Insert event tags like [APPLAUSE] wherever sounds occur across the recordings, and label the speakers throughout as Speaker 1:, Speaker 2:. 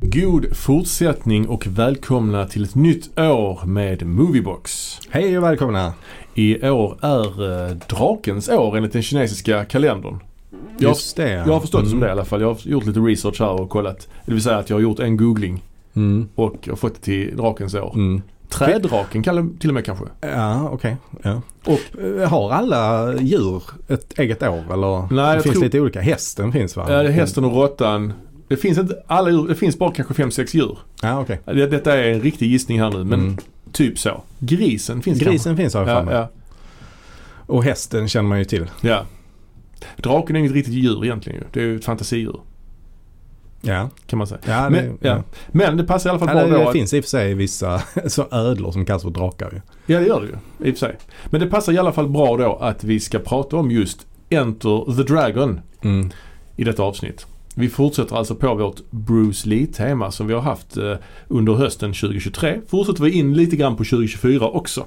Speaker 1: God fortsättning och välkomna till ett nytt år med Moviebox.
Speaker 2: Hej och välkomna!
Speaker 1: I år är eh, drakens år enligt den kinesiska kalendern. Jag,
Speaker 2: Just det. Mm.
Speaker 1: jag har förstått det som det i alla fall. Jag har gjort lite research här och kollat. Det vill säga att jag har gjort en googling
Speaker 2: Mm.
Speaker 1: och jag har fått det till drakens år.
Speaker 2: Mm.
Speaker 1: Trädraken kan det till och med kanske.
Speaker 2: Ja, okej. Ja.
Speaker 1: Och-
Speaker 2: Eh, har alla djur ett eget år eller?
Speaker 1: Nej,
Speaker 2: det
Speaker 1: jag
Speaker 2: finns
Speaker 1: tror-
Speaker 2: lite olika. Hästen finns va?
Speaker 1: Ja, det är Eh, hästen och råttan. Det finns inte alla djur. Det finns bara kanske 5-6 djur.
Speaker 2: Ja, okej.
Speaker 1: Det, detta är en riktig gissning här nu men
Speaker 2: Mm.
Speaker 1: typ så. Grisen finns kanske.
Speaker 2: Grisen finns har jag för
Speaker 1: Ja,
Speaker 2: mig.
Speaker 1: ja,
Speaker 2: Och hästen känner man ju till.
Speaker 1: ja. Draken är inget riktigt djur egentligen ju. Det är ju ett fantasidjur
Speaker 2: Ja,
Speaker 1: kan man säga.
Speaker 2: ja, det,
Speaker 1: Men, ja.
Speaker 2: ja.
Speaker 1: Men det passar i alla fall
Speaker 2: Ja,
Speaker 1: bra
Speaker 2: det,
Speaker 1: då
Speaker 2: det
Speaker 1: att
Speaker 2: finns i och för sig vissa [LAUGHS] så ödlor som kallas för drakar ju.
Speaker 1: Ja det gör det ju i och för sig. Men det passar i alla fall bra då att vi ska prata om just Enter the Dragon
Speaker 2: Mm.
Speaker 1: i detta avsnitt. Vi fortsätter alltså på vårt Bruce Lee-tema som vi har haft eh, under hösten 2023. Fortsätter vi in lite grann på 2024 också.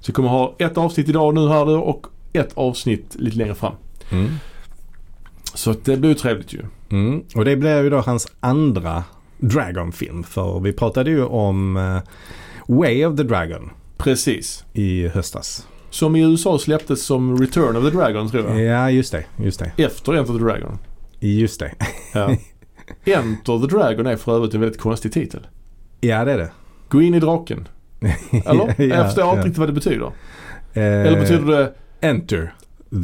Speaker 1: Så vi kommer ha ett avsnitt idag nu här då och ett avsnitt lite längre fram.
Speaker 2: Mm.
Speaker 1: Så att det blir ju trevligt ju.
Speaker 2: Mm. Och det blev ju då hans andra Dragon-film. För vi pratade ju om eh, Way of the Dragon
Speaker 1: Precis.
Speaker 2: i höstas.
Speaker 1: Som i USA släpptes som Return of the Dragon tror jag.
Speaker 2: Ja, just det. Just det.
Speaker 1: Efter Enter the
Speaker 2: [LAUGHS]
Speaker 1: Dragon.
Speaker 2: Just det.
Speaker 1: Ja. Enter the Dragon är för övrigt en väldigt konstig titel.
Speaker 2: Ja, det är det.
Speaker 1: Gå in i draken. [LAUGHS]
Speaker 2: [LAUGHS]
Speaker 1: Eller? jag förstår inte riktigt vad det betyder. Eller betyder det,
Speaker 2: Eh, Enter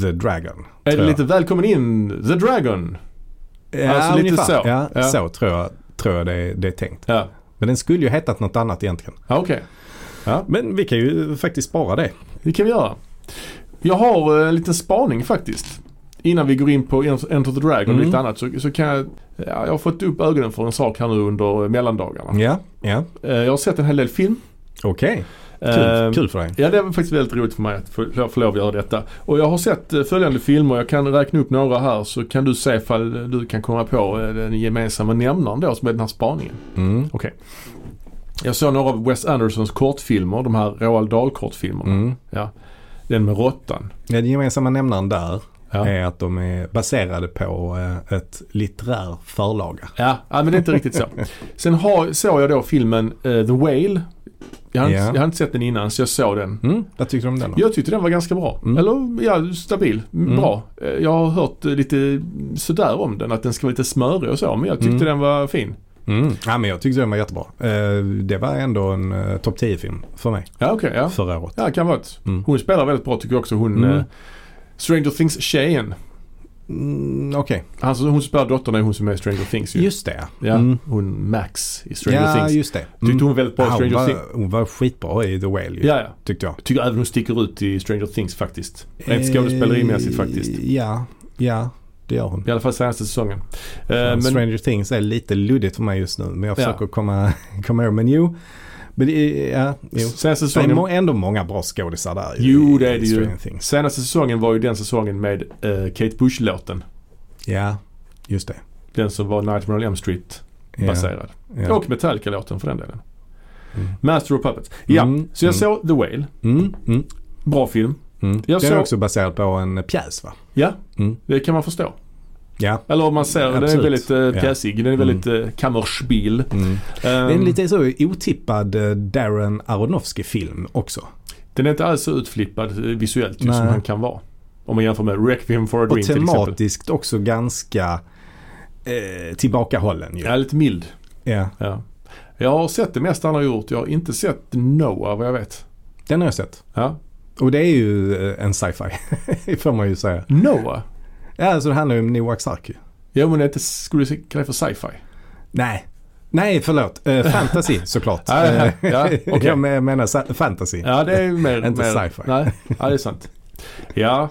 Speaker 2: the Dragon.
Speaker 1: är det
Speaker 2: jag.
Speaker 1: lite välkommen in, the dragon?
Speaker 2: Ja,
Speaker 1: Alltså lite
Speaker 2: ungefär.
Speaker 1: så.
Speaker 2: Ja,
Speaker 1: Ja.
Speaker 2: så tror jag, tror jag det, det är tänkt.
Speaker 1: Ja,
Speaker 2: Men den skulle ju hetat något annat egentligen.
Speaker 1: ja okej.
Speaker 2: Men vi kan ju faktiskt spara det.
Speaker 1: Det kan vi göra. Jag har eh, en liten spaning faktiskt. Innan vi går in på Ent- Enter the Dragon och
Speaker 2: Mm.
Speaker 1: lite annat så, så kan jag, ja, jag har fått upp ögonen för en sak här nu under eh, mellandagarna.
Speaker 2: Ja, ja.
Speaker 1: Eh, Jag har sett en hel del film.
Speaker 2: okej.
Speaker 1: Eh,
Speaker 2: Kul, kul för dig.
Speaker 1: Ja det var faktiskt väldigt roligt för mig att få, få- få lov att göra detta. Och jag har sett eh, följande filmer, jag kan räkna upp några här så kan du se ifall du kan komma på eh, den gemensamma nämnaren då som är den här spaningen.
Speaker 2: Mm.
Speaker 1: Okej. Jag såg några av Wes Andersons kortfilmer, de här Roald Dahl-kortfilmerna.
Speaker 2: Mm.
Speaker 1: Den med råttan.
Speaker 2: Ja, den gemensamma nämnaren där
Speaker 1: Ja.
Speaker 2: är att de är baserade på eh, ett litterär förlaga.
Speaker 1: Ja. ja, men det är inte riktigt så. Sen har, såg jag då filmen eh, The Whale. Jag har,
Speaker 2: Ja.
Speaker 1: inte, jag har inte sett den innan så jag såg den.
Speaker 2: Mm. Vad tyckte du om den då?
Speaker 1: Jag tyckte den var ganska bra.
Speaker 2: Mm.
Speaker 1: Eller ja, stabil.
Speaker 2: Mm.
Speaker 1: Bra. Eh, Jag har hört eh, lite sådär om den, att den ska vara lite smörig och så. Men jag tyckte
Speaker 2: Mm.
Speaker 1: den var fin.
Speaker 2: Mm. Ja, men jag tyckte den var jättebra. Eh, Det var ändå en eh, topp 10-film för mig
Speaker 1: Ja, okej. ja.
Speaker 2: förra året.
Speaker 1: ja, det kan vara ett.
Speaker 2: Mm.
Speaker 1: Hon spelar väldigt bra tycker jag också. Hon,
Speaker 2: Mm.
Speaker 1: eh, Stranger Things-tjejen.
Speaker 2: Mm, Okej,
Speaker 1: Alltså hon som spelar dottern är hon som är i Stranger Things ju.
Speaker 2: just det.
Speaker 1: Ja,
Speaker 2: Mm.
Speaker 1: hon Max i Stranger
Speaker 2: Ja,
Speaker 1: Things.
Speaker 2: just det.
Speaker 1: Tyckte hon var väldigt bra i
Speaker 2: Ja, hon,
Speaker 1: Stranger Things.
Speaker 2: var, hon var skitbra i The Whale ju,
Speaker 1: Ja, ja.
Speaker 2: tyckte jag.
Speaker 1: Tycker även hon sticker ut i Stranger Things faktiskt. Rent skådespelerimässigt faktiskt.
Speaker 2: Eh, Ja, ja det gör hon.
Speaker 1: I alla fall senaste säsongen. Eh,
Speaker 2: men,
Speaker 1: men,
Speaker 2: Stranger Things är lite luddigt för mig just nu men jag
Speaker 1: Ja.
Speaker 2: försöker komma, [LAUGHS] komma ihåg. Men jo, men det, är- ja, jo.
Speaker 1: senaste
Speaker 2: Det är
Speaker 1: säsongen,
Speaker 2: må, ändå många bra skådisar där ju
Speaker 1: Jo,
Speaker 2: i-
Speaker 1: det är
Speaker 2: i
Speaker 1: det ju.
Speaker 2: Stranger Things.
Speaker 1: senaste säsongen var ju den säsongen med eh, Kate Bush-låten.
Speaker 2: Ja, just det.
Speaker 1: Den som var Nightmare on Elm Street-baserad.
Speaker 2: Ja, ja.
Speaker 1: Och Metallica-låten för den delen.
Speaker 2: Mm.
Speaker 1: Master of Puppets. Ja,
Speaker 2: Mm,
Speaker 1: så jag
Speaker 2: mm.
Speaker 1: såg The Whale.
Speaker 2: Mm, mm,
Speaker 1: Bra film.
Speaker 2: mm.
Speaker 1: Jag
Speaker 2: Den är
Speaker 1: såg-
Speaker 2: också baserad på en pjäs va?
Speaker 1: Ja,
Speaker 2: Mm.
Speaker 1: det kan man förstå.
Speaker 2: Ja.
Speaker 1: Eller om man ser, den är
Speaker 2: Absolut.
Speaker 1: väldigt
Speaker 2: Ja.
Speaker 1: eh, pjäsig. Den är väldigt eh, kammerspiel.
Speaker 2: Mm. Det är
Speaker 1: Ehm,
Speaker 2: en lite så otippad eh, Darren Aronofsky-film också.
Speaker 1: Den är inte alls så utflippad eh, visuellt ju,
Speaker 2: Nej.
Speaker 1: som han kan vara. Om man jämför med Requiem for a Dream
Speaker 2: Och
Speaker 1: till exempel.
Speaker 2: tematiskt också ganska eh, tillbakahållen ju.
Speaker 1: Ja, lite mild.
Speaker 2: Ja,
Speaker 1: Ja. Jag har sett det mesta han har gjort. Jag har inte sett Noah vad jag vet.
Speaker 2: den har jag sett.
Speaker 1: Ja.
Speaker 2: Och det är ju eh, en sci-fi, [LAUGHS] får man ju säga.
Speaker 1: Noah?
Speaker 2: Ja, alltså det handlar ju om Noaks ark ju.
Speaker 1: Ja men det är inte, skulle du kalla det för sci-fi?
Speaker 2: Nej. Nej, förlåt. Eh,
Speaker 1: [LAUGHS]
Speaker 2: fantasy såklart.
Speaker 1: Ja, ja,
Speaker 2: Eh, [LAUGHS]
Speaker 1: ja, okej.
Speaker 2: Jag men- menar sa- fantasy.
Speaker 1: Ja det är ju mer...
Speaker 2: Inte
Speaker 1: mer,
Speaker 2: sci-fi.
Speaker 1: Nej, ja, det är sant. Ja.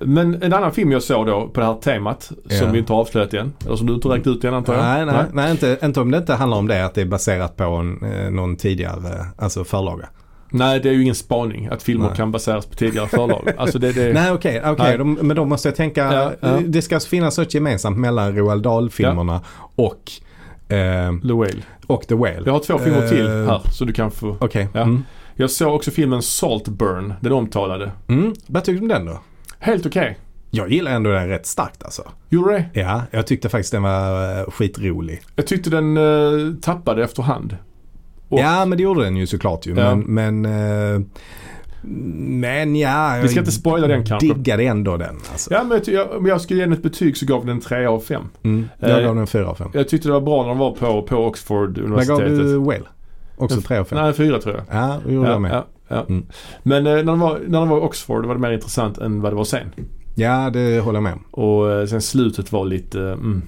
Speaker 1: Men en annan film jag såg då på det här temat
Speaker 2: Ja.
Speaker 1: som vi inte har avslöjat än. Eller som du inte har räknat ut än antar jag.
Speaker 2: Nej, nej, nej inte, inte om det inte handlar om det att det är baserat på en, eh, någon tidigare eh, alltså förlaga.
Speaker 1: Nej, det är ju ingen spaning att filmer
Speaker 2: Nej.
Speaker 1: kan baseras på tidigare
Speaker 2: [LAUGHS]
Speaker 1: förlag. Alltså det, det,
Speaker 2: Nej okej, okej.
Speaker 1: Nej.
Speaker 2: De, men då måste jag tänka.
Speaker 1: Ja, ja.
Speaker 2: Det ska alltså finnas något gemensamt mellan Roald Dahl-filmerna och, eh,
Speaker 1: The Whale.
Speaker 2: och The Whale.
Speaker 1: Jag har två filmer till
Speaker 2: Eh,
Speaker 1: här så du kan få.
Speaker 2: Okej.
Speaker 1: Ja.
Speaker 2: Mm.
Speaker 1: Jag såg också filmen Saltburn, den omtalade.
Speaker 2: Mm. Vad tyckte du om den då?
Speaker 1: Helt okej.
Speaker 2: Jag gillar ändå den rätt starkt alltså.
Speaker 1: Gjorde det?
Speaker 2: Ja, jag tyckte faktiskt den var eh, skitrolig.
Speaker 1: Jag tyckte den eh, tappade efterhand. Och-
Speaker 2: Ja, men det gjorde den ju såklart ju.
Speaker 1: Ja.
Speaker 2: Men, men, eh, men ja.
Speaker 1: Vi ska inte spoila den kanske.
Speaker 2: Jag diggade ändå den alltså.
Speaker 1: Ja, men jag, ty- jag, om jag skulle ge den ett betyg så gav den 3 av 5.
Speaker 2: Mm, jag
Speaker 1: Eh,
Speaker 2: gav den 4 av 5.
Speaker 1: Jag tyckte det var bra när de var på, på Oxford
Speaker 2: Vad gav
Speaker 1: universitetet.
Speaker 2: du Whale? Också
Speaker 1: En-
Speaker 2: 3 av 5?
Speaker 1: Nej, 4 tror jag.
Speaker 2: Ja, det gjorde jag med.
Speaker 1: ja, ja.
Speaker 2: Mm.
Speaker 1: Men eh, när de, var, när de var i Oxford var det mer intressant än vad det var sen.
Speaker 2: Ja, det håller jag med om.
Speaker 1: Och eh, sen slutet var lite, eh, mm,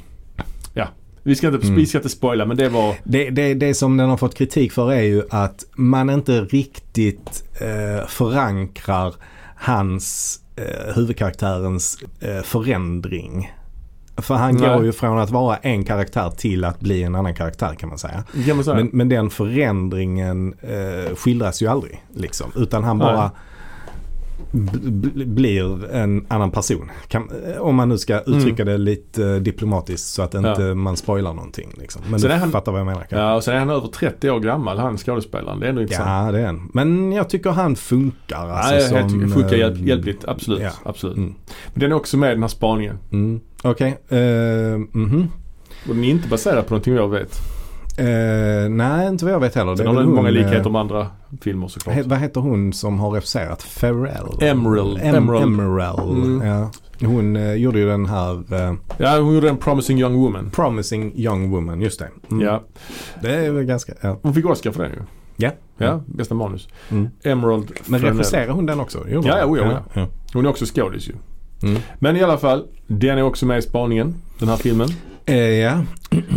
Speaker 1: ja. Vi ska, inte,
Speaker 2: Mm.
Speaker 1: vi ska inte spoila men det var,
Speaker 2: Det, det, det som den har fått kritik för är ju att man inte riktigt eh, förankrar hans, eh, huvudkaraktärens eh, förändring. För han
Speaker 1: Nej.
Speaker 2: går ju från att vara en karaktär till att bli en annan karaktär kan man säga.
Speaker 1: kan man säga.
Speaker 2: Men, men den förändringen eh, skildras ju aldrig. Liksom. Utan han
Speaker 1: Nej.
Speaker 2: bara b- b- blir en annan person. Kan, eh, om man nu ska uttrycka
Speaker 1: Mm.
Speaker 2: det lite eh, diplomatiskt så att inte man spoilar någonting. Liksom. Men
Speaker 1: Så
Speaker 2: du
Speaker 1: det är han-
Speaker 2: fattar vad jag menar kanske.
Speaker 1: Ja, och sen är han över 30 år gammal han skådespelaren. Det är ändå intressant.
Speaker 2: Ja, det är en. Men jag tycker han funkar. Alltså,
Speaker 1: Nej, jag
Speaker 2: som,
Speaker 1: tycker funkar
Speaker 2: eh,
Speaker 1: hjälp, hjälpligt. Absolut.
Speaker 2: ja.
Speaker 1: absolut.
Speaker 2: Mm.
Speaker 1: Men den är också med i den här spaningen.
Speaker 2: Mm. Okej. eh, mhm.
Speaker 1: Och den är inte baserad på någonting jag vet.
Speaker 2: Eh, nej, inte vad jag vet heller.
Speaker 1: Den
Speaker 2: är
Speaker 1: har
Speaker 2: väl
Speaker 1: den många
Speaker 2: hon, eh,
Speaker 1: likheter med andra filmer såklart.
Speaker 2: He, vad heter hon som har refuserat? Farrell?
Speaker 1: Emerald.
Speaker 2: Em, Emerald.
Speaker 1: Emerald.
Speaker 2: Emerald.
Speaker 1: Mm.
Speaker 2: Ja. Hon eh, gjorde ju den här eh,
Speaker 1: Ja, hon gjorde en Promising Young Woman.
Speaker 2: Promising Young Woman, just det. Mm.
Speaker 1: Ja,
Speaker 2: Det är väl ganska, ja.
Speaker 1: hon fick Oscar för den ju.
Speaker 2: Ja.
Speaker 1: Ja, bästa manus.
Speaker 2: Mm.
Speaker 1: Emerald
Speaker 2: Men
Speaker 1: Fennell.
Speaker 2: regisserar hon den också? Gjorde
Speaker 1: Ja,
Speaker 2: hon?
Speaker 1: ja, ja,
Speaker 2: ja.
Speaker 1: Hon är också skådis ju.
Speaker 2: Mm.
Speaker 1: Men i alla fall, den är också med i spaningen. Den här filmen.
Speaker 2: Eh, ja.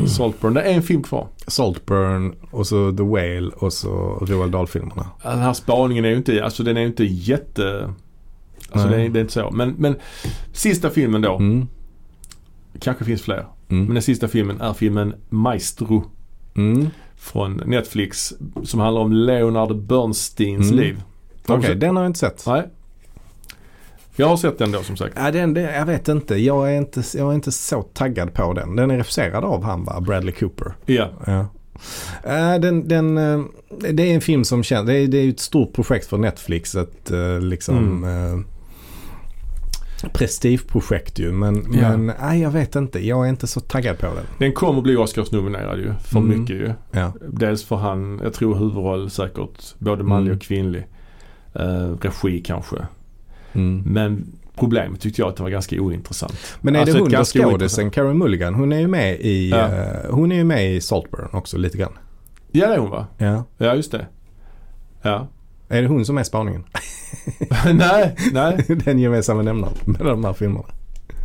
Speaker 1: Saltburn. Det är en film kvar.
Speaker 2: Saltburn och så The Whale och så Roald Dahl-filmerna.
Speaker 1: Den här spaningen är ju inte, alltså den är ju inte jätte... Alltså
Speaker 2: Nej.
Speaker 1: det är, det är inte så. Men, men sista filmen då.
Speaker 2: Mm.
Speaker 1: Kanske finns fler. Men
Speaker 2: Mm.
Speaker 1: den sista filmen är filmen Maestro
Speaker 2: Mm.
Speaker 1: från Netflix. Som handlar om Leonard Bernsteins
Speaker 2: Mm.
Speaker 1: liv.
Speaker 2: Okej,
Speaker 1: Har du sett-
Speaker 2: den har jag inte sett.
Speaker 1: Nej. Jag har sett den då som sagt.
Speaker 2: Ja, den, det- jag vet inte. Jag, är inte. jag är inte så taggad på den. Den är refuserad av han va? Bradley Cooper.
Speaker 1: Ja.
Speaker 2: Ja. Eh, Den, den, eh, det är en film som känns, det är, det är ju ett stort projekt för Netflix att eh, liksom eh, prestigeprojekt ju men,
Speaker 1: Ja.
Speaker 2: men nej, jag vet inte, jag är inte så taggad på den.
Speaker 1: Den kommer att bli Oscarsnominerad ju. För
Speaker 2: Mm.
Speaker 1: mycket ju.
Speaker 2: Ja.
Speaker 1: Dels för han, jag tror huvudroll säkert. Både manlig
Speaker 2: Mm.
Speaker 1: och kvinnlig. Eh, regi kanske.
Speaker 2: Mm.
Speaker 1: Men problemet tyckte jag att det var ganska ointressant.
Speaker 2: Men är
Speaker 1: Alltså,
Speaker 2: det
Speaker 1: ett
Speaker 2: hon då
Speaker 1: ganska
Speaker 2: skådisen, Karen Mulligan, hon är ju med i,
Speaker 1: Ja.
Speaker 2: eh, hon är ju med i Saltburn också lite grann.
Speaker 1: Ja det är hon va?
Speaker 2: Ja.
Speaker 1: Ja just det. Ja. [LAUGHS]
Speaker 2: Är det hon som är spaningen?
Speaker 1: nej, nej.
Speaker 2: [LAUGHS] den gemensamma nämnaren mellan de här filmerna.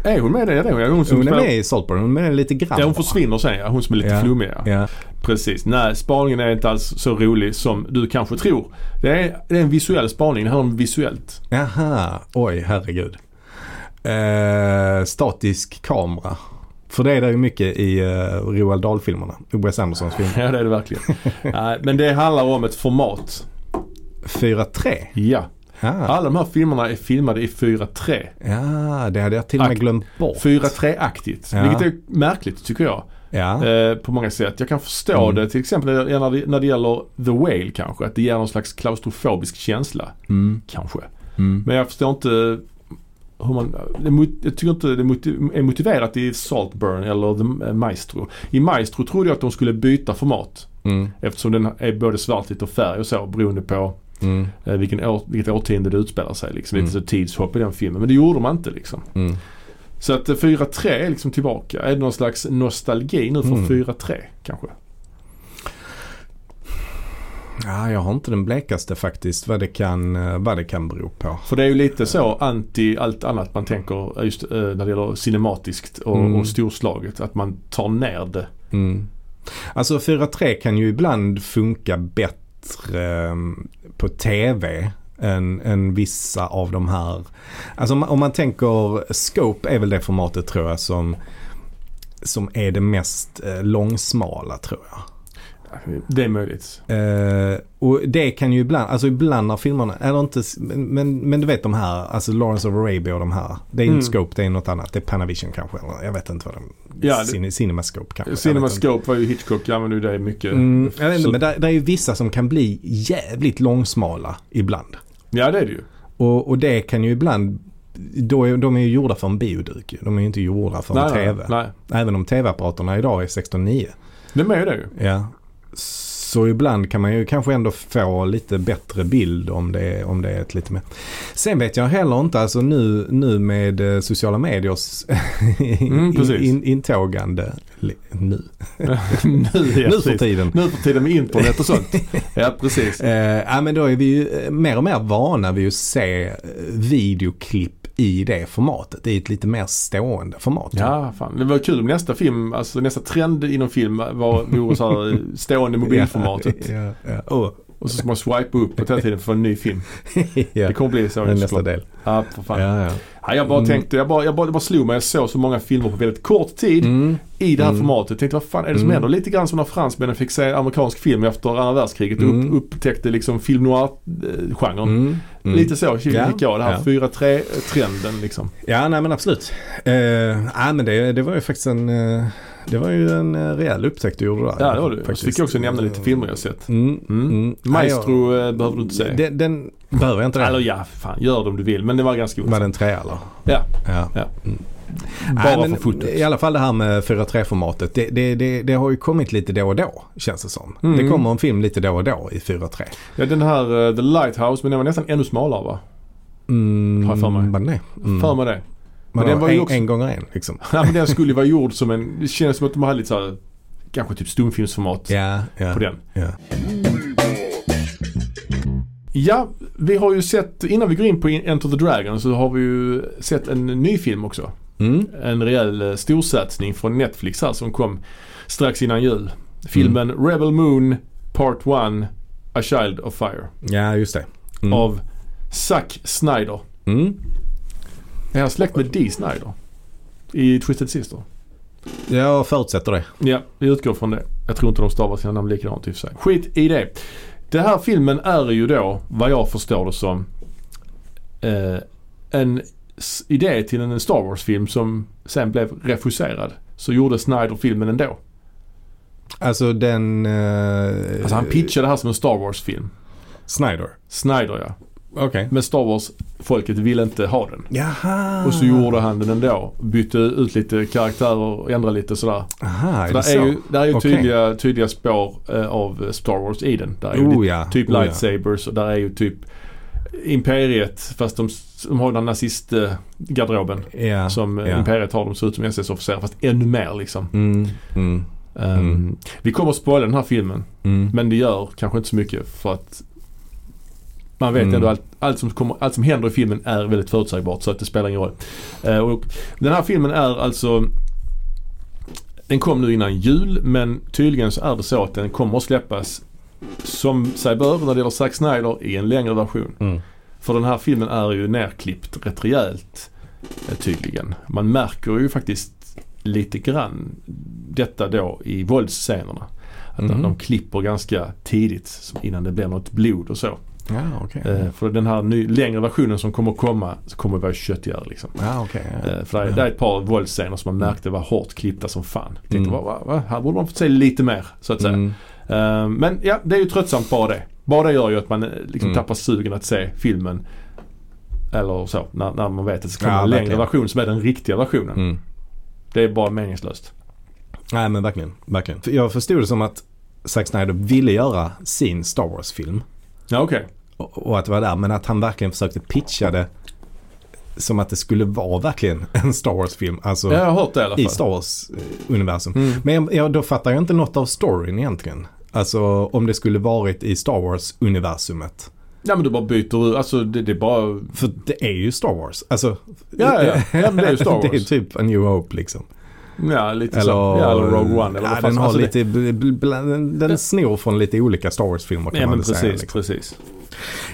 Speaker 1: Är hon med i det? Ja, det är hon. Ja, hon, som
Speaker 2: Hon är
Speaker 1: spelar-
Speaker 2: med i Saltburn, hon är med lite grann.
Speaker 1: Ja hon
Speaker 2: bara.
Speaker 1: försvinner sen ja. Hon som är lite
Speaker 2: Ja.
Speaker 1: flummig ja.
Speaker 2: Ja.
Speaker 1: Precis. Nej, spaningen är inte alls så rolig som du kanske tror. Det är, det är en visuell spaning. Det handlar om visuellt.
Speaker 2: Jaha, oj herregud. Eh, statisk kamera. För det är det ju mycket i eh, Roald Dahl-filmerna. Wes Andersons film.
Speaker 1: Ja, det är det verkligen.
Speaker 2: [LAUGHS]
Speaker 1: Nej, men det handlar om ett format.
Speaker 2: 4-3.
Speaker 1: Ja.
Speaker 2: Ja.
Speaker 1: Alla de här filmerna är filmade i 4-3.
Speaker 2: Ah, ja, det hade jag till och med
Speaker 1: Akt-
Speaker 2: glömt bort.
Speaker 1: 4-3-aktigt.
Speaker 2: Ja.
Speaker 1: Vilket är märkligt tycker jag.
Speaker 2: Ja.
Speaker 1: Eh, på många sätt. Jag kan förstå
Speaker 2: Mm.
Speaker 1: det till exempel när, när, det, när det gäller The Whale kanske. Att det ger någon slags klaustrofobisk känsla.
Speaker 2: Mm,
Speaker 1: Kanske.
Speaker 2: mm.
Speaker 1: Men jag förstår inte hur man... det mot- Jag tycker inte det moti- är motiverat i Saltburn eller The eh, Maestro. I Maestro trodde jag att de skulle byta format.
Speaker 2: Mm,
Speaker 1: Eftersom den är både svartvitt och färg och så beroende på
Speaker 2: mm,
Speaker 1: eh, vilken år, vilket årtionde det utspelar sig. Liksom.
Speaker 2: Mm.
Speaker 1: Lite så tidshopp i den filmen. Men det gjorde man inte liksom.
Speaker 2: mm.
Speaker 1: Så att eh, 4-3 är liksom tillbaka. Är det någon slags nostalgi nu
Speaker 2: Mm.
Speaker 1: för 4-3 kanske?
Speaker 2: Ja, jag har inte den blekaste faktiskt vad det kan, eh, vad det kan bero på.
Speaker 1: För det är ju lite så anti allt annat man tänker eh, just eh, när det gäller cinematiskt och,
Speaker 2: Mm.
Speaker 1: och storslaget. Att man tar ner det.
Speaker 2: Mm. Alltså 4-3 kan ju ibland funka bättre eh, på tv än, än vissa av de här. Alltså om, man- om man tänker scope är väl det formatet tror jag som som är det mest eh, långsmala tror jag.
Speaker 1: Det är möjligt.
Speaker 2: Eh, och det kan ju ibland, alltså ibland när filmerna, eller inte, s- men, men, men du vet de här, alltså Lawrence of Arabia och de här. Det är
Speaker 1: Mm.
Speaker 2: inte Scope, det är något annat. Det är Panavision kanske, eller jag vet inte vad de,
Speaker 1: Ja, det-
Speaker 2: Cine, Cinemascope kanske. jag vet inte.
Speaker 1: Cinemascope var ju Hitchcock, jag använde ju det mycket.
Speaker 2: Mm, jag vet inte,
Speaker 1: Så-
Speaker 2: men det är ju vissa som kan bli jävligt långsmala ibland.
Speaker 1: Ja det är det ju.
Speaker 2: Och, och det kan ju ibland då är, de är ju gjorda för en bioduk ju. De är ju inte gjorda för en
Speaker 1: nej,
Speaker 2: TV.
Speaker 1: nej, nej.
Speaker 2: Även om TV-apparaterna idag är 16.9.
Speaker 1: De är ju
Speaker 2: [LAUGHS]
Speaker 1: det ju.
Speaker 2: Ja. Så ibland kan man ju kanske ändå få lite bättre bild om det, är- om det är ett lite mer. Sen vet jag heller inte, alltså nu, nu med eh, sociala mediers
Speaker 1: Mm, precis.
Speaker 2: [LAUGHS] in, intågande li- nu,
Speaker 1: nu, ja,
Speaker 2: nu för
Speaker 1: precis.
Speaker 2: tiden.
Speaker 1: nu för tiden med internet och
Speaker 2: [LAUGHS]
Speaker 1: sånt. ja, precis.
Speaker 2: Eh, ja, men då är vi ju eh, mer och mer vana vid att se eh, videoklipp i det formatet. I ett lite mer stående format.
Speaker 1: Ja, fan. Det var kul om nästa film, alltså nästa trend inom film var, vore så här eh, stående mobilformatet.
Speaker 2: Ja, ja. Oh. Och-
Speaker 1: Och så ska man swipa upp hela tiden för en ny film.
Speaker 2: [LAUGHS] ja.
Speaker 1: Det kommer bli så.
Speaker 2: Det är nästa
Speaker 1: såklart.
Speaker 2: del.
Speaker 1: Ja, för fan.
Speaker 2: Ja, ja.
Speaker 1: Ja, jag bara
Speaker 2: Mm.
Speaker 1: tänkte, jag bara, jag, bara, det bara slog mig. Jag såg så många filmer på väldigt kort tid
Speaker 2: Mm.
Speaker 1: i det här
Speaker 2: Mm.
Speaker 1: formatet. Jag tänkte, vad fan är det som
Speaker 2: Mm.
Speaker 1: händer? Lite grann som när fransmännen fick se amerikansk film efter andra världskriget och
Speaker 2: Mm.
Speaker 1: upp, upptäckte liksom film noir-genren.
Speaker 2: Mm. Mm.
Speaker 1: Lite så fick
Speaker 2: Ja,
Speaker 1: jag det här
Speaker 2: ja.
Speaker 1: 4-3-trenden liksom.
Speaker 2: Ja, nej men absolut. Eh, nej, men det, det var ju faktiskt en, eh, det var ju en eh, rejäl upptäckkt du gjorde där.
Speaker 1: Ja, det var det. Och så
Speaker 2: Faktiskt.
Speaker 1: fick jag också nämna lite filmer jag sett.
Speaker 2: Mm,
Speaker 1: Mm.
Speaker 2: mm.
Speaker 1: Maestro eh,
Speaker 2: Nej, jag-
Speaker 1: behöver du inte se.
Speaker 2: Den, den behöver jag inte det.
Speaker 1: Eller ja, fan gör det om du vill. Men det var ganska
Speaker 2: Var
Speaker 1: roligt.
Speaker 2: den tre eller?
Speaker 1: Ja.
Speaker 2: ja.
Speaker 1: Ja.
Speaker 2: Mm.
Speaker 1: Bara
Speaker 2: Nej, men
Speaker 1: för fotot.
Speaker 2: I alla fall det här med 4.3-formatet. Det, det, det, det har ju kommit lite då och då känns det som.
Speaker 1: Mm.
Speaker 2: Det kommer en film lite då och då i 4.3.
Speaker 1: Ja, den här eh, The Lighthouse, men den var nästan ännu smalare va?
Speaker 2: Mm,
Speaker 1: Har jag för mig.
Speaker 2: vad den är. Mm.
Speaker 1: För mig det.
Speaker 2: Men
Speaker 1: Men den
Speaker 2: den
Speaker 1: var ju
Speaker 2: en,
Speaker 1: också- Alltså,
Speaker 2: en gånger en liksom.
Speaker 1: Ja, men den skulle ju vara gjord som en, det känns som att de hade lite såhär, kanske typ stumfilmsformat
Speaker 2: Ja, ja.
Speaker 1: på den.
Speaker 2: ja.
Speaker 1: Ja, vi har ju sett, innan vi går in på Enter the Dragon så har vi ju sett en ny film också.
Speaker 2: Mm.
Speaker 1: En rejäl eh, storsatsning från Netflix här som kom strax innan jul. Filmen
Speaker 2: Mm.
Speaker 1: Rebel Moon Part 1 A Child of Fire
Speaker 2: ja, just det. Mm.
Speaker 1: av Zack Snyder.
Speaker 2: Mm.
Speaker 1: Är han släkt med Dee Snyder? I Twisted Sister?
Speaker 2: Jag förutsätter det.
Speaker 1: Ja, vi utgår från det. Jag tror inte de stavar sina namn likadant i och för sig. Skit i det. Den här filmen är ju då, vad jag förstår det som, eh, en s- idé till en Star Wars-film som sen blev refuserad. Så gjorde Snyder filmen ändå.
Speaker 2: Alltså den... eh,
Speaker 1: Alltså han pitchade det här som en Star Wars-film.
Speaker 2: Snyder.
Speaker 1: Snyder ja.
Speaker 2: Okej.
Speaker 1: Men Star Wars-folket ville inte ha den.
Speaker 2: Jaha.
Speaker 1: Och så gjorde han den ändå. Bytte ut lite karaktärer och ändrade lite sådär.
Speaker 2: Aha,
Speaker 1: För
Speaker 2: är det
Speaker 1: där är
Speaker 2: så?
Speaker 1: ju, där är ju
Speaker 2: Okej.
Speaker 1: tydliga, tydliga spår eh, av Star Wars i den. Där är ju
Speaker 2: Oh
Speaker 1: lite-
Speaker 2: ja.
Speaker 1: typ
Speaker 2: oh, ja.
Speaker 1: lightsabers och där är ju typ Imperiet fast de, de har den här nazistgarderoben.
Speaker 2: Ja.
Speaker 1: Som eh,
Speaker 2: ja.
Speaker 1: Imperiet har, de ser ut som SS-officerare fast ännu mer liksom.
Speaker 2: Mm, mm,
Speaker 1: Ehm,
Speaker 2: Mm.
Speaker 1: Vi kommer att spoila den här filmen
Speaker 2: mm.
Speaker 1: men det gör kanske inte så mycket för att man vet
Speaker 2: Mm.
Speaker 1: ändå allt, allt, som kommer, allt som händer i filmen är väldigt förutsägbart så att det spelar ingen roll. Eh, och den här filmen är alltså Den kom nu innan jul men tydligen så är det så att den kommer att släppas som sig bör när det gäller Zack Snyder i en längre version.
Speaker 2: Mm.
Speaker 1: För den här filmen är ju nerklippt rätt rejält eh, tydligen. Man märker ju faktiskt lite grann detta då i våldsscenerna. Att de-
Speaker 2: Mhm.
Speaker 1: de klipper ganska tidigt som- innan det blir något blod och så.
Speaker 2: Ja, okej.
Speaker 1: Eh, för den här ny, längre versionen som kommer komma så kommer det vara köttigare liksom.
Speaker 2: Ja, Ah, okej. Mm. ja.
Speaker 1: Eh, för det, är- det är ett par våldsscener som man märkte var hårt klippta som fan. Jag tänkte
Speaker 2: Mm.
Speaker 1: va, va, va? här borde man fått se lite mer så att säga.
Speaker 2: Mm.
Speaker 1: Eh, men ja, det är ju tröttsamt bara det. Bara det gör ju att man eh, liksom
Speaker 2: Mm.
Speaker 1: tappar sugen att se filmen. Eller så, när, när man vet att det ska komma
Speaker 2: Ja,
Speaker 1: en längre
Speaker 2: verkligen.
Speaker 1: version som är den riktiga versionen.
Speaker 2: Mm.
Speaker 1: Det är bara meningslöst.
Speaker 2: Nej, men verkligen. verkligen. För Jag förstod det som att Zack Snyder ville göra sin Star Wars-film.
Speaker 1: Ja okej.
Speaker 2: Och, och att det var där. Men att han verkligen försökte pitcha det som att det skulle vara verkligen [LAUGHS] en Star Wars-film. Alltså
Speaker 1: Ja, jag har hört det i alla fall.
Speaker 2: i Star Wars-universum.
Speaker 1: Mm.
Speaker 2: Men ja, då fattar jag inte något av storyn egentligen. Alltså om det skulle varit i Star Wars-universumet.
Speaker 1: Ja men du bara byter ut, alltså det, det är bara
Speaker 2: För det är ju Star Wars. Alltså,
Speaker 1: Ja, ja, ja. Ja, men
Speaker 2: [LAUGHS]
Speaker 1: det är ju Star
Speaker 2: det är
Speaker 1: Wars.
Speaker 2: typ A New Hope liksom.
Speaker 1: Ja, lite så. Ja, eller Rogue One. Eller vad
Speaker 2: ja,
Speaker 1: fan
Speaker 2: den,
Speaker 1: som-
Speaker 2: har
Speaker 1: alltså det-
Speaker 2: lite, bl- bl- bl- den, den snor från lite olika Star Wars-filmer kan
Speaker 1: Ja
Speaker 2: man
Speaker 1: men
Speaker 2: väl
Speaker 1: precis,
Speaker 2: säga. Liksom. Eh,
Speaker 1: precis.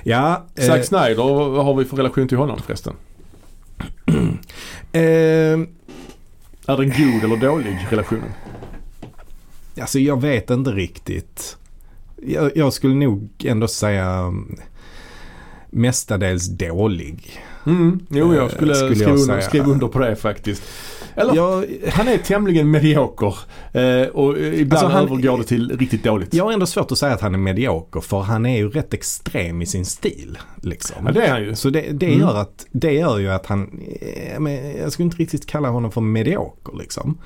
Speaker 2: Ja,
Speaker 1: Zack Snyder, vad har vi för relation till honom förresten?
Speaker 2: eh, eh,
Speaker 1: Är den god eller dålig relationen?
Speaker 2: alltså jag vet inte riktigt. Jag, jag skulle nog ändå säga mm, mestadels dålig.
Speaker 1: Mm, jo
Speaker 2: Eh,
Speaker 1: jag skulle,
Speaker 2: skulle
Speaker 1: Mm, skriva,
Speaker 2: jag
Speaker 1: under,
Speaker 2: Eh, säga.
Speaker 1: skriva under på det faktiskt. Eller,
Speaker 2: jag,
Speaker 1: Han är tämligen medioker. Eh, och eh, ibland
Speaker 2: Alltså, han-
Speaker 1: övergår det till riktigt dåligt.
Speaker 2: jag har ändå svårt att säga att han är medioker för han är ju rätt extrem i sin stil. Liksom.
Speaker 1: Ja, det är han ju.
Speaker 2: Så det, det,
Speaker 1: Mm.
Speaker 2: gör att, det gör ju att han, eh, men jag skulle inte riktigt kalla honom för medioker liksom.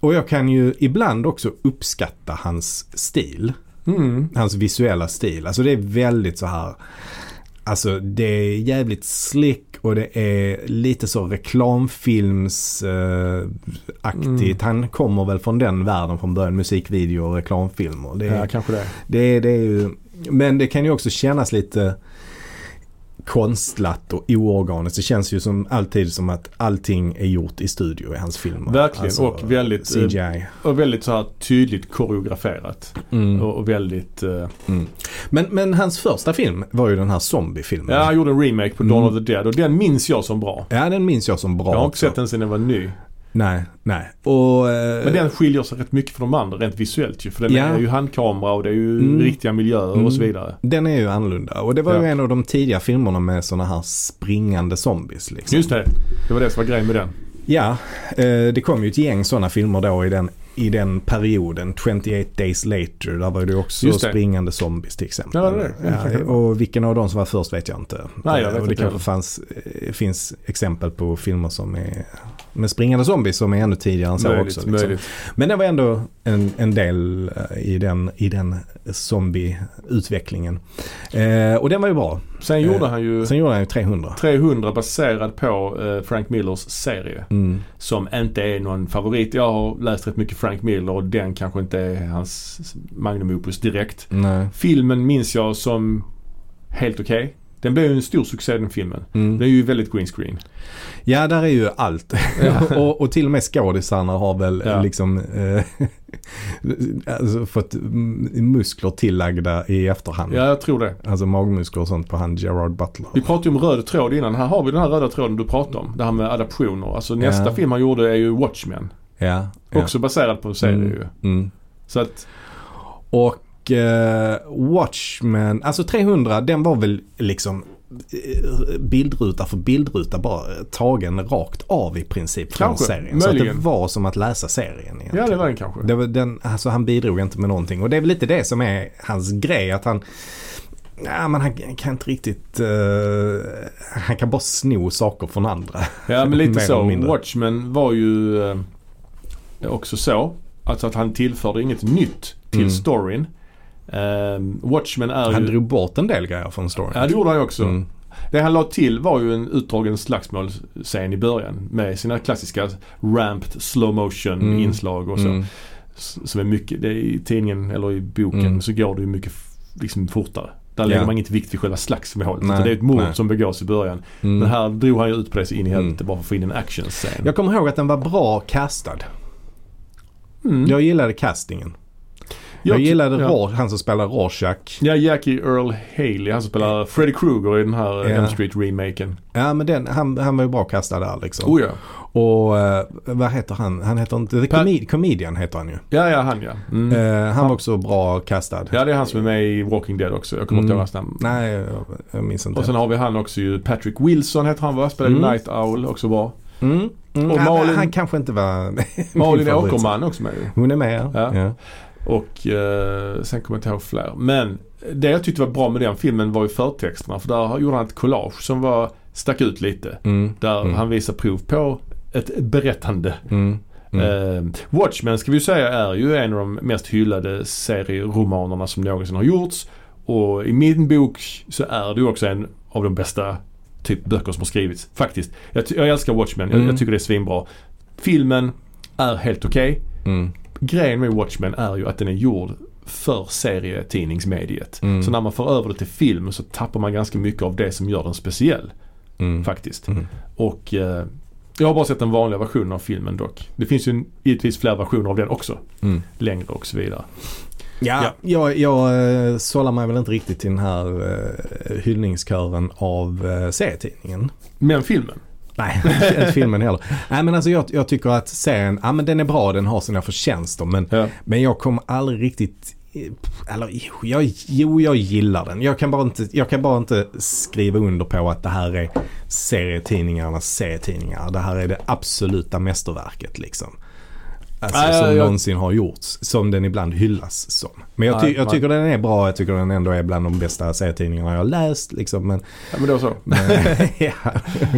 Speaker 2: Och jag kan ju ibland också uppskatta hans stil,
Speaker 1: Mm.
Speaker 2: hans visuella stil. Alltså det är väldigt så här, alltså det är jävligt slick och det är lite så
Speaker 1: Mm.
Speaker 2: reklamfilmsaktigt. Han kommer väl från den världen från början, musikvideo och reklamfilmer. Det är,
Speaker 1: Ja, kanske det.
Speaker 2: det, är- det är ju, men det kan ju också kännas lite konstlat och oorganiskt. Det känns ju som alltid som att allting är gjort i studio i hans filmer. Alltså,
Speaker 1: Verkligen, och väldigt, eh,
Speaker 2: CGI.
Speaker 1: Och väldigt så här tydligt koreograferat.
Speaker 2: Mm.
Speaker 1: Och, och väldigt... Eh,
Speaker 2: Mm. Men, men hans första film var ju den här zombiefilmen.
Speaker 1: ja, han gjorde en remake på Dawn
Speaker 2: Mm.
Speaker 1: of the Dead och den minns jag som bra.
Speaker 2: Ja, den minns jag som bra
Speaker 1: Jag har inte
Speaker 2: också.
Speaker 1: sett den sedan den var ny.
Speaker 2: Nej, nej. Och, eh,
Speaker 1: Men den skiljer sig rätt mycket från de andra rent visuellt ju. För den
Speaker 2: Ja.
Speaker 1: är ju handkamera och det är ju
Speaker 2: Mm.
Speaker 1: riktiga miljöer
Speaker 2: Mm.
Speaker 1: och så vidare.
Speaker 2: den är ju annorlunda. Och det var ju
Speaker 1: Ja.
Speaker 2: en av de tidiga filmerna med sådana här springande zombies. Liksom.
Speaker 1: Just det, det var det som var grejen med den.
Speaker 2: Ja, eh, det kom ju ett gäng sådana filmer då i den, i den perioden. 28 Days Later, där var det ju också
Speaker 1: Just det.
Speaker 2: springande zombies till exempel.
Speaker 1: Ja, det är det.
Speaker 2: Ja, och vilken av dem som var först vet jag inte.
Speaker 1: Nej, jag vet
Speaker 2: Eh, och det
Speaker 1: inte
Speaker 2: kanske fanns, eh, finns exempel på filmer som är med springande zombies som är ännu tidigare än så
Speaker 1: Möjligt,
Speaker 2: också. liksom.
Speaker 1: möjligt.
Speaker 2: Men det var ändå en, en del eh, i den, i den zombieutvecklingen. Eh, och den var ju bra.
Speaker 1: Sen
Speaker 2: Eh,
Speaker 1: gjorde han ju
Speaker 2: Sen gjorde han ju 300.
Speaker 1: 300 baserad på eh, Frank Millers serie.
Speaker 2: Mm.
Speaker 1: Som inte är någon favorit. Jag har läst rätt mycket Frank Miller och den kanske inte är hans magnum opus direkt.
Speaker 2: Nej.
Speaker 1: Filmen minns jag som helt okej. Den blev ju en stor succé den filmen.
Speaker 2: Mm.
Speaker 1: Den är ju väldigt green screen.
Speaker 2: Ja, där är ju allt. [LAUGHS] och, och till och med skådisarna har väl
Speaker 1: Ja.
Speaker 2: liksom eh, [LAUGHS] alltså fått mm, muskler tillagda i efterhand.
Speaker 1: Ja, jag tror det.
Speaker 2: Alltså magmuskler och sånt på han Gerard Butler.
Speaker 1: Vi pratade ju om röd tråd innan. Här har vi den här röda tråden du pratade om. Det här med adaptioner. Alltså nästa
Speaker 2: Ja.
Speaker 1: film han gjorde är ju Watchmen.
Speaker 2: Ja, ja.
Speaker 1: Också baserad på en serie ju.
Speaker 2: Mm.
Speaker 1: Så att,
Speaker 2: Och eh, Watchmen, alltså 300, den var väl liksom eh, bildruta för bildruta bara tagen rakt av i princip från
Speaker 1: Kanske,
Speaker 2: serien. Så att
Speaker 1: möjligen.
Speaker 2: det var som att läsa serien egentligen.
Speaker 1: ja det var den kanske.
Speaker 2: Det var den, alltså han bidrog inte med någonting och det är väl lite det som är hans grej att han Nej men han kan inte riktigt, eh, han kan bara sno saker från andra.
Speaker 1: Ja men lite
Speaker 2: Mer eller
Speaker 1: så.
Speaker 2: mindre.
Speaker 1: Watchmen var ju eh, också så. Alltså att han tillförde inget nytt till
Speaker 2: Mm.
Speaker 1: storyn. Eh, Watchmen är
Speaker 2: Han
Speaker 1: ju...
Speaker 2: drog bort en del grejer från storyn.
Speaker 1: Ja det gjorde han ju också.
Speaker 2: Mm.
Speaker 1: Det han la till var ju en utdragen slagsmålscen i början med sina klassiska ramped slow motion
Speaker 2: Mm.
Speaker 1: inslag och så.
Speaker 2: Mm.
Speaker 1: S- Som är mycket, det är i tidningen eller i boken
Speaker 2: Mm.
Speaker 1: så går det ju mycket f- liksom fortare. Där lägger
Speaker 2: Ja.
Speaker 1: man inget vikt vid själva slagsmålet.
Speaker 2: Nej,
Speaker 1: utan Det är ett mord
Speaker 2: nej.
Speaker 1: som begås i början.
Speaker 2: Mm.
Speaker 1: Men här drog han ju ut på det så in i
Speaker 2: Mm.
Speaker 1: helvete bara för att få in en actionscen.
Speaker 2: Jag kommer ihåg att den var bra castad.
Speaker 1: Mm.
Speaker 2: Jag gillade castingen. Jag, gillade
Speaker 1: ja.
Speaker 2: Ror- han som spelar Rorschach.
Speaker 1: Ja, Jackie Earl Haley. Han som spelar Freddy Krueger i den här eh,
Speaker 2: Ja.
Speaker 1: M Street-remaken.
Speaker 2: Ja men den, han, han var ju bra castad där liksom.
Speaker 1: Oh, ja.
Speaker 2: Och eh, vad heter han? Han heter inte, The
Speaker 1: Per-
Speaker 2: Comed- Comedian heter han ju.
Speaker 1: Ja, ja, han ja. Mm.
Speaker 2: Eh, han, var också bra castad.
Speaker 1: Ja, det är han som är med i Walking Dead också. Jag kommer inte
Speaker 2: Mm.
Speaker 1: ihåg hans namn.
Speaker 2: Nej, jag, jag minns inte.
Speaker 1: Och sen har vi han också ju, Patrick Wilson heter han va? Spelar ju
Speaker 2: Mm.
Speaker 1: Night Owl, också bra.
Speaker 2: Mm. Mm.
Speaker 1: Och
Speaker 2: Ja,
Speaker 1: Malin-
Speaker 2: Han kanske inte var [LAUGHS] min
Speaker 1: Malin
Speaker 2: favorit.
Speaker 1: Åkerman är också med ju.
Speaker 2: Hon är med ja.
Speaker 1: Ja.
Speaker 2: ja.
Speaker 1: Och eh, sen kommer jag inte ihåg fler. Men det jag tyckte var bra med den filmen var ju förtexterna. För där gjorde han ett collage som var, stack ut lite.
Speaker 2: Mm.
Speaker 1: Där
Speaker 2: Mm.
Speaker 1: han visar prov på ett berättande.
Speaker 2: Mm. Mm.
Speaker 1: Eh, Watchmen ska vi ju säga är ju en av de mest hyllade serieromanerna som någonsin har gjorts. Och i min bok så är det ju också en av de bästa typ böcker som har skrivits. Faktiskt. Jag, ty- jag älskar Watchmen. Jag,
Speaker 2: Mm.
Speaker 1: jag tycker det är svinbra. Filmen är helt okej.
Speaker 2: Mm.
Speaker 1: Grejen med Watchmen är ju att den är gjord för serietidningsmediet.
Speaker 2: Mm.
Speaker 1: Så när man för över det till film så tappar man ganska mycket av det som gör den speciell.
Speaker 2: Mm.
Speaker 1: Faktiskt.
Speaker 2: Mm.
Speaker 1: Och eh, jag har bara sett den vanliga versionen av filmen dock. Det finns ju en, givetvis fler versioner av den också.
Speaker 2: Mm.
Speaker 1: Längre och så vidare.
Speaker 2: Ja, jag, jag eh, sållar mig väl inte riktigt till den här uh, hyllningskören av uh, serietidningen.
Speaker 1: Men filmen.
Speaker 2: Nej, [LAUGHS] inte filmen heller. Nej men alltså jag, jag tycker att serien, ja men den är bra, den har sina förtjänster men,
Speaker 1: Ja.
Speaker 2: men jag kom aldrig riktigt eh, Eller jo jag, jo, jag gillar den. Jag kan, bara inte, jag kan bara inte skriva under på att det här är serietidningarnas serietidningar. Det här är det absoluta mästerverket liksom. Alltså,
Speaker 1: Nej,
Speaker 2: som
Speaker 1: jag-
Speaker 2: någonsin har gjorts. Som den ibland hyllas som. Men jag, ty-
Speaker 1: Nej,
Speaker 2: jag
Speaker 1: nej.
Speaker 2: tycker den är bra. Jag tycker den ändå är bland de bästa serietidningarna jag har läst. Liksom, men
Speaker 1: Ja, men då så.
Speaker 2: Men-
Speaker 1: [LAUGHS]
Speaker 2: ja,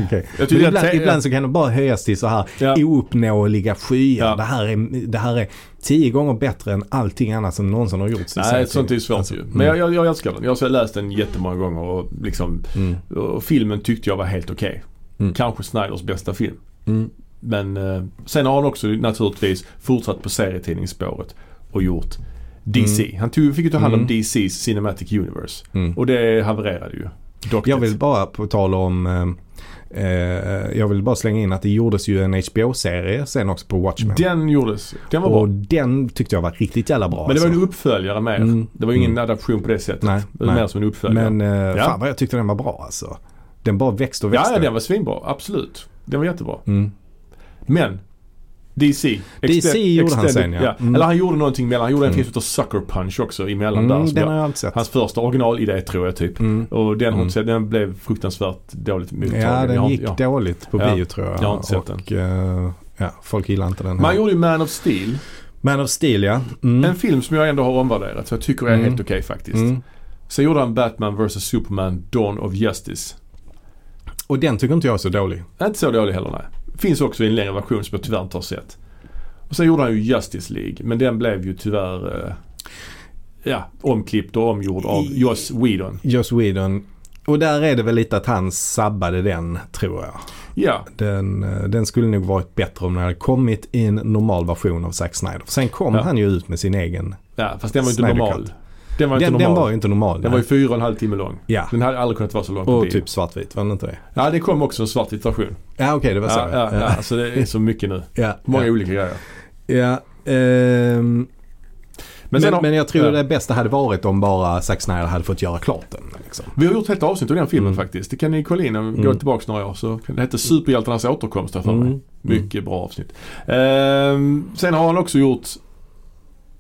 Speaker 2: okej.
Speaker 1: Jag tycker
Speaker 2: Men
Speaker 1: att
Speaker 2: ibland,
Speaker 1: te-
Speaker 2: ibland så kan det bara höjas till så här
Speaker 1: Ja.
Speaker 2: ouppnåeliga skyar.
Speaker 1: Ja.
Speaker 2: Det, här är, det här är tio gånger bättre än allting annat som någonsin har gjorts. i
Speaker 1: Nej,
Speaker 2: serietidning.
Speaker 1: sånt är ju svårt
Speaker 2: Alltså,
Speaker 1: ju. Men
Speaker 2: mm.
Speaker 1: jag, jag, jag älskar den. Jag har läst den jättemånga gånger och liksom
Speaker 2: Mm.
Speaker 1: och filmen tyckte jag var helt okej.
Speaker 2: Mm.
Speaker 1: Kanske Snyders bästa film.
Speaker 2: Mm.
Speaker 1: Men eh, sen har han också naturligtvis fortsatt på serietidningsspåret och gjort DC. Han tog, fick ju ta hand om
Speaker 2: Mm.
Speaker 1: DC's Cinematic Universe.
Speaker 2: Mm.
Speaker 1: Och det havererade ju. Dock
Speaker 2: Jag vill bara på tal om eh, eh, jag vill bara slänga in att det gjordes ju en HBO-serie sen också på Watchmen.
Speaker 1: Den gjordes. Den var
Speaker 2: och
Speaker 1: bra.
Speaker 2: den tyckte jag var riktigt jävla bra.
Speaker 1: Men det var en
Speaker 2: alltså.
Speaker 1: uppföljare mer.
Speaker 2: Mm.
Speaker 1: Det var ju ingen
Speaker 2: Mm.
Speaker 1: adaption på det sättet.
Speaker 2: Nej,
Speaker 1: det var
Speaker 2: nej.
Speaker 1: mer som en uppföljare.
Speaker 2: Men eh,
Speaker 1: Ja.
Speaker 2: fan vad jag tyckte den var bra alltså. Den bara växte och
Speaker 1: ja,
Speaker 2: växte.
Speaker 1: ja, den var svinbra. Absolut. Den var jättebra.
Speaker 2: Mm.
Speaker 1: Men DC.
Speaker 2: DC gjorde han sen, ja. Mm.
Speaker 1: Eller han gjorde någonting mellan. Han gjorde en
Speaker 2: Mm.
Speaker 1: film som heter Sucker Punch också emellan där.
Speaker 2: Mm,
Speaker 1: som
Speaker 2: den
Speaker 1: jag-
Speaker 2: har jag inte sett.
Speaker 1: Alltså, Hans första originalidé tror jag typ.
Speaker 2: Mm.
Speaker 1: Och den, har
Speaker 2: Mm.
Speaker 1: inte sett, den blev fruktansvärt dåligt mottagen.
Speaker 2: Ja, den
Speaker 1: Jag har-
Speaker 2: gick
Speaker 1: ja.
Speaker 2: dåligt på
Speaker 1: Ja,
Speaker 2: bio tror jag.
Speaker 1: jag har inte sett
Speaker 2: och, eh, ja, folk gillar inte den
Speaker 1: Man
Speaker 2: här.
Speaker 1: gjorde ju Man of Steel.
Speaker 2: Man of Steel ja. Mm.
Speaker 1: En film som jag ändå har omvärderat. Så jag tycker är
Speaker 2: Mm.
Speaker 1: helt okej faktiskt.
Speaker 2: Mm.
Speaker 1: Sen gjorde han Batman vs Superman Dawn of Justice.
Speaker 2: Och den tycker inte jag är så dålig.
Speaker 1: Inte så dålig heller nej. Finns också i en längre version som jag tyvärr inte har sett. Och sen gjorde han ju Justice League. Men den blev ju tyvärr eh, ja, omklippt och omgjord av
Speaker 2: I-
Speaker 1: Joss Whedon.
Speaker 2: Joss Whedon. Och där är det väl lite att han sabbade den tror jag.
Speaker 1: Ja,
Speaker 2: Den, eh, den skulle nog varit bättre om den hade kommit i en normal version av Zack Snyder. Sen kom
Speaker 1: Ja.
Speaker 2: han ju ut med sin egen.
Speaker 1: ja fast den var ju
Speaker 2: Snyder
Speaker 1: inte normal.
Speaker 2: Cut.
Speaker 1: Den var ju
Speaker 2: Den,
Speaker 1: inte
Speaker 2: den var
Speaker 1: normal.
Speaker 2: ju inte normal.
Speaker 1: Den var
Speaker 2: nej.
Speaker 1: ju fyra och en halv timme lång.
Speaker 2: ja.
Speaker 1: Den hade aldrig kunnat vara så lång på
Speaker 2: Och
Speaker 1: bio.
Speaker 2: typ svartvit, var den inte det?
Speaker 1: Ja, det kom också en svart situation.
Speaker 2: Ja okej, det var så.
Speaker 1: Ja, ja, ja. Alltså det är så mycket nu.
Speaker 2: ja.
Speaker 1: Många
Speaker 2: ja.
Speaker 1: olika grejer.
Speaker 2: ja. ehm, Men,
Speaker 1: Men, sen
Speaker 2: men,
Speaker 1: har,
Speaker 2: jag tror
Speaker 1: ja.
Speaker 2: det bästa hade varit om bara Zack Snyder hade fått göra klart den. Liksom.
Speaker 1: vi har gjort ett helt avsnitt av den filmen
Speaker 2: Mm.
Speaker 1: faktiskt. Det kan ni kolla in om vi
Speaker 2: Mm.
Speaker 1: går tillbaka några år. Så, det hette Superhjältarnas återkomst här för mig. Mycket bra avsnitt. Ehm, sen har han också gjort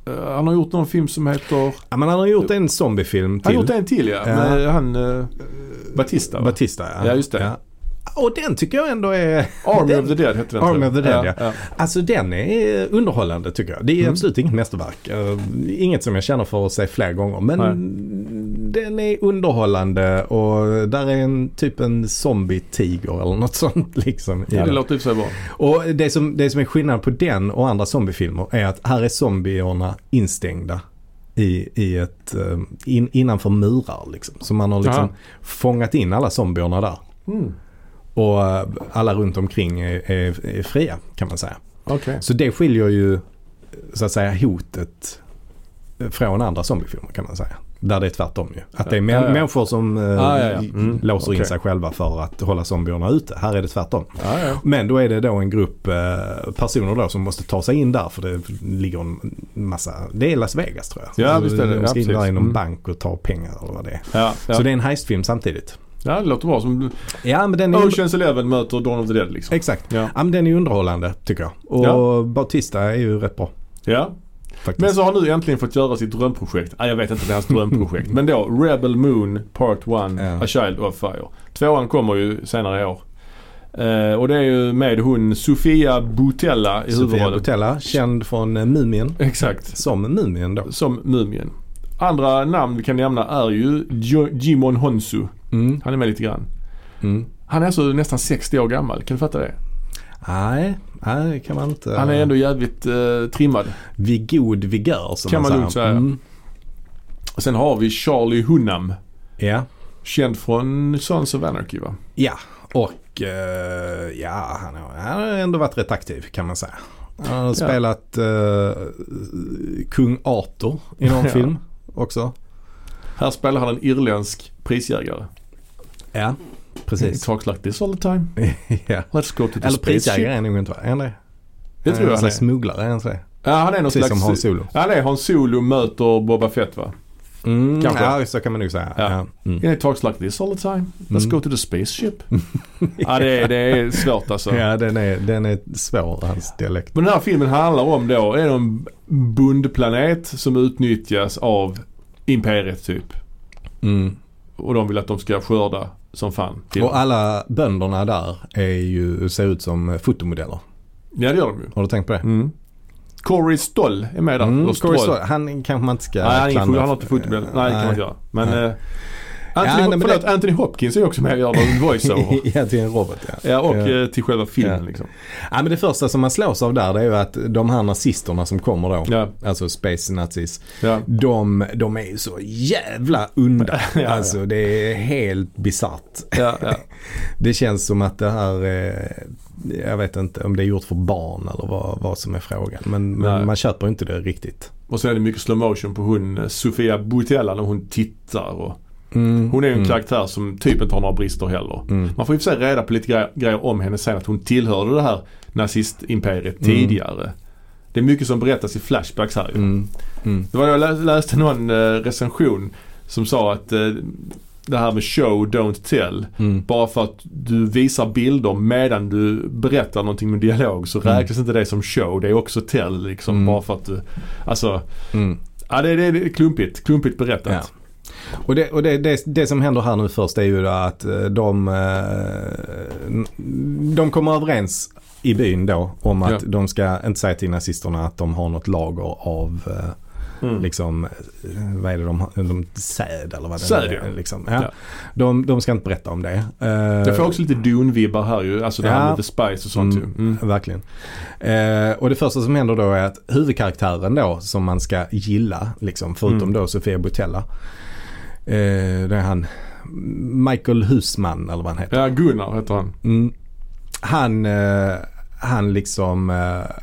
Speaker 1: eh, han har gjort någon film som heter...
Speaker 2: Ja, men han har gjort en zombiefilm
Speaker 1: Han
Speaker 2: till.
Speaker 1: har gjort en till ja.
Speaker 2: Ja.
Speaker 1: Med han... eh, Batista va?
Speaker 2: Batista ja.
Speaker 1: Ja, just det.
Speaker 2: Och den tycker jag ändå är...
Speaker 1: Army
Speaker 2: den,
Speaker 1: of the Dead hette den.
Speaker 2: Army
Speaker 1: tror jag.
Speaker 2: of the Dead,
Speaker 1: ja.
Speaker 2: Alltså den är underhållande tycker jag. Det är
Speaker 1: Mm.
Speaker 2: absolut inget mästerverk. Eh, Inget som jag känner för att säga flera gånger. Men
Speaker 1: Nej.
Speaker 2: den är underhållande och där är en typ en zombie-tiger eller något [LAUGHS] sånt liksom. i
Speaker 1: Ja, det
Speaker 2: den.
Speaker 1: låter i och för sig bra.
Speaker 2: Och det som, det som är skillnad på den och andra zombiefilmer är att här är zombierna instängda i, i ett, eh, in, innanför murar liksom. Så man har liksom
Speaker 1: Aha.
Speaker 2: fångat in alla zombierna där.
Speaker 1: Mm.
Speaker 2: Och eh, alla runt omkring är, är, är fria kan man säga.
Speaker 1: Okej.
Speaker 2: Så det skiljer ju så att säga hotet från andra zombiefilmer kan man säga. Där det är tvärtom ju. Att det är mä-
Speaker 1: Ja, ja.
Speaker 2: människor som eh,
Speaker 1: Ja, ja, ja. Mm.
Speaker 2: låser in
Speaker 1: Okej.
Speaker 2: sig själva för att hålla zombierna ute. Här är det tvärtom.
Speaker 1: Ja, ja.
Speaker 2: Men då är det då en grupp eh, personer då som måste ta sig in där för det ligger en massa, det är Las Vegas tror jag.
Speaker 1: Ja, visst är det.
Speaker 2: De
Speaker 1: Ja,
Speaker 2: ska in där
Speaker 1: precis.
Speaker 2: i någon
Speaker 1: Mm.
Speaker 2: bank och ta pengar eller vad det är.
Speaker 1: Ja, ja.
Speaker 2: Så det är en heistfilm samtidigt.
Speaker 1: ja, det låter bra. Som
Speaker 2: Ja men den är,
Speaker 1: Oceans Eleven möter Dawn of the Dead liksom.
Speaker 2: exakt.
Speaker 1: Ja.
Speaker 2: Ja, men den är underhållande tycker jag. Och
Speaker 1: Ja.
Speaker 2: Bautista är ju rätt bra
Speaker 1: ja.
Speaker 2: faktiskt.
Speaker 1: Men så har han nu äntligen fått göra sitt drömprojekt. Nej, jag vet inte om det är hans drömprojekt. Men då, Rebel Moon Part 1,
Speaker 2: Ja.
Speaker 1: A Child of Fire. Tvåan kommer ju senare i år. Eh, och det är ju med hon Sofia Boutella i
Speaker 2: Sofia
Speaker 1: huvudrollen.
Speaker 2: Butella, känd från eh, Mumien.
Speaker 1: Exakt.
Speaker 2: Som Mumien då.
Speaker 1: Som Mumien. Andra namn vi kan nämna är ju Jo- Jimon Honsu.
Speaker 2: Mm.
Speaker 1: Han är med lite grann.
Speaker 2: Mm.
Speaker 1: Han är alltså nästan 60 år gammal. Kan du fatta det?
Speaker 2: Nej, nej det kan man inte.
Speaker 1: Han är ändå jävligt eh, trimmad.
Speaker 2: Vid god vigör som
Speaker 1: Kan man
Speaker 2: säger.
Speaker 1: lugnt säga.
Speaker 2: Mm.
Speaker 1: Och sen har vi Charlie Hunnam.
Speaker 2: Ja.
Speaker 1: Känd från Sons of Anarchy va?
Speaker 2: Ja, och eh, ja, han har, han har ändå varit rätt aktiv kan man säga. Han har spelat eh, kung Arthur i
Speaker 1: [LAUGHS]
Speaker 2: någon
Speaker 1: Ja.
Speaker 2: film också.
Speaker 1: Här spelar han en irländsk prisjägare.
Speaker 2: Ja,
Speaker 1: It
Speaker 2: precis.
Speaker 1: [LAUGHS] talks like this all the time.
Speaker 2: [LAUGHS] ja.
Speaker 1: Let's go to the
Speaker 2: Eller
Speaker 1: spaceship.
Speaker 2: prisjägare är nog inte va? Eh, Är han det?
Speaker 1: Det tror jag
Speaker 2: han
Speaker 1: han är.
Speaker 2: är. Smugglare, är han inte det?
Speaker 1: Ja, han är någon
Speaker 2: Precis
Speaker 1: slags...
Speaker 2: som Hans Solo.
Speaker 1: Han är Hans Solo möter Boba Fett va?
Speaker 2: Mm,
Speaker 1: Kanske.
Speaker 2: Ja, så kan man nog säga.
Speaker 1: Ja.
Speaker 2: Ja. Mm.
Speaker 1: It talks like this all the time. Let's
Speaker 2: Mm.
Speaker 1: go to the spaceship. ja, det, är- det är svårt alltså.
Speaker 2: Ja, den är, den är svår, hans dialekt.
Speaker 1: Men den här filmen handlar om då, är det en bondplanet som utnyttjas av imperiet typ.
Speaker 2: Mm.
Speaker 1: Och de vill att de ska skörda som fan. Till.
Speaker 2: Och alla bönderna där är ju, ser ut som eh, fotomodeller.
Speaker 1: Ja det gör de ju.
Speaker 2: Har du tänkt på det?
Speaker 1: Mm. Corey Stoll är med där.
Speaker 2: Mm,
Speaker 1: Eller
Speaker 2: Corey
Speaker 1: Stroll.
Speaker 2: Stoll, han kanske man inte ska
Speaker 1: Nej, han, är ingen,
Speaker 2: klandra.
Speaker 1: han har inte fotobild. Nej, det kan man inte göra. Men
Speaker 2: Nej.
Speaker 1: eh, Anthony,
Speaker 2: Ja, nej, men
Speaker 1: förlåt,
Speaker 2: det-
Speaker 1: Anthony Hopkins är också med och gör en
Speaker 2: [LAUGHS]
Speaker 1: voiceover.
Speaker 2: ja, till en robot ja.
Speaker 1: Ja, och
Speaker 2: Ja.
Speaker 1: eh, till själva filmen
Speaker 2: Ja.
Speaker 1: liksom.
Speaker 2: ja. men det första som man slås av där det är ju att de här nazisterna som kommer då,
Speaker 1: Ja,
Speaker 2: alltså space nazis,
Speaker 1: ja.
Speaker 2: de, de är ju så jävla onda.
Speaker 1: [LAUGHS] ja.
Speaker 2: Alltså det är helt bisarrt.
Speaker 1: Ja, ja.
Speaker 2: Det känns som att det här, eh, jag vet inte om det är gjort för barn eller vad, vad som är frågan. Men,
Speaker 1: Nej.
Speaker 2: men man köper ju inte det riktigt.
Speaker 1: Och så är det mycket slow motion på hon eh, Sofia Boutella när hon tittar. Och
Speaker 2: Mm,
Speaker 1: hon är ju en
Speaker 2: mm,
Speaker 1: karaktär som typ inte har några brister heller.
Speaker 2: Mm.
Speaker 1: Man får i och för sig reda på lite gre- grejer om henne sen att hon tillhörde det här nazistimperiet tidigare. Det är mycket som berättas i flashbacks här ju.
Speaker 2: Mm. Mm.
Speaker 1: Det var jag lä- läste någon eh, recension som sa att eh, det här med show, don't tell.
Speaker 2: Mm.
Speaker 1: Bara för att du visar bilder medan du berättar någonting med dialog så
Speaker 2: Mm.
Speaker 1: räknas inte det som show. Det är också tell liksom.
Speaker 2: Mm.
Speaker 1: Bara för att du, alltså,
Speaker 2: Mm.
Speaker 1: ja det, det, det är klumpigt. Klumpigt berättat.
Speaker 2: Ja. Och, det, och det, det, det som händer här nu först är ju då att eh, de, eh, de kommer överens i byn då om att
Speaker 1: Ja.
Speaker 2: de ska inte säga till nazisterna att de har något lager av eh,
Speaker 1: Mm.
Speaker 2: liksom, eh, vad är det de har, de, säd eller vad det
Speaker 1: Säd,
Speaker 2: är.
Speaker 1: ja.
Speaker 2: Liksom. Ja.
Speaker 1: Ja.
Speaker 2: De, de ska inte berätta om det. Eh,
Speaker 1: Jag får också lite Dune-vibbar här ju. Alltså det här
Speaker 2: Ja.
Speaker 1: med The Spice och sånt
Speaker 2: Mm,
Speaker 1: ju. Mm.
Speaker 2: Verkligen. Eh, och det första som händer då är att huvudkaraktären då som man ska gilla, liksom, förutom
Speaker 1: Mm.
Speaker 2: då Sofia Botella. Eh, det är han Michael Husman eller vad han heter.
Speaker 1: Ja, Gunnar heter han.
Speaker 2: Mm. Han, eh, han liksom eh,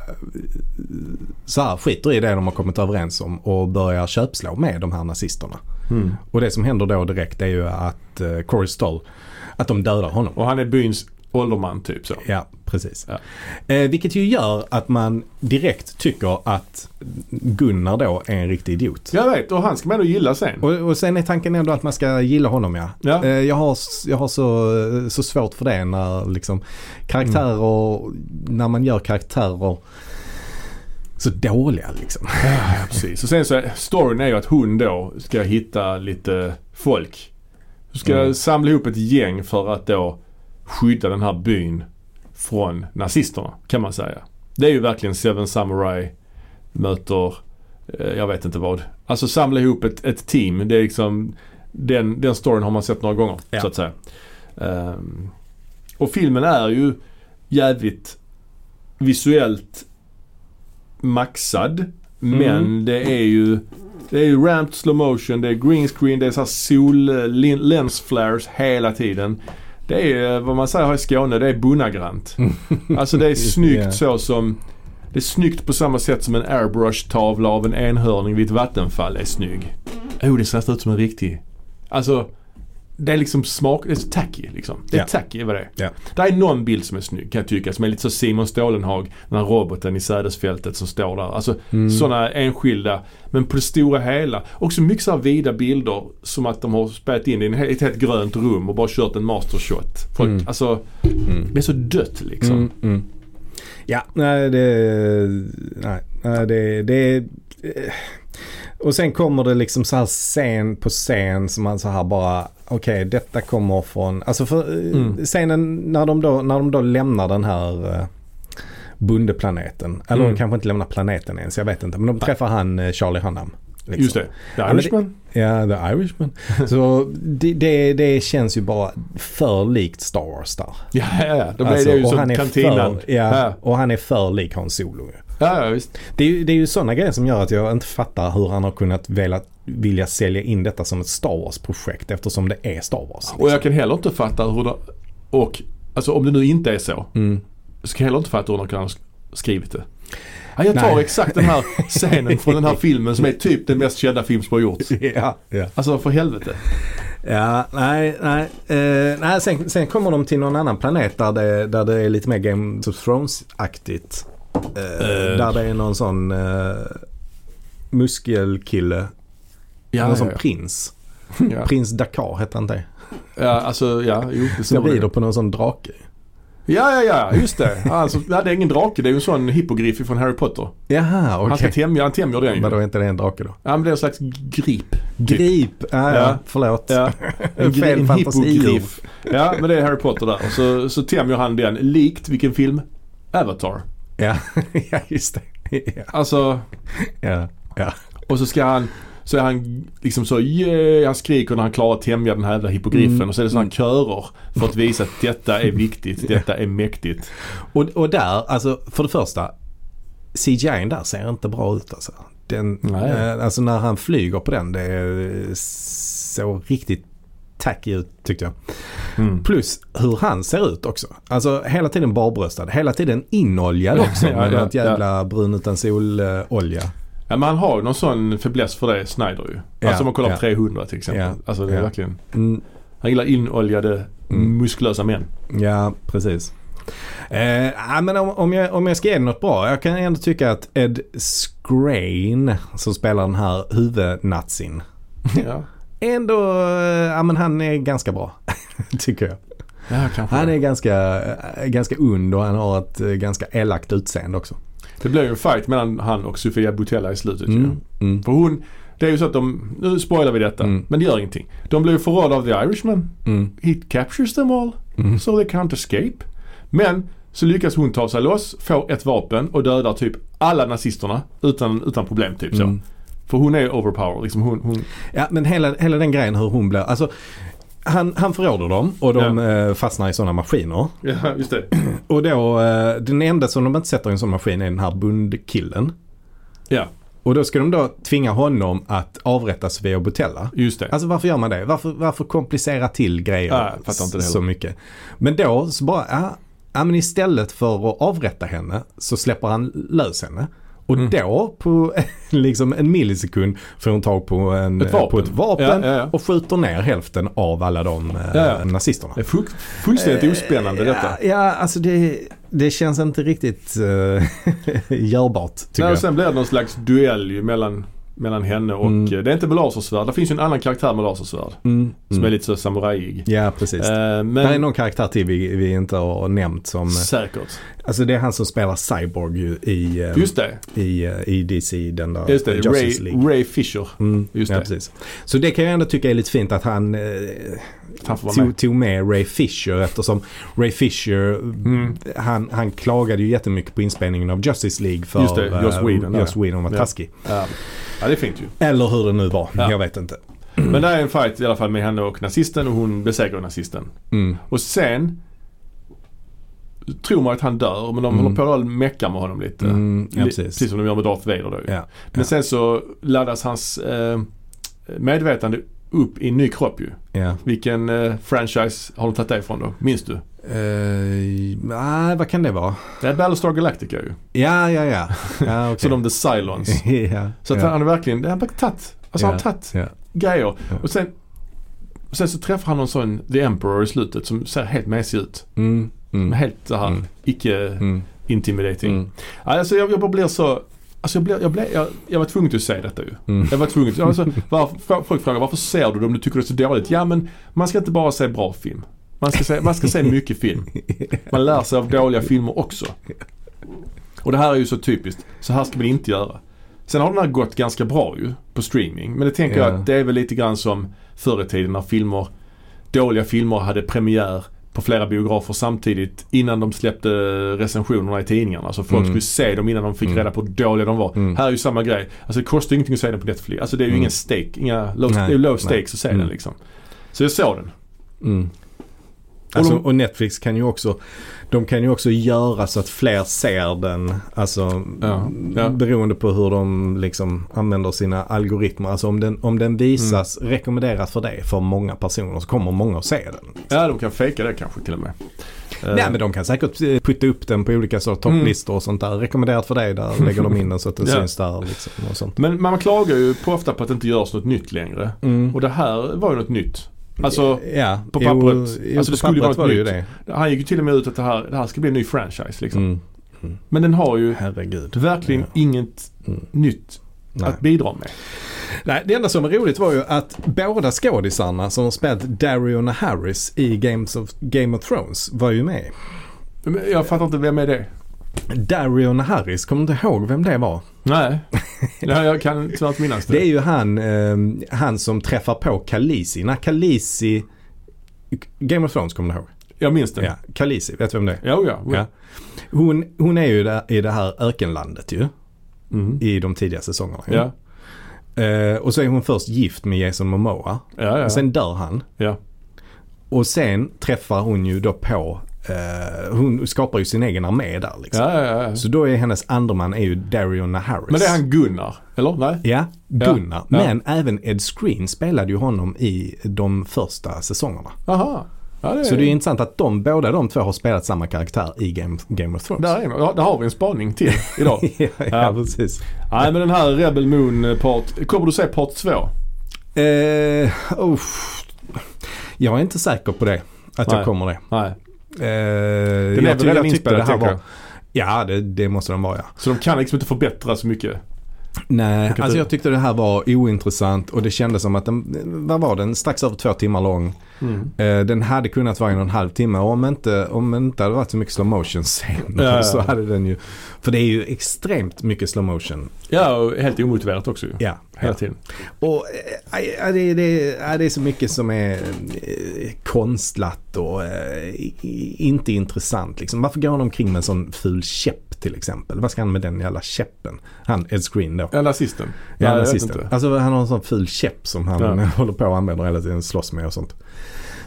Speaker 2: så här, skiter i det de har kommit överens om och börjar köpslå med de här nazisterna.
Speaker 1: Mm.
Speaker 2: Och det som händer då direkt är ju att eh, Corey Stoll, att de dödar honom.
Speaker 1: Och han är byns ålderman typ så.
Speaker 2: Ja, precis.
Speaker 1: Ja.
Speaker 2: Eh, vilket ju gör att man direkt tycker att Gunnar då är en riktig idiot.
Speaker 1: Jag vet och han ska man ändå gilla sen.
Speaker 2: Och, och sen är tanken ändå att man ska gilla honom ja.
Speaker 1: Ja.
Speaker 2: Eh, jag har, s- jag har så, så svårt för det när liksom karaktärer,
Speaker 1: Mm.
Speaker 2: när man gör karaktärer så dåliga liksom.
Speaker 1: Precis. Och sen så, är- storyn är ju att hon då ska hitta lite folk. Hon ska
Speaker 2: Mm.
Speaker 1: samla ihop ett gäng för att då skydda den här byn från nazisterna kan man säga. Det är ju verkligen Seven Samurai möter, eh, jag vet inte vad. Alltså samla ihop ett, ett team. Det är liksom, den, den storyn har man sett några gånger
Speaker 2: Ja.
Speaker 1: så att säga. Ehm, och filmen är ju jävligt visuellt maxad. Men
Speaker 2: Mm.
Speaker 1: det är ju det är ju ramped slow motion, det är green screen, det är så här sol, eh, lin- lens flares hela tiden. Det är eh, vad man säger här i Skåne, det är bunnagrant. Alltså [LAUGHS] det är snyggt
Speaker 2: Ja.
Speaker 1: så som det är snyggt på samma sätt som en airbrush-tavla av en enhörning vid ett vattenfall är snygg. Oh, det ser nästan ut som en riktig. Alltså, det är liksom smak... Det är så tacky liksom. Det är
Speaker 2: Ja.
Speaker 1: tacky vad det är.
Speaker 2: Ja.
Speaker 1: Det är någon bild som är snygg kan jag tycka. Som är lite så Simon Stålenhag, den här roboten i sädesfältet som står där. Alltså
Speaker 2: Mm.
Speaker 1: sådana enskilda. Men på det stora hela, också mycket så här vida bilder som att de har spärrat in i en he- ett helt grönt rum och bara kört en mastershot. Folk,
Speaker 2: Mm.
Speaker 1: Alltså,
Speaker 2: Mm.
Speaker 1: det är så dött liksom.
Speaker 2: Mm, mm. Ja, nej det... Nej, nej det, det... eh. Och sen kommer det liksom så här scen på scen som man så här bara... Okej, detta kommer från... Alltså för eh,
Speaker 1: Mm.
Speaker 2: scenen när de, då, när de då lämnar den här eh, bondeplaneten. Eller
Speaker 1: Mm.
Speaker 2: de kanske inte lämnar planeten ens, jag vet inte. Men de träffar han eh, Charlie Hunnam. liksom.
Speaker 1: Just det. The
Speaker 2: men det-
Speaker 1: Irishman.
Speaker 2: Ja, The
Speaker 1: [LAUGHS]
Speaker 2: Irishman. så det, det, det känns ju bara för likt Star Wars där.
Speaker 1: Ja, ja, ja. Då blir
Speaker 2: Alltså,
Speaker 1: det ju
Speaker 2: och
Speaker 1: som
Speaker 2: han är
Speaker 1: kantinan.
Speaker 2: För, ja,
Speaker 1: Ja.
Speaker 2: Och han är för lik Hans Solo. ju.
Speaker 1: Ja, ja, visst.
Speaker 2: Det är, ju- det är ju sådana grejer som gör att jag inte fattar hur han har kunnat vilja, vilja sälja in detta som ett Star Wars-projekt eftersom det är Star Wars.
Speaker 1: Och jag kan heller inte fatta hur det... Och, alltså om det nu inte är så.
Speaker 2: Mm.
Speaker 1: Så kan jag heller inte fatta hur någon kan ha sk- skrivit det. Ja, jag tar
Speaker 2: Nej.
Speaker 1: exakt den [LAUGHS] här scenen från den här filmen som är typ den mest kända film som har gjorts.
Speaker 2: [LAUGHS] Ja, ja.
Speaker 1: Alltså för helvete.
Speaker 2: ja nej, nej. eh, nej sen, sen kommer de till någon annan planet där det, där det är lite mer Game of Thrones-aktigt. Eh,
Speaker 1: Eh.
Speaker 2: Där det är någon sån eh, muskelkille
Speaker 1: Ja,
Speaker 2: Han är som
Speaker 1: ja, ja.
Speaker 2: prins.
Speaker 1: Ja,
Speaker 2: Prins Dakar hette han det.
Speaker 1: ja alltså ja, jo, det
Speaker 2: Som
Speaker 1: stämmer.
Speaker 2: rider på någon sån drake.
Speaker 1: Ja, ja, ja, just det. Alltså, nej, det är ingen drake, det är ju en sån hippogriff från Harry Potter.
Speaker 2: Jaha,
Speaker 1: Han ska
Speaker 2: okej.
Speaker 1: tämja, han tämjer den ju.
Speaker 2: Vadå, är inte det en drake då?
Speaker 1: Ja, men det är en slags grip. Typ.
Speaker 2: Grip! Ah, ja,
Speaker 1: Ja.
Speaker 2: förlåt.
Speaker 1: Ja.
Speaker 2: En fel fantasi.
Speaker 1: hippogriff. Ja, men det är Harry Potter där. Och så, så tämjer han den likt vilken film? Avatar.
Speaker 2: [LAUGHS] Ja. ja, just det. Ja.
Speaker 1: Alltså,
Speaker 2: Ja. Ja.
Speaker 1: och så ska han så är han liksom så, yeah, han skriker när han klarar att tämja den här jävla hippogriffen.
Speaker 2: Mm.
Speaker 1: Och så är det sådana här körer för att visa att detta är
Speaker 2: [LAUGHS]
Speaker 1: viktigt, detta är mäktigt.
Speaker 2: Och, och där, alltså för det första. CGI'n där ser inte bra ut alltså. Den,
Speaker 1: Nej.
Speaker 2: eh, alltså när han flyger på den, det är så riktigt tacky ut tyckte jag.
Speaker 1: Mm.
Speaker 2: Plus hur han ser ut också. Alltså hela tiden barbröstad, hela tiden [LAUGHS] inoljad också.
Speaker 1: Ja,
Speaker 2: med
Speaker 1: ja,
Speaker 2: något jävla brun utan sol-olja.
Speaker 1: Ja, men han har ju någon sån fäbless för det, Snyder ju.
Speaker 2: Ja,
Speaker 1: alltså om man kollar
Speaker 2: ja.
Speaker 1: på 300 till exempel.
Speaker 2: Ja,
Speaker 1: Alltså det är
Speaker 2: ja.
Speaker 1: verkligen,
Speaker 2: Mm,
Speaker 1: han gillar inoljade,
Speaker 2: Mm.
Speaker 1: muskulösa män.
Speaker 2: [LAUGHS] ja, precis. Eh, ja, men om, om, jag, om jag ska ge den något bra, jag kan ändå tycka att Ed Skrein som spelar den här huvudnazin
Speaker 1: ja.
Speaker 2: ändå, eh, ja men han är ganska bra. [LAUGHS] Tycker jag.
Speaker 1: ja, kanske.
Speaker 2: Han är ganska, eh, ganska ond och han har ett eh, ganska elakt utseende också.
Speaker 1: Det blir ju en fight mellan han och Sofia Butella i slutet ju.
Speaker 2: Mm, mm.
Speaker 1: För hon, det är ju så att de, nu spoilar vi detta,
Speaker 2: Mm.
Speaker 1: men det gör ingenting. De blir ju förrådda av The Irishman.
Speaker 2: Mm.
Speaker 1: He captures them all,
Speaker 2: Mm.
Speaker 1: so they can't escape. Men så lyckas hon ta sig loss, får ett vapen och dödar typ alla nazisterna utan, utan problem typ så.
Speaker 2: Mm.
Speaker 1: För hon är ju overpowered liksom. Hon, hon,
Speaker 2: Ja men hela, hela den grejen hur hon blir, alltså han, han förråder dem och de eh, fastnar i sådana maskiner.
Speaker 1: ja, just det.
Speaker 2: Och då, eh, den enda som de inte sätter i en sån maskin är den här bundkillen.
Speaker 1: Ja,
Speaker 2: Och då ska de då tvinga honom att avrätta Svea Botella.
Speaker 1: just det.
Speaker 2: Alltså varför gör man det? Varför, varför komplicera till grejer
Speaker 1: Ja, jag fattar inte det heller.
Speaker 2: så mycket? Men då så bara, ja, ja men istället för att avrätta henne så släpper han lös henne. Och
Speaker 1: Mm.
Speaker 2: då på [LAUGHS] liksom en millisekund får hon tag på, en,
Speaker 1: Ett vapen.
Speaker 2: på ett vapen
Speaker 1: Ja, ja, ja.
Speaker 2: och skjuter ner hälften av alla de eh,
Speaker 1: Ja, ja.
Speaker 2: nazisterna.
Speaker 1: Det är fu- fullständigt ospännande detta.
Speaker 2: Eh, Ja, ja alltså det, det känns inte riktigt eh, [LAUGHS] görbart tycker
Speaker 1: Nej,
Speaker 2: jag.
Speaker 1: och sen blir det någon slags duell ju mellan, mellan henne och,
Speaker 2: Mm.
Speaker 1: eh, det är inte med lasersvärd. Det finns ju en annan karaktär med lasersvärd.
Speaker 2: Mm,
Speaker 1: Som är
Speaker 2: mm.
Speaker 1: lite så samurajig.
Speaker 2: Ja, precis.
Speaker 1: Eh,
Speaker 2: Där är
Speaker 1: men
Speaker 2: någon karaktär till vi, vi inte har nämnt som...
Speaker 1: säkert.
Speaker 2: Alltså det är han som spelar Cyborg ju i, eh,
Speaker 1: Just det,
Speaker 2: i, eh, i DC, den där
Speaker 1: just det.
Speaker 2: Justice
Speaker 1: Ray,
Speaker 2: League.
Speaker 1: Ray Fisher.
Speaker 2: Mm,
Speaker 1: just
Speaker 2: ja,
Speaker 1: det.
Speaker 2: precis. Så det kan jag ändå tycka är lite fint att han eh,
Speaker 1: Han får vara med.
Speaker 2: tog, tog med Ray Fisher eftersom Ray Fisher,
Speaker 1: Mm.
Speaker 2: han, han klagade ju jättemycket på inspelningen av Justice League för
Speaker 1: Just det,
Speaker 2: eh,
Speaker 1: Joss Whedon där,
Speaker 2: Joss Whedon var
Speaker 1: Ja.
Speaker 2: taskig.
Speaker 1: Ja. ja, det är fint ju.
Speaker 2: Eller hur det nu var,
Speaker 1: Ja.
Speaker 2: jag vet inte.
Speaker 1: Men där är en fight i alla fall med henne och nazisten och hon besegrar nazisten.
Speaker 2: Mm.
Speaker 1: Och sen tror man att han dör men de
Speaker 2: Mm.
Speaker 1: håller på och meckar med honom lite.
Speaker 2: Mm, ja,
Speaker 1: Li-
Speaker 2: precis.
Speaker 1: precis som de gör med Darth Vader då ju.
Speaker 2: Ja.
Speaker 1: Men sen så laddas hans eh, medvetande upp i en ny kropp ju.
Speaker 2: Ja.
Speaker 1: Vilken eh, franchise har de tagit det ifrån då? Minns du?
Speaker 2: Eh, nej, vad kan det vara?
Speaker 1: Det är Battlestar Galactica ju.
Speaker 2: Ja, ja, ja.
Speaker 1: [LAUGHS]
Speaker 2: ja okay.
Speaker 1: Så de The Cylons.
Speaker 2: [LAUGHS] ja,
Speaker 1: Så att
Speaker 2: ja,
Speaker 1: han har verkligen, han har tagit, alltså han har tagit
Speaker 2: ja.
Speaker 1: grejer.
Speaker 2: Ja.
Speaker 1: Och sen, och sen så träffar han någon sån The Emperor i slutet som ser helt mesig ut.
Speaker 2: Mm, mm,
Speaker 1: Helt så här
Speaker 2: Mm.
Speaker 1: icke
Speaker 2: mm,
Speaker 1: intimidating.
Speaker 2: mm,
Speaker 1: Alltså jag, jag bara blir så, alltså jag, blir, jag, blir, jag, jag var tvungen att säga detta ju.
Speaker 2: mm.
Speaker 1: Jag var tvungen. Alltså, varför, folk frågar varför ser du det om du tycker det är så dåligt? Ja men man ska inte bara se bra film. Man ska se, man ska se mycket film. Man lär sig av dåliga filmer också. Och det här är ju så typiskt. Så här ska man inte göra. Sen har den här gått ganska bra ju på streaming. Men det tänker
Speaker 2: Ja.
Speaker 1: jag att det är väl lite grann som förr i tiden när filmer, dåliga filmer hade premiär på flera biografer samtidigt innan de släppte recensionerna i tidningarna. Så folk
Speaker 2: Mm.
Speaker 1: skulle se dem innan de fick
Speaker 2: Mm.
Speaker 1: reda på hur dåliga de var.
Speaker 2: Mm.
Speaker 1: Här är ju samma grej. Alltså det kostar ju ingenting att se den på Netflix. Alltså det är ju
Speaker 2: Mm.
Speaker 1: ingen stake, inga low,
Speaker 2: Nej,
Speaker 1: det är ju low
Speaker 2: nej.
Speaker 1: stakes att se
Speaker 2: Mm.
Speaker 1: den liksom. Så jag såg den.
Speaker 2: Mm.
Speaker 1: de-
Speaker 2: Alltså, och Netflix kan ju också, de kan ju också göra så att fler ser den. Alltså
Speaker 1: Ja, ja.
Speaker 2: beroende på hur de liksom använder sina algoritmer. Alltså om den, om den visas,
Speaker 1: Mm.
Speaker 2: rekommenderas för dig för många personer så kommer många att se den.
Speaker 1: Ja, de kan fejka det kanske till och med. Eh,
Speaker 2: Nej men de kan säkert eh, putta upp den på olika sorts topplistor och sånt där. Rekommenderat för
Speaker 1: [LAUGHS]
Speaker 2: dig, där lägger de in den så att den
Speaker 1: Mm. Ja.
Speaker 2: syns där liksom och sånt.
Speaker 1: Men man klagar ju på ofta på att det inte görs något nytt längre.
Speaker 2: Mm.
Speaker 1: Och det här var ju något nytt. Alltså,
Speaker 2: ja,
Speaker 1: på
Speaker 2: jo,
Speaker 1: pappret.
Speaker 2: Jo,
Speaker 1: Alltså,
Speaker 2: på
Speaker 1: det skulle ju
Speaker 2: pappret
Speaker 1: vara
Speaker 2: var
Speaker 1: ett
Speaker 2: det ju
Speaker 1: nytt.
Speaker 2: det.
Speaker 1: han gick ju till och med ut att det här, det här ska bli en ny franchise liksom.
Speaker 2: Mm.
Speaker 1: Men den har ju
Speaker 2: Herregud.
Speaker 1: verkligen inget
Speaker 2: Mm.
Speaker 1: nytt
Speaker 2: Nej.
Speaker 1: att bidra med.
Speaker 2: Nej, det enda som var roligt var ju att båda skådisarna som har spelat Darion och Harris i Games of, Game of Thrones var ju med.
Speaker 1: Men Jag fattar inte, vem är det?
Speaker 2: Darion och Harris, kommer du inte ihåg vem det var? [LAUGHS]
Speaker 1: Nej, Nej jag kan tyvärr inte minnas det.
Speaker 2: Det är ju han, eh, han som träffar på Khaleesi. När Khaleesi... Game of Thrones kommer du ihåg?
Speaker 1: Jag minns det.
Speaker 2: Ja, Khaleesi, vet du vem det är?
Speaker 1: Jo, ja.
Speaker 2: Ja. Hon, hon är ju där, i det här ökenlandet ju.
Speaker 1: Mm.
Speaker 2: I de tidiga säsongerna. ju.
Speaker 1: Ja.
Speaker 2: Eh, och så är hon först gift med Jason Momoa.
Speaker 1: Ja, ja.
Speaker 2: Och sen dör han.
Speaker 1: ja.
Speaker 2: Och sen träffar hon ju då på, eh, hon skapar ju sin egen armé där liksom.
Speaker 1: Ja, ja, ja.
Speaker 2: Så då är hennes andreman är ju Darion Harris.
Speaker 1: Men det är han Gunnar, eller? Nej?
Speaker 2: Ja, Gunnar.
Speaker 1: Ja, ja.
Speaker 2: Men även Ed Screen spelade ju honom i de första säsongerna.
Speaker 1: Aha. Ja, det är...
Speaker 2: Så det är intressant att de, båda de två har spelat samma karaktär i Game, Game of Thrones.
Speaker 1: Där, är man. Ja, där har vi en spaning [LAUGHS] till idag.
Speaker 2: [LAUGHS] ja, ja,
Speaker 1: Ja.
Speaker 2: precis.
Speaker 1: Nej men den här Rebel Moon eh, part, kommer du se part 2?
Speaker 2: Eh, uff. Jag är inte säker på det. Att
Speaker 1: Nej.
Speaker 2: jag kommer det.
Speaker 1: Nej.
Speaker 2: Eh,
Speaker 1: Den
Speaker 2: jag
Speaker 1: är väl
Speaker 2: tyck- jag
Speaker 1: redan
Speaker 2: tyckte
Speaker 1: inspelad
Speaker 2: det här
Speaker 1: tänker
Speaker 2: var,
Speaker 1: jag.
Speaker 2: Ja, det, det måste den vara ja.
Speaker 1: Så de kan liksom inte förbättra så mycket.
Speaker 2: Nej,
Speaker 1: Vilket
Speaker 2: alltså
Speaker 1: är-
Speaker 2: jag tyckte det här var ointressant och det kändes som att den, vad var den, strax över två timmar lång.
Speaker 1: Mm.
Speaker 2: Eh, den hade kunnat vara en och en halv timme om inte, om inte hade varit så mycket slow motion
Speaker 1: Ja,
Speaker 2: scener
Speaker 1: ja, ja.
Speaker 2: [LAUGHS] så hade den ju, för det är ju extremt mycket slow motion.
Speaker 1: Ja, och helt omotiverat också ju.
Speaker 2: Ja,
Speaker 1: Hela tiden.
Speaker 2: Och eh, ja, det, det, ja, det är så mycket som är eh, konstlat och eh, i- inte intressant. Liksom. Varför går han omkring med en sån ful käpp till exempel? Vad ska han med den jävla käppen? Han, Ed Screen då.
Speaker 1: Ja, nazisten.
Speaker 2: Ja,
Speaker 1: Nej, jag vet
Speaker 2: nazisten.
Speaker 1: inte.
Speaker 2: Alltså han har en sån ful käpp som han
Speaker 1: Ja.
Speaker 2: [LAUGHS] håller på och använder hela tiden, slåss med och sånt.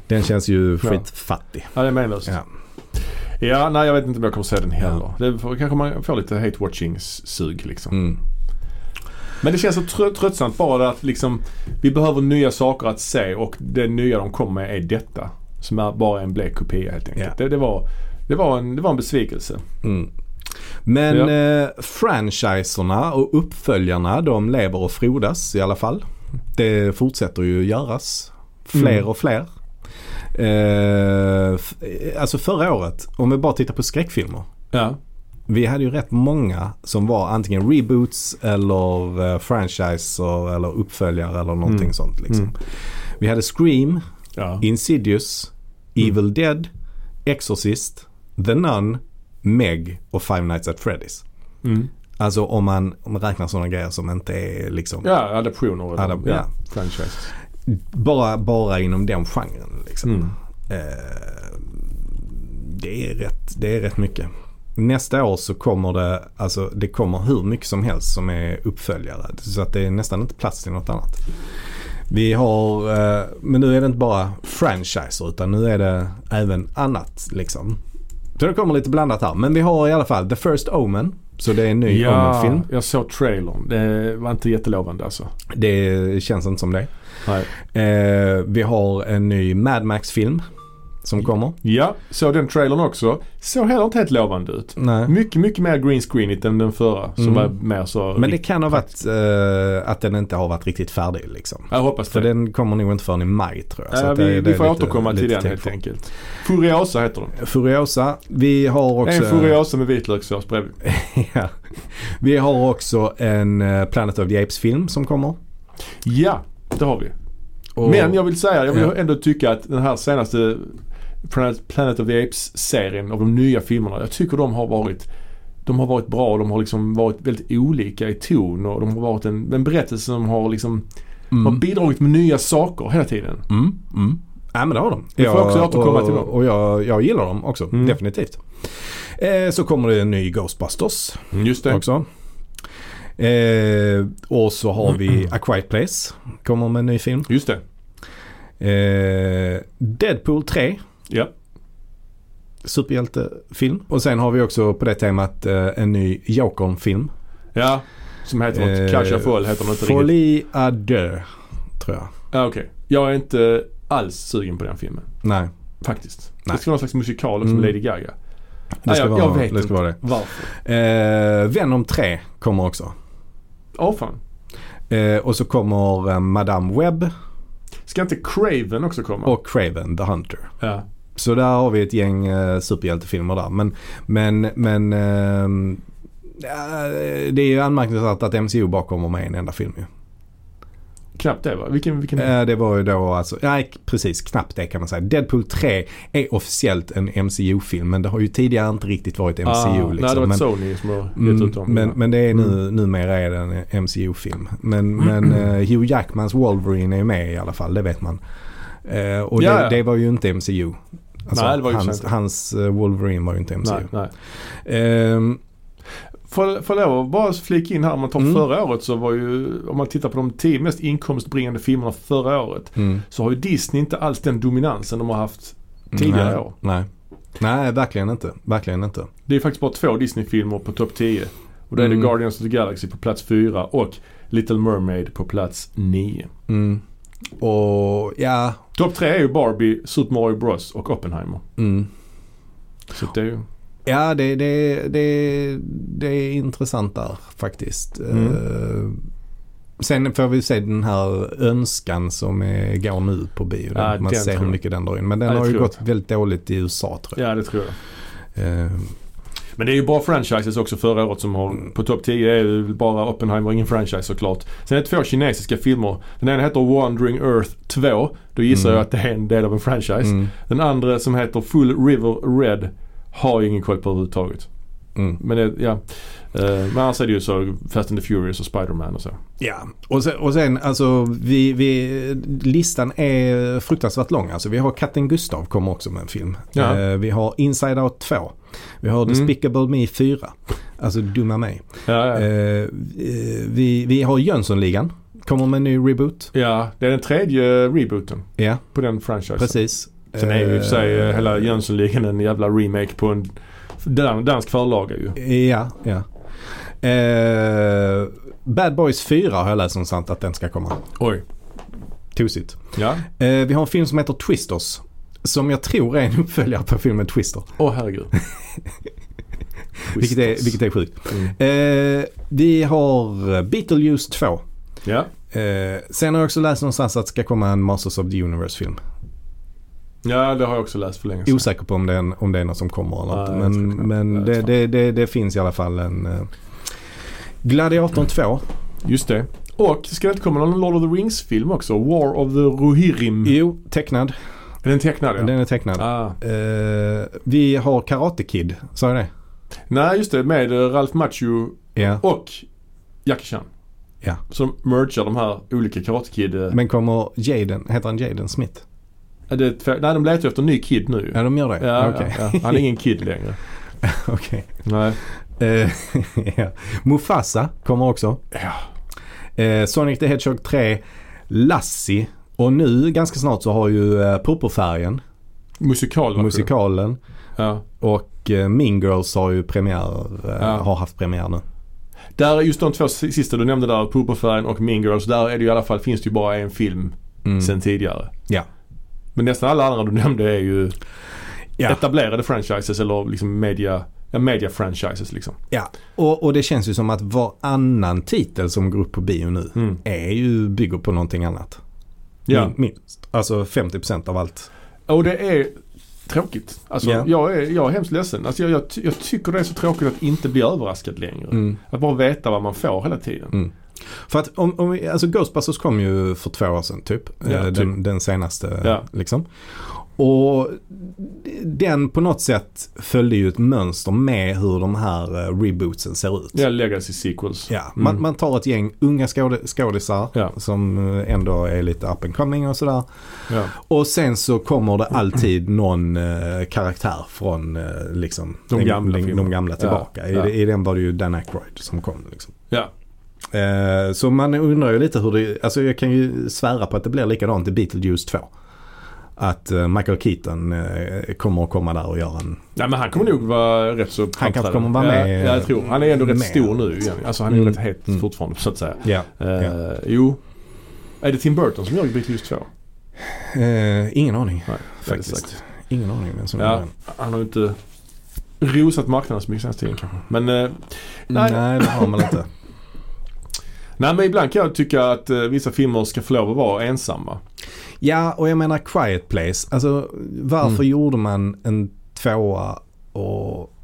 Speaker 2: Den känns ju
Speaker 1: Ja.
Speaker 2: skitfattig.
Speaker 1: Ja, det är menlöst. Ja.
Speaker 2: Ja.
Speaker 1: nej jag vet inte om jag kommer se den heller. Det får, kanske man får lite hate-watching-sug liksom.
Speaker 2: Mm.
Speaker 1: Men det känns så trö- tröttsamt bara att liksom vi behöver nya saker att se och det nya de kommer med är detta. Som är bara en blek kopia helt enkelt.
Speaker 2: Ja.
Speaker 1: Det, det, var, det, var en, det var en besvikelse.
Speaker 2: Mm. Men
Speaker 1: Ja.
Speaker 2: eh, franchiserna och uppföljarna de lever och frodas i alla fall. Det fortsätter ju göras. Fler
Speaker 1: Mm.
Speaker 2: och fler. Eh, f- alltså förra året, om vi bara tittar på skräckfilmer.
Speaker 1: Ja.
Speaker 2: Vi hade ju rätt många som var antingen reboots eller eh, franchiser eller uppföljare eller någonting
Speaker 1: Mm.
Speaker 2: sånt. Liksom.
Speaker 1: Mm.
Speaker 2: Vi hade Scream,
Speaker 1: Ja.
Speaker 2: Insidious,
Speaker 1: Mm.
Speaker 2: Evil Dead, Exorcist, The Nun, Meg och Five Nights at Freddy's.
Speaker 1: Mm.
Speaker 2: Alltså om man, om man räknar sådana grejer som inte är liksom
Speaker 1: ja, adaptioner. eller-
Speaker 2: Adap- ja.
Speaker 1: Franchise.
Speaker 2: bara, bara inom den genren. Liksom.
Speaker 1: Mm.
Speaker 2: Eh, det, är rätt, det är rätt mycket. Nästa år så kommer det, alltså det kommer hur mycket som helst som är uppföljare. Så att det är nästan inte plats till något annat. Vi har, eh, men nu är det inte bara franchiser utan nu är det även annat liksom. Så det kommer lite blandat här. Men vi har i alla fall The First Omen. Så det är en ny Omen-film.
Speaker 1: jag såg trailern. Det var inte jättelovande alltså.
Speaker 2: Det känns inte som det.
Speaker 1: Nej.
Speaker 2: Eh, vi har en ny Mad Max-film som kommer.
Speaker 1: Ja, såg den trailern också. Såg heller inte helt lovande ut.
Speaker 2: Nej.
Speaker 1: Mycket, mycket mer green screenigt än den förra som
Speaker 2: Mm.
Speaker 1: var mer så...
Speaker 2: Men det kan ha varit eh, att den inte har varit riktigt färdig liksom.
Speaker 1: jag hoppas
Speaker 2: För
Speaker 1: det.
Speaker 2: den kommer nog inte förrän i maj tror jag. Så
Speaker 1: Äh,
Speaker 2: att det-
Speaker 1: vi,
Speaker 2: det
Speaker 1: vi
Speaker 2: är
Speaker 1: får
Speaker 2: lite-
Speaker 1: återkomma till
Speaker 2: lite
Speaker 1: den
Speaker 2: tid
Speaker 1: helt
Speaker 2: kvar.
Speaker 1: enkelt. Furiosa heter den.
Speaker 2: Furiosa. Vi har också...
Speaker 1: En Furiosa med vitlökssås bredvid.
Speaker 2: [LAUGHS] ja. Vi har också en eh, Planet of the Apes-film som kommer.
Speaker 1: Ja, det har vi.
Speaker 2: Och-
Speaker 1: Men jag vill säga, jag vill
Speaker 2: Ja.
Speaker 1: ändå tycka att den här senaste Planet, Planet of the Apes-serien av de nya filmerna, jag tycker de har varit de har varit bra, de har liksom varit väldigt olika i ton och de har varit en, en berättelse som har liksom har
Speaker 2: Mm.
Speaker 1: bidragit med nya saker hela tiden.
Speaker 2: Mm. Mm. Ja men det har de.
Speaker 1: Vi får också återkomma
Speaker 2: och,
Speaker 1: till dem.
Speaker 2: Och jag, jag gillar dem också,
Speaker 1: Mm.
Speaker 2: definitivt. Eh, så kommer det en ny Ghostbusters.
Speaker 1: Just det.
Speaker 2: också. Eh, och så har vi
Speaker 1: Mm.
Speaker 2: A Quiet Place. Kommer med en ny film.
Speaker 1: Just det.
Speaker 2: Eh, Deadpool 3.
Speaker 1: Ja.
Speaker 2: Superhjältefilm. Och sen har vi också på det temat eh, en ny Jokern-film.
Speaker 1: ja. Som heter något, eh, Cash Fall heter den inte riktigt.
Speaker 2: Folie à deux, tror jag.
Speaker 1: Ja, okej. Jag är inte alls sugen på den filmen.
Speaker 2: Nej,
Speaker 1: Faktiskt.
Speaker 2: Nej.
Speaker 1: Det ska vara någon slags musikal också
Speaker 2: Mm.
Speaker 1: med Lady Gaga.
Speaker 2: det ska
Speaker 1: jag-
Speaker 2: vara
Speaker 1: jag vet
Speaker 2: det. Ska
Speaker 1: inte.
Speaker 2: vara det.
Speaker 1: Varför?
Speaker 2: Eh, Venom 3 kommer också.
Speaker 1: Åh fan.
Speaker 2: Eh, och så kommer eh, Madame Webb
Speaker 1: Ska inte Craven också komma?
Speaker 2: och Craven the Hunter.
Speaker 1: Ja.
Speaker 2: Så där har vi ett gäng eh, superhjältefilmer där. Men, men, men ehm, eh, det är ju anmärkningsvärt att MCU bara kommer med en enda film ju.
Speaker 1: Knappt det va? Vilken, vilken?
Speaker 2: Eh, Det var ju då alltså, nej precis, knappt det kan man säga. Deadpool 3 är officiellt en MCU-film men det har ju tidigare inte riktigt varit MCU.
Speaker 1: Ah,
Speaker 2: liksom.
Speaker 1: Nej, det var
Speaker 2: men,
Speaker 1: ett Sony som har gett
Speaker 2: Mm,
Speaker 1: ut dem.
Speaker 2: men,
Speaker 1: ja.
Speaker 2: men det är nu,
Speaker 1: Mm.
Speaker 2: numera är det en MCU-film. Men, men eh, Hugh Jackmans Wolverine är med i alla fall, det vet man. Eh, och
Speaker 1: Ja,
Speaker 2: det,
Speaker 1: ja.
Speaker 2: det var ju inte MCU. Alltså,
Speaker 1: Nej, det var ju
Speaker 2: hans,
Speaker 1: sant.
Speaker 2: hans eh, Wolverine var ju inte MCU.
Speaker 1: nej, nej.
Speaker 2: Ehm,
Speaker 1: Får, får lov att bara flika in här, om man tar
Speaker 2: Mm.
Speaker 1: förra året så var ju, om man tittar på de tio mest inkomstbringande filmerna förra året,
Speaker 2: mm.
Speaker 1: så har ju Disney inte alls den dominansen de har haft tidigare
Speaker 2: nej,
Speaker 1: år.
Speaker 2: nej. nej, verkligen inte. Verkligen inte.
Speaker 1: Det är faktiskt bara två Disney-filmer på topp 10. Och då är
Speaker 2: Mm.
Speaker 1: det Guardians of the Galaxy på plats 4 och Little Mermaid på plats 9.
Speaker 2: Mm. Och ja,
Speaker 1: Topp 3 är ju Barbie, Super Mario Bros och Oppenheimer.
Speaker 2: mm.
Speaker 1: Så det är ju...
Speaker 2: Ja, det, det, det, det är intressant där faktiskt.
Speaker 1: Mm.
Speaker 2: Eh, sen får vi se den här önskan som är, går nu på bio.
Speaker 1: Ja,
Speaker 2: man
Speaker 1: den
Speaker 2: ser hur
Speaker 1: tror jag.
Speaker 2: mycket den drar in. Men den
Speaker 1: Ja, det
Speaker 2: har ju
Speaker 1: tror jag
Speaker 2: gått väldigt dåligt i USA tror jag.
Speaker 1: Ja, det tror jag.
Speaker 2: Eh,
Speaker 1: Men det är ju bara franchises också förra året som
Speaker 2: Mm.
Speaker 1: har... På topp 10 är det bara Oppenheimer och ingen franchise såklart. Sen är det två kinesiska filmer. Den ena heter Wandering Earth 2. Då gissar
Speaker 2: Mm.
Speaker 1: jag att det är en del av en franchise.
Speaker 2: mm,
Speaker 1: Den andra som heter Full River Red har jag ingen koll på överhuvudtaget.
Speaker 2: mm.
Speaker 1: Men det, ja. Eh, Men annars är det ju så Fast and the Furious och Spider-Man och så.
Speaker 2: Ja, och sen, och sen alltså vi, vi, listan är fruktansvärt lång. Alltså, vi har Katten Gustav kommer också med en film.
Speaker 1: Ja.
Speaker 2: Eh, vi har Inside Out 2. Vi har
Speaker 1: Mm.
Speaker 2: Despicable Me 4. Alltså dumma mig.
Speaker 1: Ja, ja.
Speaker 2: Eh, eh, vi, vi har Jönssonligan. Kommer med en ny reboot.
Speaker 1: ja, det är den tredje rebooten
Speaker 2: Ja,
Speaker 1: på den franchisen.
Speaker 2: precis.
Speaker 1: Sen är ju i och för sig eh,
Speaker 2: Eh,
Speaker 1: hela Jönssonligan en jävla remake på en dan- dansk förlaga ju.
Speaker 2: Ja, ja. Eh, Bad Boys 4 har jag läst som sant att den ska komma.
Speaker 1: Oj.
Speaker 2: Tosigt.
Speaker 1: Ja.
Speaker 2: Eh, vi har en film som heter Twisters. Som jag tror är en [LAUGHS] uppföljare på filmen Twister.
Speaker 1: Åh
Speaker 2: [LAUGHS]
Speaker 1: herregud.
Speaker 2: Vilket är, vilket är sjukt.
Speaker 1: Mm.
Speaker 2: Eh, vi har Beetlejuice 2.
Speaker 1: Ja.
Speaker 2: Eh, sen har jag också läst någonstans att det ska komma en Masters of the Universe-film.
Speaker 1: ja, det har jag också läst för länge sedan.
Speaker 2: Osäker på om det är, en, om det är något som kommer eller
Speaker 1: Nej,
Speaker 2: inte.
Speaker 1: jag tror
Speaker 2: Men,
Speaker 1: knappt.
Speaker 2: men
Speaker 1: Jag
Speaker 2: det,
Speaker 1: tror.
Speaker 2: det, det, det finns i alla fall en... eh, Gladiatorn 2.
Speaker 1: Just det. Och ska det inte komma någon Lord of the Rings-film också? War of the Rohirrim.
Speaker 2: Jo, tecknad.
Speaker 1: Är den tecknad Mm. ja?
Speaker 2: Den är tecknad.
Speaker 1: Ah.
Speaker 2: Eh, vi har Karate Kid, sa jag det?
Speaker 1: Nej, just det. Med eh, Ralph Macchio
Speaker 2: Ja.
Speaker 1: och Jackie Chan.
Speaker 2: Ja.
Speaker 1: Som mergar de här olika Karate Kid... eh,
Speaker 2: Men kommer Jaden, heter han Jaden Smith?
Speaker 1: Ja, det är tvär- Nej, de letar ju efter en ny kid nu.
Speaker 2: Ja, de gör det?
Speaker 1: Ja,
Speaker 2: Okej.
Speaker 1: ja, ja. Han är ingen kid
Speaker 2: [LAUGHS]
Speaker 1: längre.
Speaker 2: Okej.
Speaker 1: Nej.
Speaker 2: Eh, [LAUGHS] ja. Mufasa kommer också.
Speaker 1: Ja.
Speaker 2: Eh, Sonic the Hedgehog 3, Lassie och nu ganska snart så har ju eh, Purpurfärgen,
Speaker 1: Musikal var det.
Speaker 2: musikalen.
Speaker 1: Ja.
Speaker 2: Och eh, Mean Girls har ju premiär, eh,
Speaker 1: Ja.
Speaker 2: har haft premiär nu.
Speaker 1: Där är just de två si- sista du nämnde där, Purpurfärgen och Mean Girls. Där är det ju i alla fall, finns det ju bara en film
Speaker 2: Mm.
Speaker 1: sen tidigare.
Speaker 2: Ja.
Speaker 1: Men nästan alla andra du nämnde är ju
Speaker 2: Ja.
Speaker 1: etablerade franchises eller liksom media, ja, media franchises liksom.
Speaker 2: ja. Och, och det känns ju som att varannan titel som går upp på bio nu
Speaker 1: Mm.
Speaker 2: är ju, bygger på någonting annat.
Speaker 1: Ja.
Speaker 2: Min- Minst. Alltså 50% av allt.
Speaker 1: Och det är tråkigt. Alltså
Speaker 2: Ja.
Speaker 1: jag, är, jag är hemskt ledsen. Alltså, jag, jag, ty- jag tycker det är så tråkigt att inte bli överraskad längre. Att bara veta vad man får hela tiden.
Speaker 2: Mm. För att om, om vi, alltså Ghostbusters kom ju för två år sedan typ.
Speaker 1: Ja,
Speaker 2: Eh,
Speaker 1: typ.
Speaker 2: Den, den senaste
Speaker 1: Ja.
Speaker 2: liksom. Och den på något sätt följde ju ett mönster med hur de här eh, rebootsen ser ut.
Speaker 1: Ja, legacy sequels.
Speaker 2: Ja, man,
Speaker 1: Mm.
Speaker 2: man tar ett gäng unga skåde, skådisar
Speaker 1: Ja.
Speaker 2: som eh, ändå är lite up and coming och sådär.
Speaker 1: Ja.
Speaker 2: Och sen så kommer det alltid någon eh, karaktär från eh, liksom,
Speaker 1: De gamla
Speaker 2: de, de
Speaker 1: filmerna.
Speaker 2: gamla tillbaka.
Speaker 1: Ja.
Speaker 2: I, I den var det ju Dan Aykroyd som kom. Liksom.
Speaker 1: Ja.
Speaker 2: Eh, så man undrar ju lite hur det, alltså jag kan ju svära på att det blir likadant i Beetlejuice 2. Att eh, Michael Keaton eh, kommer att komma där och göra en...
Speaker 1: Nej men han kommer nog vara rätt så
Speaker 2: kanske
Speaker 1: framträdande.
Speaker 2: kommer vara med,
Speaker 1: Ja, ja, jag tror. Han är ändå rätt
Speaker 2: med.
Speaker 1: stor nu igen. Alltså han är ju
Speaker 2: Mm.
Speaker 1: rätt het
Speaker 2: Mm.
Speaker 1: fortfarande så att säga.
Speaker 2: Ja.
Speaker 1: Eh, Jo. Är det Tim Burton som gör Beatles 2?
Speaker 2: Eh, ingen aning
Speaker 1: Nej, det är det
Speaker 2: faktiskt.
Speaker 1: säkert.
Speaker 2: Ingen aning vem som gör
Speaker 1: Ja,
Speaker 2: den.
Speaker 1: han har ju inte rosat marknaden så mycket senaste tiden kanske. Men, eh,
Speaker 2: Nej.
Speaker 1: Nej.
Speaker 2: det har man inte.
Speaker 1: nej, men ibland kan jag tycka att eh, vissa filmer ska få lov att vara ensamma.
Speaker 2: Ja, och jag menar
Speaker 1: Mm.
Speaker 2: Quiet Place. Alltså varför gjorde man en tvåa och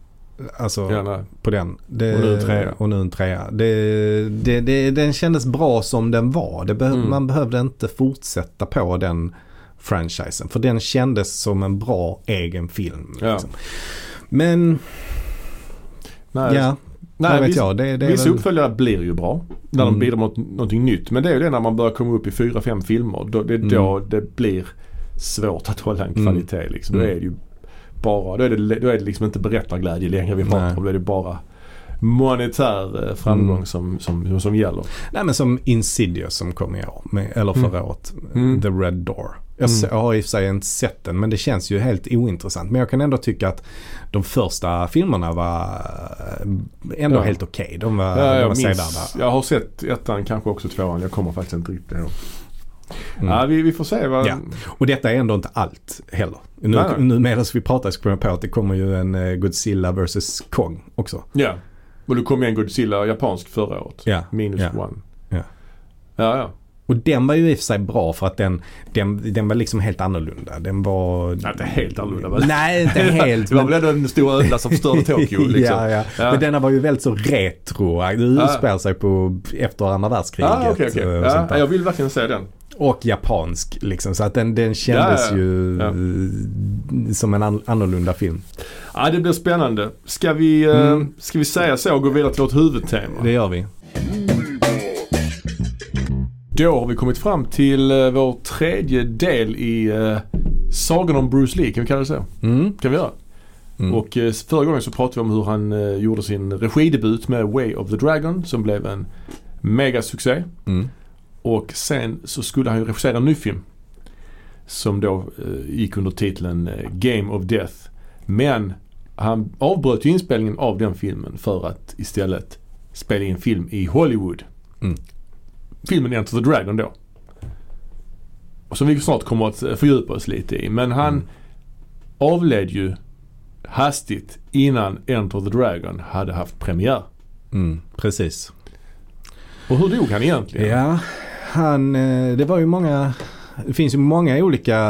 Speaker 2: Alltså
Speaker 1: Ja, nej.
Speaker 2: på den. Det,
Speaker 1: Och nu en trea.
Speaker 2: Och nu en trea. Det, det, det, den kändes bra som den var. Det behö-
Speaker 1: Mm.
Speaker 2: Man behövde inte fortsätta på den franchisen. För den kändes som en bra egen film.
Speaker 1: Ja.
Speaker 2: Liksom. Men
Speaker 1: Nej,
Speaker 2: ja,
Speaker 1: nej
Speaker 2: vad vet
Speaker 1: vissa,
Speaker 2: jag. Det, det är
Speaker 1: vissa
Speaker 2: väl-
Speaker 1: uppföljare blir ju bra. När
Speaker 2: Mm.
Speaker 1: de bidrar mot någonting nytt. Men det är ju det när man börjar komma upp i fyra, fem filmer. Då, det är då det blir svårt att hålla en
Speaker 2: Mm.
Speaker 1: kvalitet. Liksom. Då
Speaker 2: Mm.
Speaker 1: är det ju bara, då är det, då är det liksom inte berättarglädje längre vi pratar
Speaker 2: Nej.
Speaker 1: om. Då är det bara monetär eh, framgång
Speaker 2: Mm.
Speaker 1: som, som, som gäller.
Speaker 2: Nej men som Insidious som kom i år, med, eller förra
Speaker 1: Mm.
Speaker 2: året.
Speaker 1: Mm.
Speaker 2: The Red Door. Jag
Speaker 1: Mm.
Speaker 2: se- har i och för sig inte sett den men det känns ju helt ointressant. Men jag kan ändå tycka att de första filmerna var eh, ändå
Speaker 1: Ja.
Speaker 2: helt okej. De var,
Speaker 1: Ja,
Speaker 2: de
Speaker 1: jag,
Speaker 2: var
Speaker 1: minns,
Speaker 2: sevärda.
Speaker 1: jag har sett ettan, kanske också tvåan. Jag kommer faktiskt inte riktigt ihåg.
Speaker 2: Mm.
Speaker 1: Ja, vi, vi får se vad...
Speaker 2: Ja. Och detta är ändå inte allt heller. Nu,
Speaker 1: Mm. Nej, nej.
Speaker 2: nu medan vi pratar så kommer jag på att det kommer ju en eh, Godzilla vs Kong också.
Speaker 1: Ja. Och då kom ju en Godzilla japansk förra året.
Speaker 2: Ja.
Speaker 1: Minus
Speaker 2: Ja.
Speaker 1: one.
Speaker 2: Ja.
Speaker 1: Ja, ja.
Speaker 2: Och den var ju i och för sig bra för att den, den, den var liksom helt annorlunda. Den var...
Speaker 1: Nej, inte helt annorlunda, väl? [LAUGHS]
Speaker 2: Nej, inte helt.
Speaker 1: Det var
Speaker 2: men-
Speaker 1: väl ändå den stora ödla som
Speaker 2: [LAUGHS]
Speaker 1: förstörde Tokyo liksom.
Speaker 2: ja, ja.
Speaker 1: Ja.
Speaker 2: Men denna var ju väldigt så retro. Det utspelar sig på efter andra världskriget.
Speaker 1: Ah, okej, okej.
Speaker 2: Och, sånt
Speaker 1: Ja,
Speaker 2: där.
Speaker 1: jag vill verkligen se den.
Speaker 2: och japansk liksom. Så att den, den kändes
Speaker 1: Ja, ja,
Speaker 2: ju
Speaker 1: ja.
Speaker 2: eh, som en an- annorlunda film.
Speaker 1: Ja, Ah, det blir spännande. Ska vi, eh,
Speaker 2: Mm.
Speaker 1: ska vi säga så och gå vidare till vårt huvudtema?
Speaker 2: Det gör vi.
Speaker 1: Då har vi kommit fram till eh, vår tredje del i eh, Sagan om Bruce Lee, kan vi kalla det så?
Speaker 2: Mm.
Speaker 1: Kan vi göra.
Speaker 2: Mm.
Speaker 1: Och eh, förra gången så pratade vi om hur han eh, gjorde sin regidebut med Way of the Dragon som blev en megasuccé.
Speaker 2: Mm.
Speaker 1: Och sen så skulle han ju regissera en ny film. Som då eh, gick under titeln eh, Game of Death. Men han avbröt ju inspelningen av den filmen för att istället spela in film i Hollywood.
Speaker 2: Mm.
Speaker 1: Filmen Enter the Dragon då. Och som vi snart kommer att eh, fördjupa oss lite i. Men han
Speaker 2: Mm.
Speaker 1: avled ju hastigt innan Enter the Dragon hade haft premiär.
Speaker 2: Mm. Precis.
Speaker 1: Och hur dog han egentligen?
Speaker 2: Ja, han, eh, det var ju många, det finns ju många olika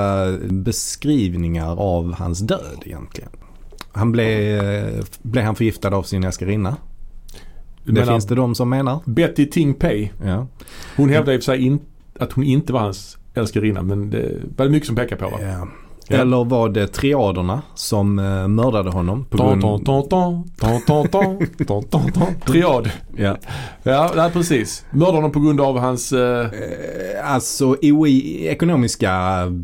Speaker 2: beskrivningar av hans död egentligen. Han blev, eh, blev han förgiftad av sin älskarinna.
Speaker 1: Du
Speaker 2: Det
Speaker 1: menar,
Speaker 2: finns det de som menar.
Speaker 1: Betty Ting Pei
Speaker 2: Ja.
Speaker 1: Hon hävdade i och för sig in, att hon inte var hans älskarinna men det var mycket som pekar på det.
Speaker 2: Ja.
Speaker 1: Ja.
Speaker 2: Eller var det triaderna som eh, mördade honom? På
Speaker 1: Ton,
Speaker 2: grund-
Speaker 1: ton, ton, ton, ton, ton, ton, ton, ton, ton. Triad.
Speaker 2: Ja.
Speaker 1: Ja, nej, precis. Mördade honom på grund av hans... Eh,
Speaker 2: Eh, Alltså OI, ekonomiska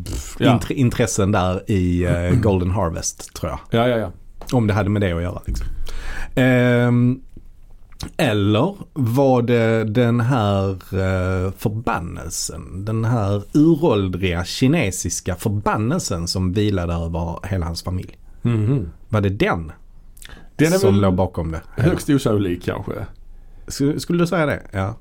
Speaker 2: pff,
Speaker 1: Ja.
Speaker 2: intre- intressen där
Speaker 1: [CLEARS THROAT]
Speaker 2: i eh, Golden Harvest tror jag.
Speaker 1: ja, ja, ja.
Speaker 2: Om det hade med det att göra. Liksom. Ehm, eller var det den här eh, förbannelsen, den här uråldriga kinesiska förbannelsen som vilade över hela hans familj?
Speaker 1: Mhm.
Speaker 2: Var det den,
Speaker 1: Den är
Speaker 2: som
Speaker 1: väl
Speaker 2: låg bakom det?
Speaker 1: högst osannolik kanske.
Speaker 2: Sk- Skulle du säga det? Ja.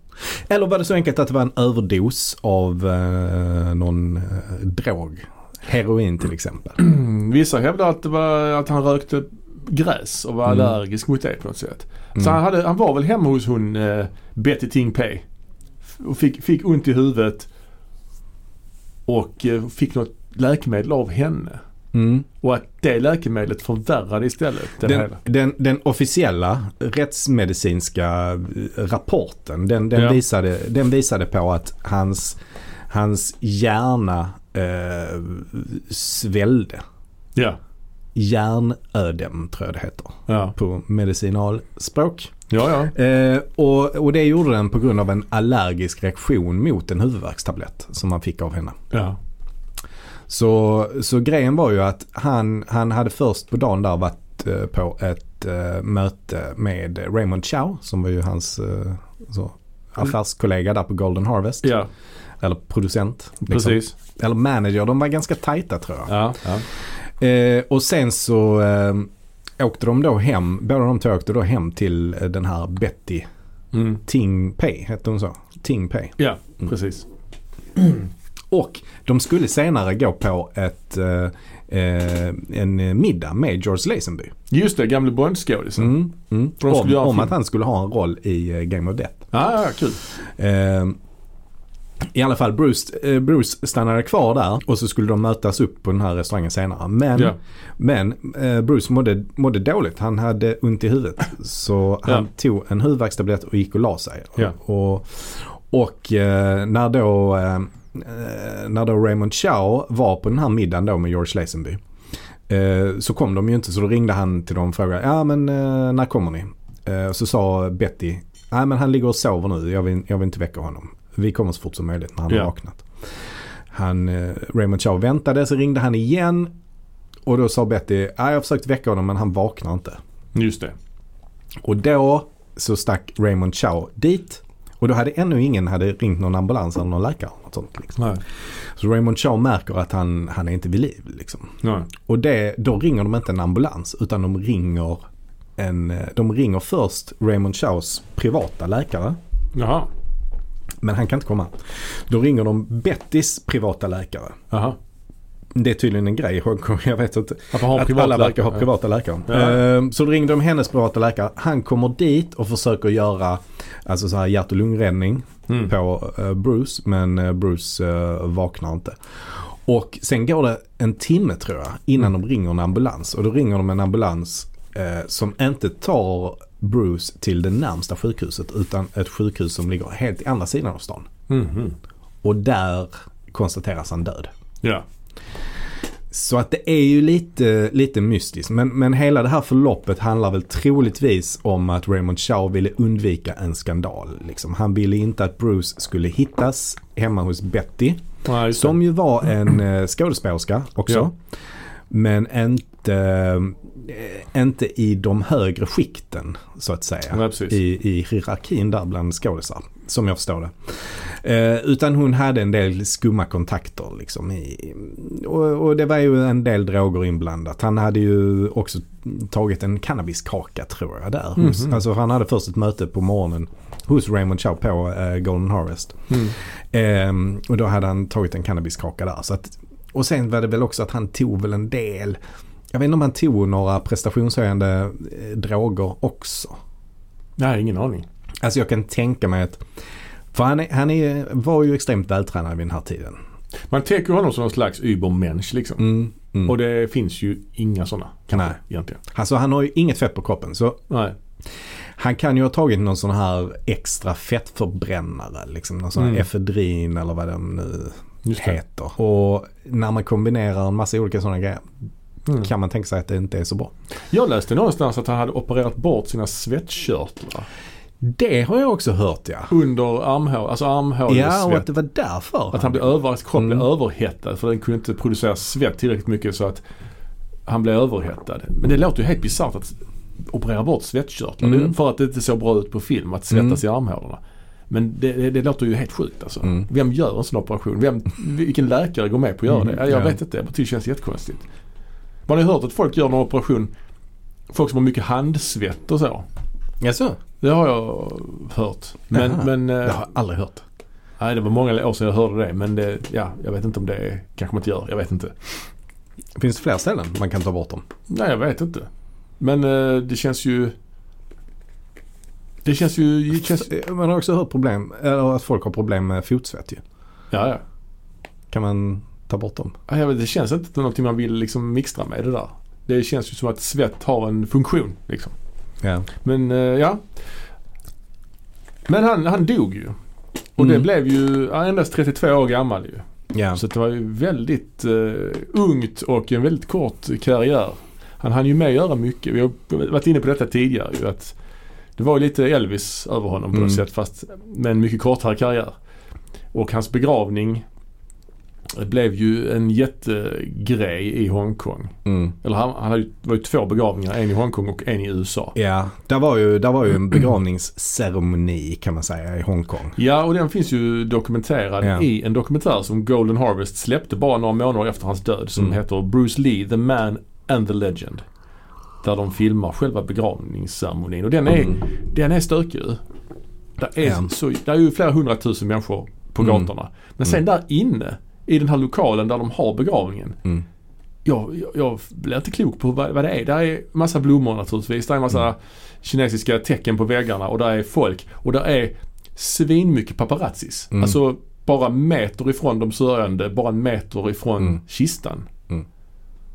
Speaker 2: Eller var det så enkelt att det var en överdos av eh, någon eh, drog? Heroin till exempel.
Speaker 1: Mm, Vissa hävdar att, det var, att han rökte gräs och var
Speaker 2: Mm.
Speaker 1: allergisk mot det på något sätt. Så
Speaker 2: Mm.
Speaker 1: han, hade, han var väl hemma hos hon eh, Betty Ting Pei. F- Och fick, fick ont i huvudet. Och eh, fick något läkemedel av henne.
Speaker 2: Mm.
Speaker 1: Och att det läkemedlet förvärrade istället det
Speaker 2: Den,
Speaker 1: hela.
Speaker 2: den, den officiella rättsmedicinska eh, rapporten den, den,
Speaker 1: Ja.
Speaker 2: visade, den visade på att hans, hans hjärna eh, svällde.
Speaker 1: Ja.
Speaker 2: Hjärnödem tror jag det heter
Speaker 1: Ja,
Speaker 2: på medicinalspråk.
Speaker 1: ja. ja.
Speaker 2: Eh, och, och det gjorde den på grund av en allergisk reaktion mot en huvudvärkstablett som han fick av henne.
Speaker 1: ja.
Speaker 2: Så, så grejen var ju att han, han hade först på dagen där varit eh, på ett eh, möte med Raymond Chow som var ju hans eh, så, affärskollega där på Golden Harvest.
Speaker 1: ja
Speaker 2: Eller producent. liksom.
Speaker 1: precis.
Speaker 2: Eller manager. De var ganska tajta tror jag.
Speaker 1: Ja, ja.
Speaker 2: Eh, och sen så eh, åkte de då hem, båda de två åkte då hem till eh, den här Betty
Speaker 1: Mm.
Speaker 2: Ting Pei, hette hon så? Ting Pei.
Speaker 1: ja
Speaker 2: Mm.
Speaker 1: precis.
Speaker 2: Och de skulle senare gå på ett, eh, eh, en middag med George Lazenby.
Speaker 1: Just det, gamle Bondskådisen.
Speaker 2: Mm, mm.
Speaker 1: För de skulle
Speaker 2: Om,
Speaker 1: göra en
Speaker 2: om
Speaker 1: film.
Speaker 2: att han skulle ha en roll i eh, Game of Death.
Speaker 1: Ja, ja, kul.
Speaker 2: Eh, I alla fall, Bruce, eh, Bruce stannade kvar där och så skulle de mötas upp på den här restaurangen senare. Men,
Speaker 1: Ja.
Speaker 2: men eh, Bruce mådde, mådde dåligt. Han hade ont i huvudet. Så
Speaker 1: Ja.
Speaker 2: han tog en huvudvärkstablett och gick och la sig.
Speaker 1: Ja.
Speaker 2: Och, och eh, när, då, eh, eh, när då Raymond Chow var på den här middagen då med George Lazenby. Eh, så kom de ju inte så då ringde han till dem och frågade ja men eh, när kommer ni? Eh, och så sa Betty nej men han ligger och sover nu jag vill, jag vill inte väcka honom. Vi kommer så fort som möjligt när han
Speaker 1: Ja.
Speaker 2: har vaknat. Han, eh, Raymond Chow väntade så ringde han igen och då sa Betty ja jag har försökt väcka honom men han vaknar inte.
Speaker 1: Just det.
Speaker 2: Och då så stack Raymond Chow dit och då hade ännu ingen hade ringt någon ambulans eller någon läkare. eller Något sånt, liksom.
Speaker 1: Nej.
Speaker 2: Så Raymond Chow märker att han, han är inte vid liv. Liksom.
Speaker 1: Nej.
Speaker 2: Och det, då ringer de inte en ambulans utan de ringer, en, eh, de ringer först Raymond Chows privata läkare.
Speaker 1: Jaha.
Speaker 2: Men han kan inte komma. Då ringer de Bettys privata läkare.
Speaker 1: Jaha.
Speaker 2: Det är tydligen en grej i Hongkong, [LAUGHS] jag vet inte.
Speaker 1: Varför har han
Speaker 2: Att
Speaker 1: privat
Speaker 2: alla verkar ha
Speaker 1: läkare?
Speaker 2: privata läkare.
Speaker 1: Ja.
Speaker 2: Ehm, Så då ringde de hennes privata läkare. Han kommer dit och försöker göra alltså så här hjärt och lungräddning
Speaker 1: Mm.
Speaker 2: på eh, Bruce. Men eh, Bruce eh, vaknar inte. Och sen går det en timme tror jag innan de ringer en ambulans. Och då ringer de en ambulans eh, som inte tar Bruce till det närmsta sjukhuset utan ett sjukhus som ligger helt i andra sidan av stan.
Speaker 1: Mhm.
Speaker 2: Och där konstateras han död.
Speaker 1: Ja.
Speaker 2: Så att det är ju lite, lite mystiskt. Men, men hela det här förloppet handlar väl troligtvis om att Raymond Chow ville undvika en skandal. Liksom. Han ville inte att Bruce skulle hittas hemma hos Betty.
Speaker 1: Nej, just det.
Speaker 2: Som ju var en eh, skådespelerska också.
Speaker 1: Ja.
Speaker 2: Men inte, eh, inte i de högre skikten så att säga.
Speaker 1: Nej, precis.
Speaker 2: I, I hierarkin där bland skådisar. Som jag förstår det. Eh, utan hon hade en del skumma kontakter. Liksom, i, och, och det var ju en del droger inblandat. Han hade ju också tagit en cannabiskaka tror jag där. Hos, Alltså han hade först ett möte på morgonen hos Raymond Chow på eh, Golden Harvest.
Speaker 1: Mm.
Speaker 2: Ehm, och då hade han tagit en cannabiskaka där. Så att, och sen var det väl också att han tog väl en del, jag vet inte om han tog några prestationshöjande eh, droger också.
Speaker 1: Nej, ingen aning.
Speaker 2: Alltså jag kan tänka mig att, för han, är, han är, var ju extremt vältränad vid den här tiden.
Speaker 1: Man tänker honom som någon slags übermensch liksom.
Speaker 2: Mm, mm.
Speaker 1: Och det finns ju inga sådana
Speaker 2: Nej.
Speaker 1: egentligen.
Speaker 2: Alltså han har ju inget fett på kroppen. Så
Speaker 1: Nej.
Speaker 2: han kan ju ha tagit någon sån här extra fettförbrännare. Liksom, någon sån här
Speaker 1: Mm.
Speaker 2: efedrin eller vad de nu
Speaker 1: Just det.
Speaker 2: heter. Och när man kombinerar en massa olika sådana grejer
Speaker 1: Mm.
Speaker 2: kan man tänka sig att det inte är så bra.
Speaker 1: Jag läste någonstans att han hade opererat bort sina svettkörtlar.
Speaker 2: Det har jag också hört ja.
Speaker 1: Under armhår, alltså armhålesvett.
Speaker 2: Ja, och att det var därför.
Speaker 1: Att han blev över, att kroppen blev
Speaker 2: Mm.
Speaker 1: överhettad för den kunde inte producera svett tillräckligt mycket så att han blev överhettad. Men det låter ju helt bisarrt att operera bort svettkörtlar.
Speaker 2: Mm.
Speaker 1: Det- För att det inte såg bra ut på film att svettas i armhålorna. Men det, det, det låter ju helt sjukt alltså.
Speaker 2: Mm.
Speaker 1: Vem gör en sån operation? Vem, vilken läkare går med på att göra
Speaker 2: Mm,
Speaker 1: det? Jag
Speaker 2: ja.
Speaker 1: vet inte, jag bara tycker det känns jättekonstigt. Man har ju hört att folk gör någon operation, folk som har mycket handsvett och så.
Speaker 2: Jaså?
Speaker 1: Det har jag hört. Men,
Speaker 2: Jaha.
Speaker 1: men eh,
Speaker 2: Det har jag aldrig hört.
Speaker 1: Nej, det var många år sedan jag hörde det. Men det, ja, jag vet inte om det kanske man inte gör. Jag vet inte.
Speaker 2: Finns det fler ställen man kan ta bort dem?
Speaker 1: Nej, jag vet inte. Men eh, det känns ju... Det känns ju... Det känns,
Speaker 2: eh, Man har också hört problem, eller att folk har problem med fotsvett ju.
Speaker 1: ja, ja.
Speaker 2: Kan man ta bort dem?
Speaker 1: Ja, Jag vet, det känns inte som någonting man vill liksom mixtra med det där. Det känns ju som att svett har en funktion. Liksom.
Speaker 2: Ja.
Speaker 1: Men eh, ja. Men han, han dog ju. Och det
Speaker 2: Mm.
Speaker 1: blev ju ja, endast 32 år gammal ju.
Speaker 2: Ja.
Speaker 1: Så det var ju väldigt eh, ungt och en väldigt kort karriär. Han hann ju med att göra mycket. Vi har varit inne på detta tidigare ju att det var ju lite Elvis över honom på något
Speaker 2: Mm.
Speaker 1: sätt fast med en mycket kortare karriär. Och hans begravning blev ju en jättegrej i Hongkong.
Speaker 2: Mm.
Speaker 1: Eller han, han hade ju, det var ju två begravningar, en i Hongkong och en i USA.
Speaker 2: Ja, där var, ju, där var
Speaker 1: [CLEARS THROAT]
Speaker 2: ju en begravningsceremoni kan man säga i Hongkong.
Speaker 1: Ja, och den finns ju dokumenterad
Speaker 2: Ja.
Speaker 1: i en dokumentär som Golden Harvest släppte bara några månader efter hans död som
Speaker 2: Mm.
Speaker 1: heter Bruce Lee, The Man and the Legend. Där de filmar själva begravningsceremonin. Och den är,
Speaker 2: Mm.
Speaker 1: den är stökig ju. Där är,
Speaker 2: Ja.
Speaker 1: så, där är ju flera hundratusen människor på
Speaker 2: Mm.
Speaker 1: gatorna. Men sen där inne, i den här lokalen där de har begravningen.
Speaker 2: Mm.
Speaker 1: Jag, jag, jag blir inte klok på vad, vad det är. Där är massa blommor naturligtvis. Där är massa
Speaker 2: Mm.
Speaker 1: kinesiska tecken på väggarna och där är folk. Och där är svinmycket paparazzis.
Speaker 2: Mm.
Speaker 1: Alltså bara en meter ifrån de sörjande, bara en meter ifrån
Speaker 2: Mm.
Speaker 1: kistan.
Speaker 2: Mm.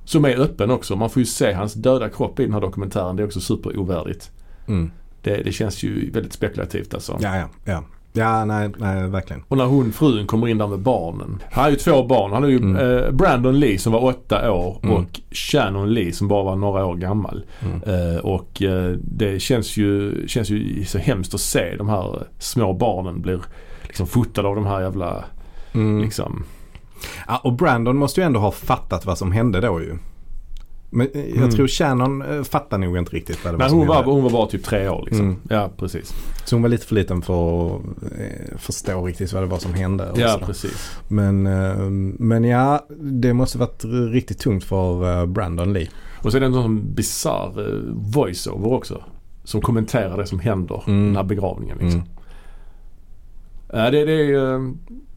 Speaker 1: Som är öppen också. Man får ju se hans döda kropp i den här dokumentären. Det är också superovärdigt.
Speaker 2: Mm.
Speaker 1: Det, det känns ju väldigt spekulativt alltså.
Speaker 2: Ja, ja, ja. Ja, nej, nej, verkligen.
Speaker 1: Och när hon, frun, kommer in där med barnen. Han har ju två barn. Han har ju
Speaker 2: Mm.
Speaker 1: eh, Brandon Lee som var åtta år
Speaker 2: Mm.
Speaker 1: och Shannon Lee som bara var några år gammal.
Speaker 2: Mm.
Speaker 1: Eh, och eh, det känns ju, känns ju så hemskt att se de här små barnen blir liksom fotade av de här jävla
Speaker 2: Mm.
Speaker 1: liksom.
Speaker 2: Ja, och Brandon måste ju ändå ha fattat vad som hände då ju. Men eh, jag
Speaker 1: Mm.
Speaker 2: tror Shannon eh, fattar nog inte riktigt vad det var
Speaker 1: Men
Speaker 2: som
Speaker 1: hon var,
Speaker 2: hände.
Speaker 1: hon var bara typ tre år liksom.
Speaker 2: Mm.
Speaker 1: Ja precis.
Speaker 2: Så hon var lite för liten för att eh, förstå riktigt vad det var som hände. och
Speaker 1: Ja
Speaker 2: sådär.
Speaker 1: precis.
Speaker 2: Men, eh, men ja, det måste varit riktigt tungt för eh, Brandon Lee.
Speaker 1: Och sen är det någon sån bisarr eh, voiceover också. Som kommenterar det som händer
Speaker 2: Mm.
Speaker 1: den här begravningen liksom.
Speaker 2: Mm.
Speaker 1: Ja, det, det, är, ju- eh,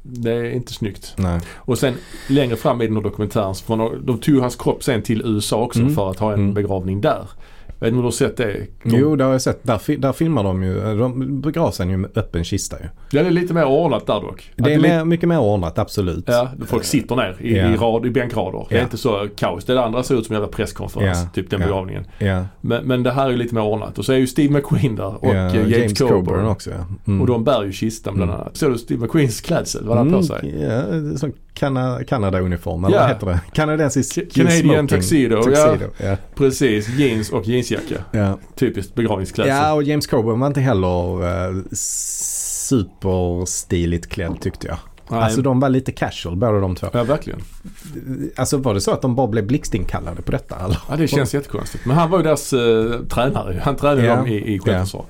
Speaker 1: det är inte snyggt.
Speaker 2: Nej.
Speaker 1: Och sen längre fram i den här dokumentären så får man, de tog hans kropp sen till USA också
Speaker 2: Mm.
Speaker 1: för att ha en
Speaker 2: Mm.
Speaker 1: begravning där. Jag vet inte om du har sett det? De,
Speaker 2: Jo, det har jag sett. Där, fi- där filmar de ju. eh, De begravs han ju med öppen kista ju.
Speaker 1: Ja, det är lite mer ordnat där dock. Att
Speaker 2: Det är
Speaker 1: lite-
Speaker 2: mer, mycket mer ordnat, absolut.
Speaker 1: Ja, folk sitter ner i,
Speaker 2: Ja.
Speaker 1: i, rad, i bänkrader. Det är
Speaker 2: Ja.
Speaker 1: inte så kaos. Det andra ser ut som en jävla presskonferens,
Speaker 2: Ja.
Speaker 1: typ den
Speaker 2: Ja.
Speaker 1: begravningen.
Speaker 2: Ja.
Speaker 1: Men, men det här är ju lite mer ordnat. Och så är ju Steve McQueen där och
Speaker 2: Ja,
Speaker 1: eh, James, Coburn.
Speaker 2: också. Ja. Mm.
Speaker 1: Och de bär ju kistan bland annat. Såg du Steve McQueens klädsel? Vad han på sig?
Speaker 2: Mm, ja, det är som kana, Kanada-uniform, eller
Speaker 1: Ja.
Speaker 2: vad heter det? Kanadensisk
Speaker 1: Ca- Canadian tuxedo, ja.
Speaker 2: Ja.
Speaker 1: Precis, jeans och jeansjacka.
Speaker 2: Ja.
Speaker 1: Typiskt begravningsklädsel.
Speaker 2: ja, och James Coburn var inte heller eh, superstiligt klädd tyckte jag.
Speaker 1: Nej.
Speaker 2: Alltså de var lite casual båda de två.
Speaker 1: Ja, verkligen.
Speaker 2: Alltså var det så att de bara blev blixtinkallade på detta? Eller?
Speaker 1: Ja, det känns jättekonstigt. Men han var ju deras eh, tränare. ju. Han tränade
Speaker 2: Ja.
Speaker 1: dem i, i självförsvar.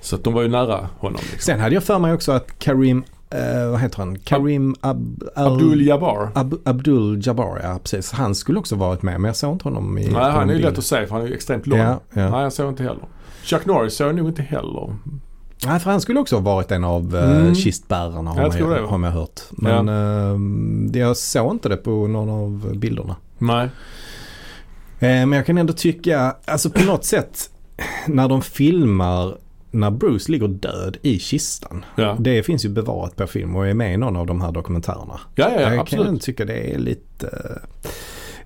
Speaker 1: Så att de var ju nära honom. Liksom.
Speaker 2: Sen hade jag för mig också att Karim, eh, vad heter han? Karim Ab- Al-
Speaker 1: Abdul Jabbar.
Speaker 2: Ab- Abdul Jabbar, ja precis. Han skulle också varit med men jag såg inte honom i...
Speaker 1: Nej, han är ju
Speaker 2: bild.
Speaker 1: lätt att säga för han är ju extremt lång.
Speaker 2: Ja, ja.
Speaker 1: Nej, jag såg inte heller. Chuck Norris såg jag nog inte heller.
Speaker 2: Nej, för han skulle också ha varit en av eh,
Speaker 1: Mm.
Speaker 2: kistbärarna har,
Speaker 1: Jag tror
Speaker 2: man,
Speaker 1: det.
Speaker 2: har man hört. Men eh, jag såg inte det på någon av bilderna.
Speaker 1: Nej.
Speaker 2: Eh, men jag kan ändå tycka, alltså på något sätt när de filmar när Bruce ligger död i kistan.
Speaker 1: Ja,
Speaker 2: Det finns ju bevarat på film och är med i någon av de här dokumentärerna.
Speaker 1: ja, ja,
Speaker 2: jag
Speaker 1: absolut.
Speaker 2: kan ändå tycka det är lite... eh,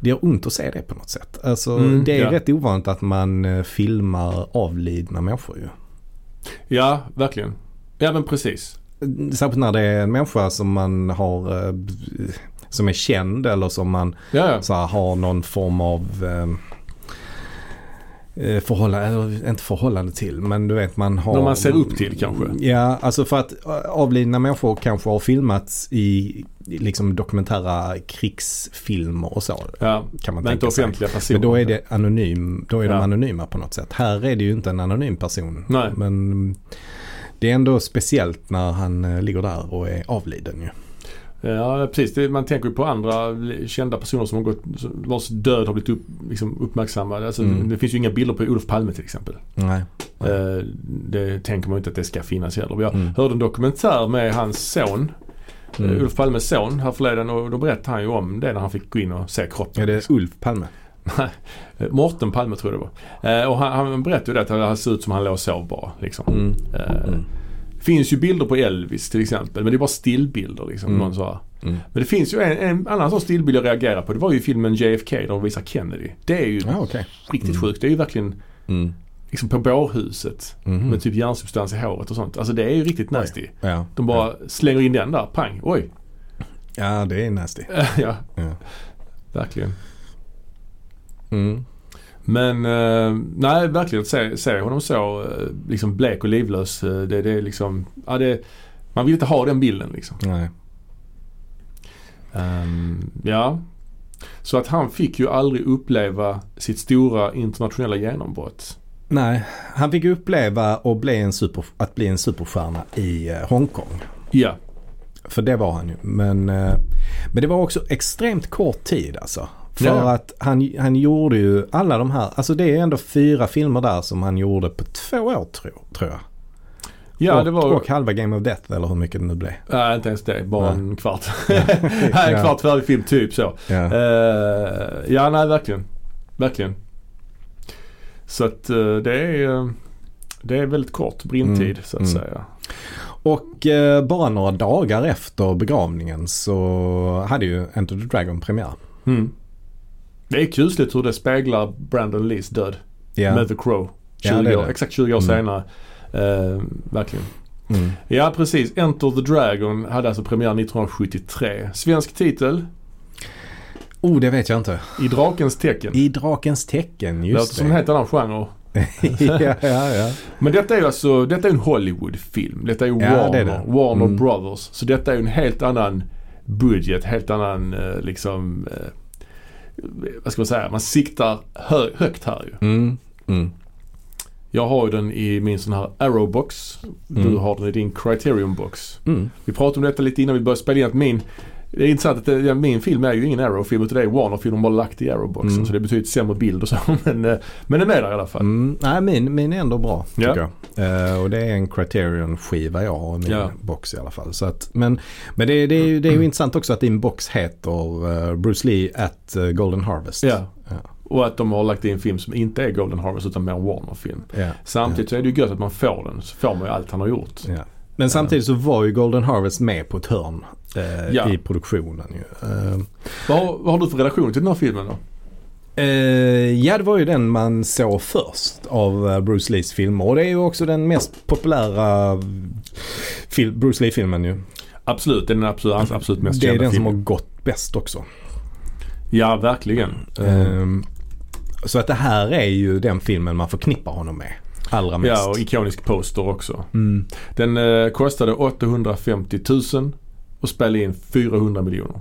Speaker 2: Det gör ont att se det på något sätt. Alltså,
Speaker 1: Mm,
Speaker 2: det är
Speaker 1: ja.
Speaker 2: rätt ovanligt att man eh, filmar avlidna människor ju.
Speaker 1: Ja, verkligen. Ja, men precis.
Speaker 2: Särskilt när det är en människa som man har eh, b- som är känd eller som man
Speaker 1: Ja, ja.
Speaker 2: så här, har någon form av ehm, eh, förhållande, eller inte förhållande till men du vet man har.
Speaker 1: Någon man ser upp till, kanske.
Speaker 2: Ja, alltså för att eh, avlidna människor kanske har filmats i i liksom dokumentära krigsfilmer och så.
Speaker 1: ja.
Speaker 2: Kan man
Speaker 1: Men inte
Speaker 2: tänka sig.
Speaker 1: offentliga personer.
Speaker 2: Men då är det anonym, då är
Speaker 1: Ja.
Speaker 2: de anonyma på något sätt. Här är det ju inte en anonym person.
Speaker 1: Nej.
Speaker 2: Men mm, det är ändå speciellt när han eh, ligger där och är avliden ju.
Speaker 1: Ja, precis. Det, man tänker ju på andra kända personer som har gått, vars död har blivit upp, liksom uppmärksammad. Alltså,
Speaker 2: Mm.
Speaker 1: Det finns ju inga bilder på Olof Palme till exempel.
Speaker 2: Nej. Nej.
Speaker 1: Eh, det tänker man ju inte att det ska finnas heller. Jag
Speaker 2: Mm.
Speaker 1: hörde en dokumentär med hans son,
Speaker 2: Mm.
Speaker 1: eh, Olof Palmes son, härförleden och då berättade han ju om det när han fick gå in och se kroppen.
Speaker 2: Är det Ulf Palme?
Speaker 1: Eh, [LAUGHS] Morten Palme tror jag det var. Eh, och han, han berättade ju det att han såg ut som han låg och sov bara. Liksom. Eh,
Speaker 2: Mm.
Speaker 1: finns ju bilder på Elvis till exempel men det är bara stillbilder. Liksom,
Speaker 2: Mm.
Speaker 1: någon så här.
Speaker 2: Mm.
Speaker 1: Men det finns ju en, en annan sån stillbild jag reagerar på. Det var ju filmen JFK där de visar Kennedy. Det är ju
Speaker 2: Ja, okej.
Speaker 1: riktigt
Speaker 2: Mm.
Speaker 1: sjukt. Det är ju verkligen liksom på bårhuset
Speaker 2: Mhm.
Speaker 1: med typ järnsubstans i håret och sånt. Alltså det är ju riktigt nasty.
Speaker 2: Ja.
Speaker 1: De bara slänger in den där, pang, oj. [LAUGHS]
Speaker 2: ja, det är nasty.
Speaker 1: ja,
Speaker 2: Ja.
Speaker 1: verkligen.
Speaker 2: Mm.
Speaker 1: Men eh, nej, verkligen att se, se honom så eh, liksom blek och livlös. eh, Det, det är liksom, ja, det, man vill inte ha den bilden liksom.
Speaker 2: Nej.
Speaker 1: Ehm, ja. Så att han fick ju aldrig uppleva sitt stora internationella genombrott.
Speaker 2: Nej, han fick uppleva och bli en super, att bli en superstjärna i eh, Hongkong.
Speaker 1: Ja,
Speaker 2: För det var han ju. Men, eh, men det var också extremt kort tid alltså. För
Speaker 1: Ja.
Speaker 2: att han, han gjorde ju alla de här, alltså det är ändå fyra filmer där som han gjorde på två år tror, tror jag.
Speaker 1: ja
Speaker 2: och,
Speaker 1: det var...
Speaker 2: och halva Game of Death eller hur mycket det nu blev.
Speaker 1: Nej, inte ens det. Bara
Speaker 2: Nej.
Speaker 1: en [LAUGHS] kvart. Nej, en
Speaker 2: Ja.
Speaker 1: kvart färdig film, typ så.
Speaker 2: Ja.
Speaker 1: Eh, ja, nej verkligen. Verkligen. Så att eh, det är eh, det är väldigt kort brintid
Speaker 2: Mm,
Speaker 1: så att
Speaker 2: mm.
Speaker 1: säga.
Speaker 2: Och eh, bara några dagar efter begravningen så hade ju Enter the Dragon premiär.
Speaker 1: Mm. Det är kusligt hur det speglar Brandon Lees död
Speaker 2: Ja.
Speaker 1: med The Crow. 20
Speaker 2: Ja, det är
Speaker 1: år,
Speaker 2: det.
Speaker 1: exakt 20 år
Speaker 2: Mm.
Speaker 1: senare. Eh, verkligen.
Speaker 2: Mm.
Speaker 1: Ja precis, Enter the Dragon hade alltså premiär 1973. Svensk titel,
Speaker 2: Oh, det vet jag inte.
Speaker 1: I drakens tecken.
Speaker 2: I Drakens tecken,
Speaker 1: Låter
Speaker 2: just
Speaker 1: som en
Speaker 2: det.
Speaker 1: helt annan genre.
Speaker 2: [LAUGHS] ja, ja, ja.
Speaker 1: Men detta är ju alltså, detta är en Hollywoodfilm. Detta är ju
Speaker 2: Ja,
Speaker 1: Warner,
Speaker 2: det är det.
Speaker 1: Warner
Speaker 2: Mm.
Speaker 1: Brothers. Så detta är ju en helt annan budget, helt annan eh, liksom, eh, vad ska man säga, man siktar hö- högt här ju.
Speaker 2: Mm. Mm.
Speaker 1: Jag har ju den i min sån här Arrowbox. Du
Speaker 2: Mm.
Speaker 1: har den i din Criterion-box.
Speaker 2: Mm.
Speaker 1: Vi pratade om detta lite innan vi började spela in att min det är intressant att det, ja, min film är ju ingen Arrow-film utan det är Warner-film de har lagt i Arrowboxen.
Speaker 2: Mm.
Speaker 1: Så det betyder sämre bild och så. [LAUGHS] Men, eh, men den är där i alla fall.
Speaker 2: Mm. Nej, min, min är ändå bra tycker
Speaker 1: Ja.
Speaker 2: jag. Eh, och det är en Criterion-skiva jag har i min
Speaker 1: Ja. Mm.
Speaker 2: box i alla fall. Så att, men men det, det, är ju, det är ju intressant också att din box heter eh, Bruce Lee at eh, Golden Harvest.
Speaker 1: Ja.
Speaker 2: Ja.
Speaker 1: Och att de har lagt in en film som inte är Golden Harvest utan mer en Warner-film.
Speaker 2: Ja.
Speaker 1: Samtidigt så är det ju gött att man får den. Så får man ju allt han har gjort.
Speaker 2: Ja. Men samtidigt så var ju Golden Harvest med på ett hörn eh,
Speaker 1: Ja.
Speaker 2: i produktionen. Ju. Eh,
Speaker 1: Vad, har, vad har du för relation till den här filmen då?
Speaker 2: eh, ja, det var ju den man såg först av eh, Bruce Lees filmer. Och det är ju också den mest populära fil- Bruce Lee-filmen ju.
Speaker 1: Absolut, det är den absolut, hans absolut mest
Speaker 2: det är
Speaker 1: kända
Speaker 2: den som har
Speaker 1: filmen.
Speaker 2: gått bäst också.
Speaker 1: Ja, verkligen.
Speaker 2: Ehm, så att det här är ju den filmen man förknippar honom med. Allra mest.
Speaker 1: Ja, och ikonisk poster också.
Speaker 2: mm.
Speaker 1: Den eh, kostade 850 000 och spelade in 400 miljoner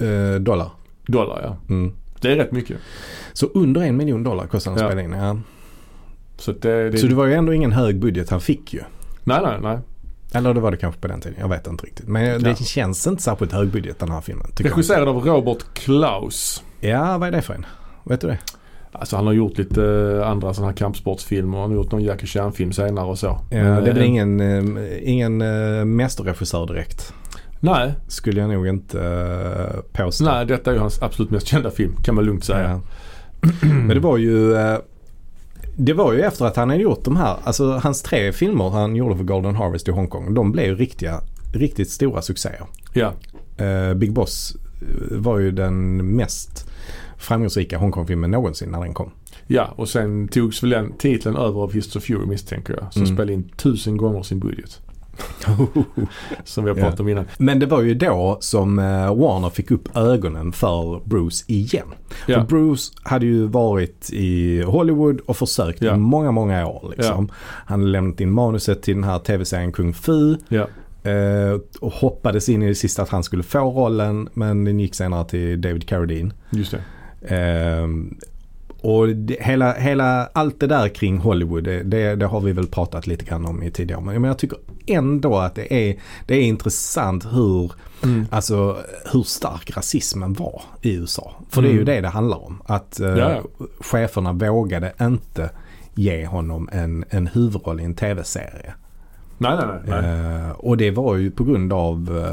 Speaker 2: Eh, dollar.
Speaker 1: dollar. Ja.
Speaker 2: Mm.
Speaker 1: Det är rätt mycket.
Speaker 2: Så under en miljon dollar kostade han
Speaker 1: Ja.
Speaker 2: att spela in. Ja.
Speaker 1: Så att det, det,
Speaker 2: Så det var ju ändå ingen hög budget han fick ju.
Speaker 1: Nej, nej, nej.
Speaker 2: Eller det var det kanske på den tiden. Jag vet inte riktigt. Men det
Speaker 1: Ja.
Speaker 2: känns inte särskilt högbudget den här filmen. tycker jag.
Speaker 1: Regisserad av Robert Klaus.
Speaker 2: Ja, vad är det för en? Vet du det?
Speaker 1: Alltså han har gjort lite eh, andra sådana här kampsportsfilmer. Han har gjort någon Jackie Chan-film senare och så.
Speaker 2: Ja,
Speaker 1: Men,
Speaker 2: det är väl
Speaker 1: eh,
Speaker 2: ingen, eh, ingen eh, mästerregissör direkt.
Speaker 1: Nej,
Speaker 2: Skulle jag nog inte eh, påstå.
Speaker 1: nej, detta är ju hans absolut mest kända film kan man lugnt säga.
Speaker 2: Ja. Men det var ju eh, Det var ju efter att han hade gjort de här, alltså hans tre filmer han gjorde för Golden Harvest i Hongkong. De blev ju riktiga, riktigt stora succéer.
Speaker 1: Ja,
Speaker 2: Eh, Big Boss eh, var ju den mest framgångsrika Hongkongfilmen någonsin när den kom.
Speaker 1: ja. och sen togs väl den titeln över av History of Fury misstänker jag. Som
Speaker 2: Mm.
Speaker 1: spelade in tusen gånger sin
Speaker 2: [LAUGHS]
Speaker 1: budget. Som vi har
Speaker 2: Ja.
Speaker 1: pratat om innan.
Speaker 2: Men det var ju då som eh, Warner fick upp ögonen för Bruce igen.
Speaker 1: Ja.
Speaker 2: För Bruce hade ju varit i Hollywood och försökt
Speaker 1: Ja.
Speaker 2: i många, många år. Liksom. Han hade lämnat in manuset till den här tv-serien Kung Fu.
Speaker 1: Ja.
Speaker 2: Eh, och hoppades in i det sista att han skulle få rollen men den gick senare till David Carradine.
Speaker 1: Just det.
Speaker 2: Eh, och det, hela, hela, allt det där kring Hollywood det, det, det har vi väl pratat lite grann om i tidigare. Men jag tycker ändå att det är, det är intressant hur,
Speaker 1: Mm.
Speaker 2: alltså, hur stark rasismen var i USA. För det är ju
Speaker 1: Mm.
Speaker 2: det det handlar om. Att eh,
Speaker 1: Ja.
Speaker 2: cheferna vågade inte ge honom en, en huvudroll i en tv-serie.
Speaker 1: Nej, nej, nej. nej.
Speaker 2: Eh, och det var ju på grund av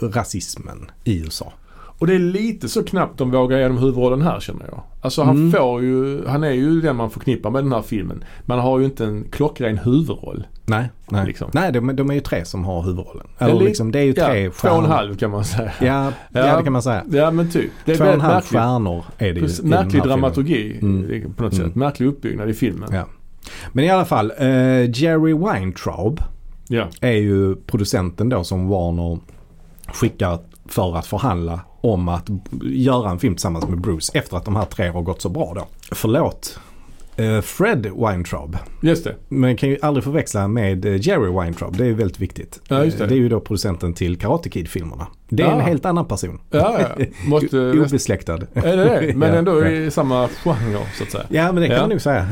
Speaker 2: eh, rasismen i USA.
Speaker 1: Och det är lite så knappt de vågar genom huvudrollen här känner jag. Alltså han
Speaker 2: Mm.
Speaker 1: får ju, han är ju den man förknippar med den här filmen. Man har ju inte en klockren huvudroll.
Speaker 2: Nej, nej.
Speaker 1: Liksom.
Speaker 2: nej de, de är ju tre som har huvudrollen. Eller
Speaker 1: li-
Speaker 2: liksom, det är ju
Speaker 1: Ja,
Speaker 2: tre
Speaker 1: två och en
Speaker 2: stjärnor.
Speaker 1: halv kan man säga.
Speaker 2: Ja, ja,
Speaker 1: Ja.
Speaker 2: det kan man säga.
Speaker 1: Ja men typ. Det är
Speaker 2: Två och en
Speaker 1: väldigt
Speaker 2: halv
Speaker 1: märkligt.
Speaker 2: stjärnor är det ju. i den här
Speaker 1: Märklig
Speaker 2: filmen.
Speaker 1: dramaturgi eh,
Speaker 2: Mm.
Speaker 1: på något
Speaker 2: Mm.
Speaker 1: sätt. Märklig uppbyggnad i filmen.
Speaker 2: Ja. Men i alla fall, eh, Jerry Weintraub
Speaker 1: Ja.
Speaker 2: är ju producenten då som Warner skickar för att förhandla om att b- göra en film tillsammans med Bruce efter att de här tre har gått så bra då. Förlåt. Eh, Fred Weintraub
Speaker 1: Just det.
Speaker 2: Men kan ju aldrig förväxla med eh, Jerry Weintraub. Det är ju väldigt viktigt.
Speaker 1: Ja, just det.
Speaker 2: Eh, är ju då producenten till Karate Kid-filmerna. Det är
Speaker 1: Ah.
Speaker 2: en helt annan person.
Speaker 1: Ja, eh, ja. Måste...
Speaker 2: O-
Speaker 1: [LAUGHS]
Speaker 2: Obesläktad.
Speaker 1: är det det? Men
Speaker 2: [LAUGHS] Ja,
Speaker 1: ändå
Speaker 2: ja.
Speaker 1: i samma genre så att säga.
Speaker 2: Ja, men det kan
Speaker 1: Ja.
Speaker 2: man nog säga.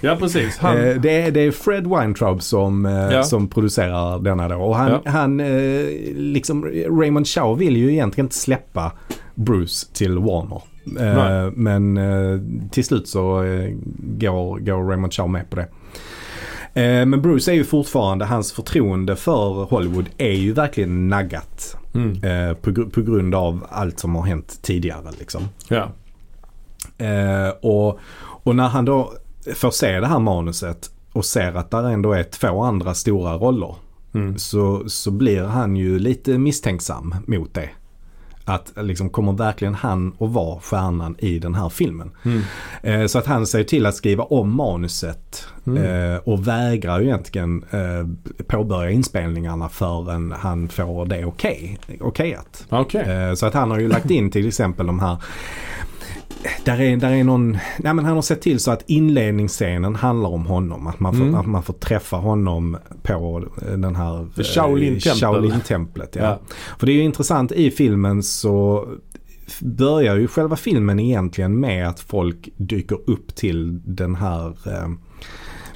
Speaker 1: Ja precis. Han,
Speaker 2: Eh, Det är, det är Fred Weintraub som, eh,
Speaker 1: Ja.
Speaker 2: som producerar denna då. Och han,
Speaker 1: Ja.
Speaker 2: han eh, liksom, Raymond Chow vill ju egentligen inte släppa Bruce till Warner. Eh,
Speaker 1: Nej.
Speaker 2: Men eh, till slut så eh, går, går Raymond Chow med på det. Eh, Men Bruce är ju fortfarande, hans förtroende för Hollywood är ju verkligen naggat.
Speaker 1: mm.
Speaker 2: eh, På, gr- på grund av allt som har hänt tidigare liksom.
Speaker 1: Ja.
Speaker 2: Eh, och, och när han då får se det här manuset och ser att där ändå är två andra stora roller
Speaker 1: Mm.
Speaker 2: så, så blir han ju lite misstänksam mot det. Att liksom, kommer verkligen han att vara stjärnan i den här filmen?
Speaker 1: Mm.
Speaker 2: Eh, så att han säger till att skriva om manuset
Speaker 1: Mm.
Speaker 2: eh, och vägrar ju egentligen eh, påbörja inspelningarna förrän han får det okej, okejat.
Speaker 1: Okej.
Speaker 2: Eh, Så att han har ju lagt in till exempel de här där är, där är någon, nej men han har sett till så att inledningsscenen handlar om honom. Att man får,
Speaker 1: Mm.
Speaker 2: att man får träffa honom på eh, den här
Speaker 1: The Shaolin
Speaker 2: eh,
Speaker 1: Temple.
Speaker 2: Shaolin-templet. ja.
Speaker 1: Ja.
Speaker 2: För det är ju intressant i filmen så f- börjar ju själva filmen egentligen med att folk dyker upp till den här, eh,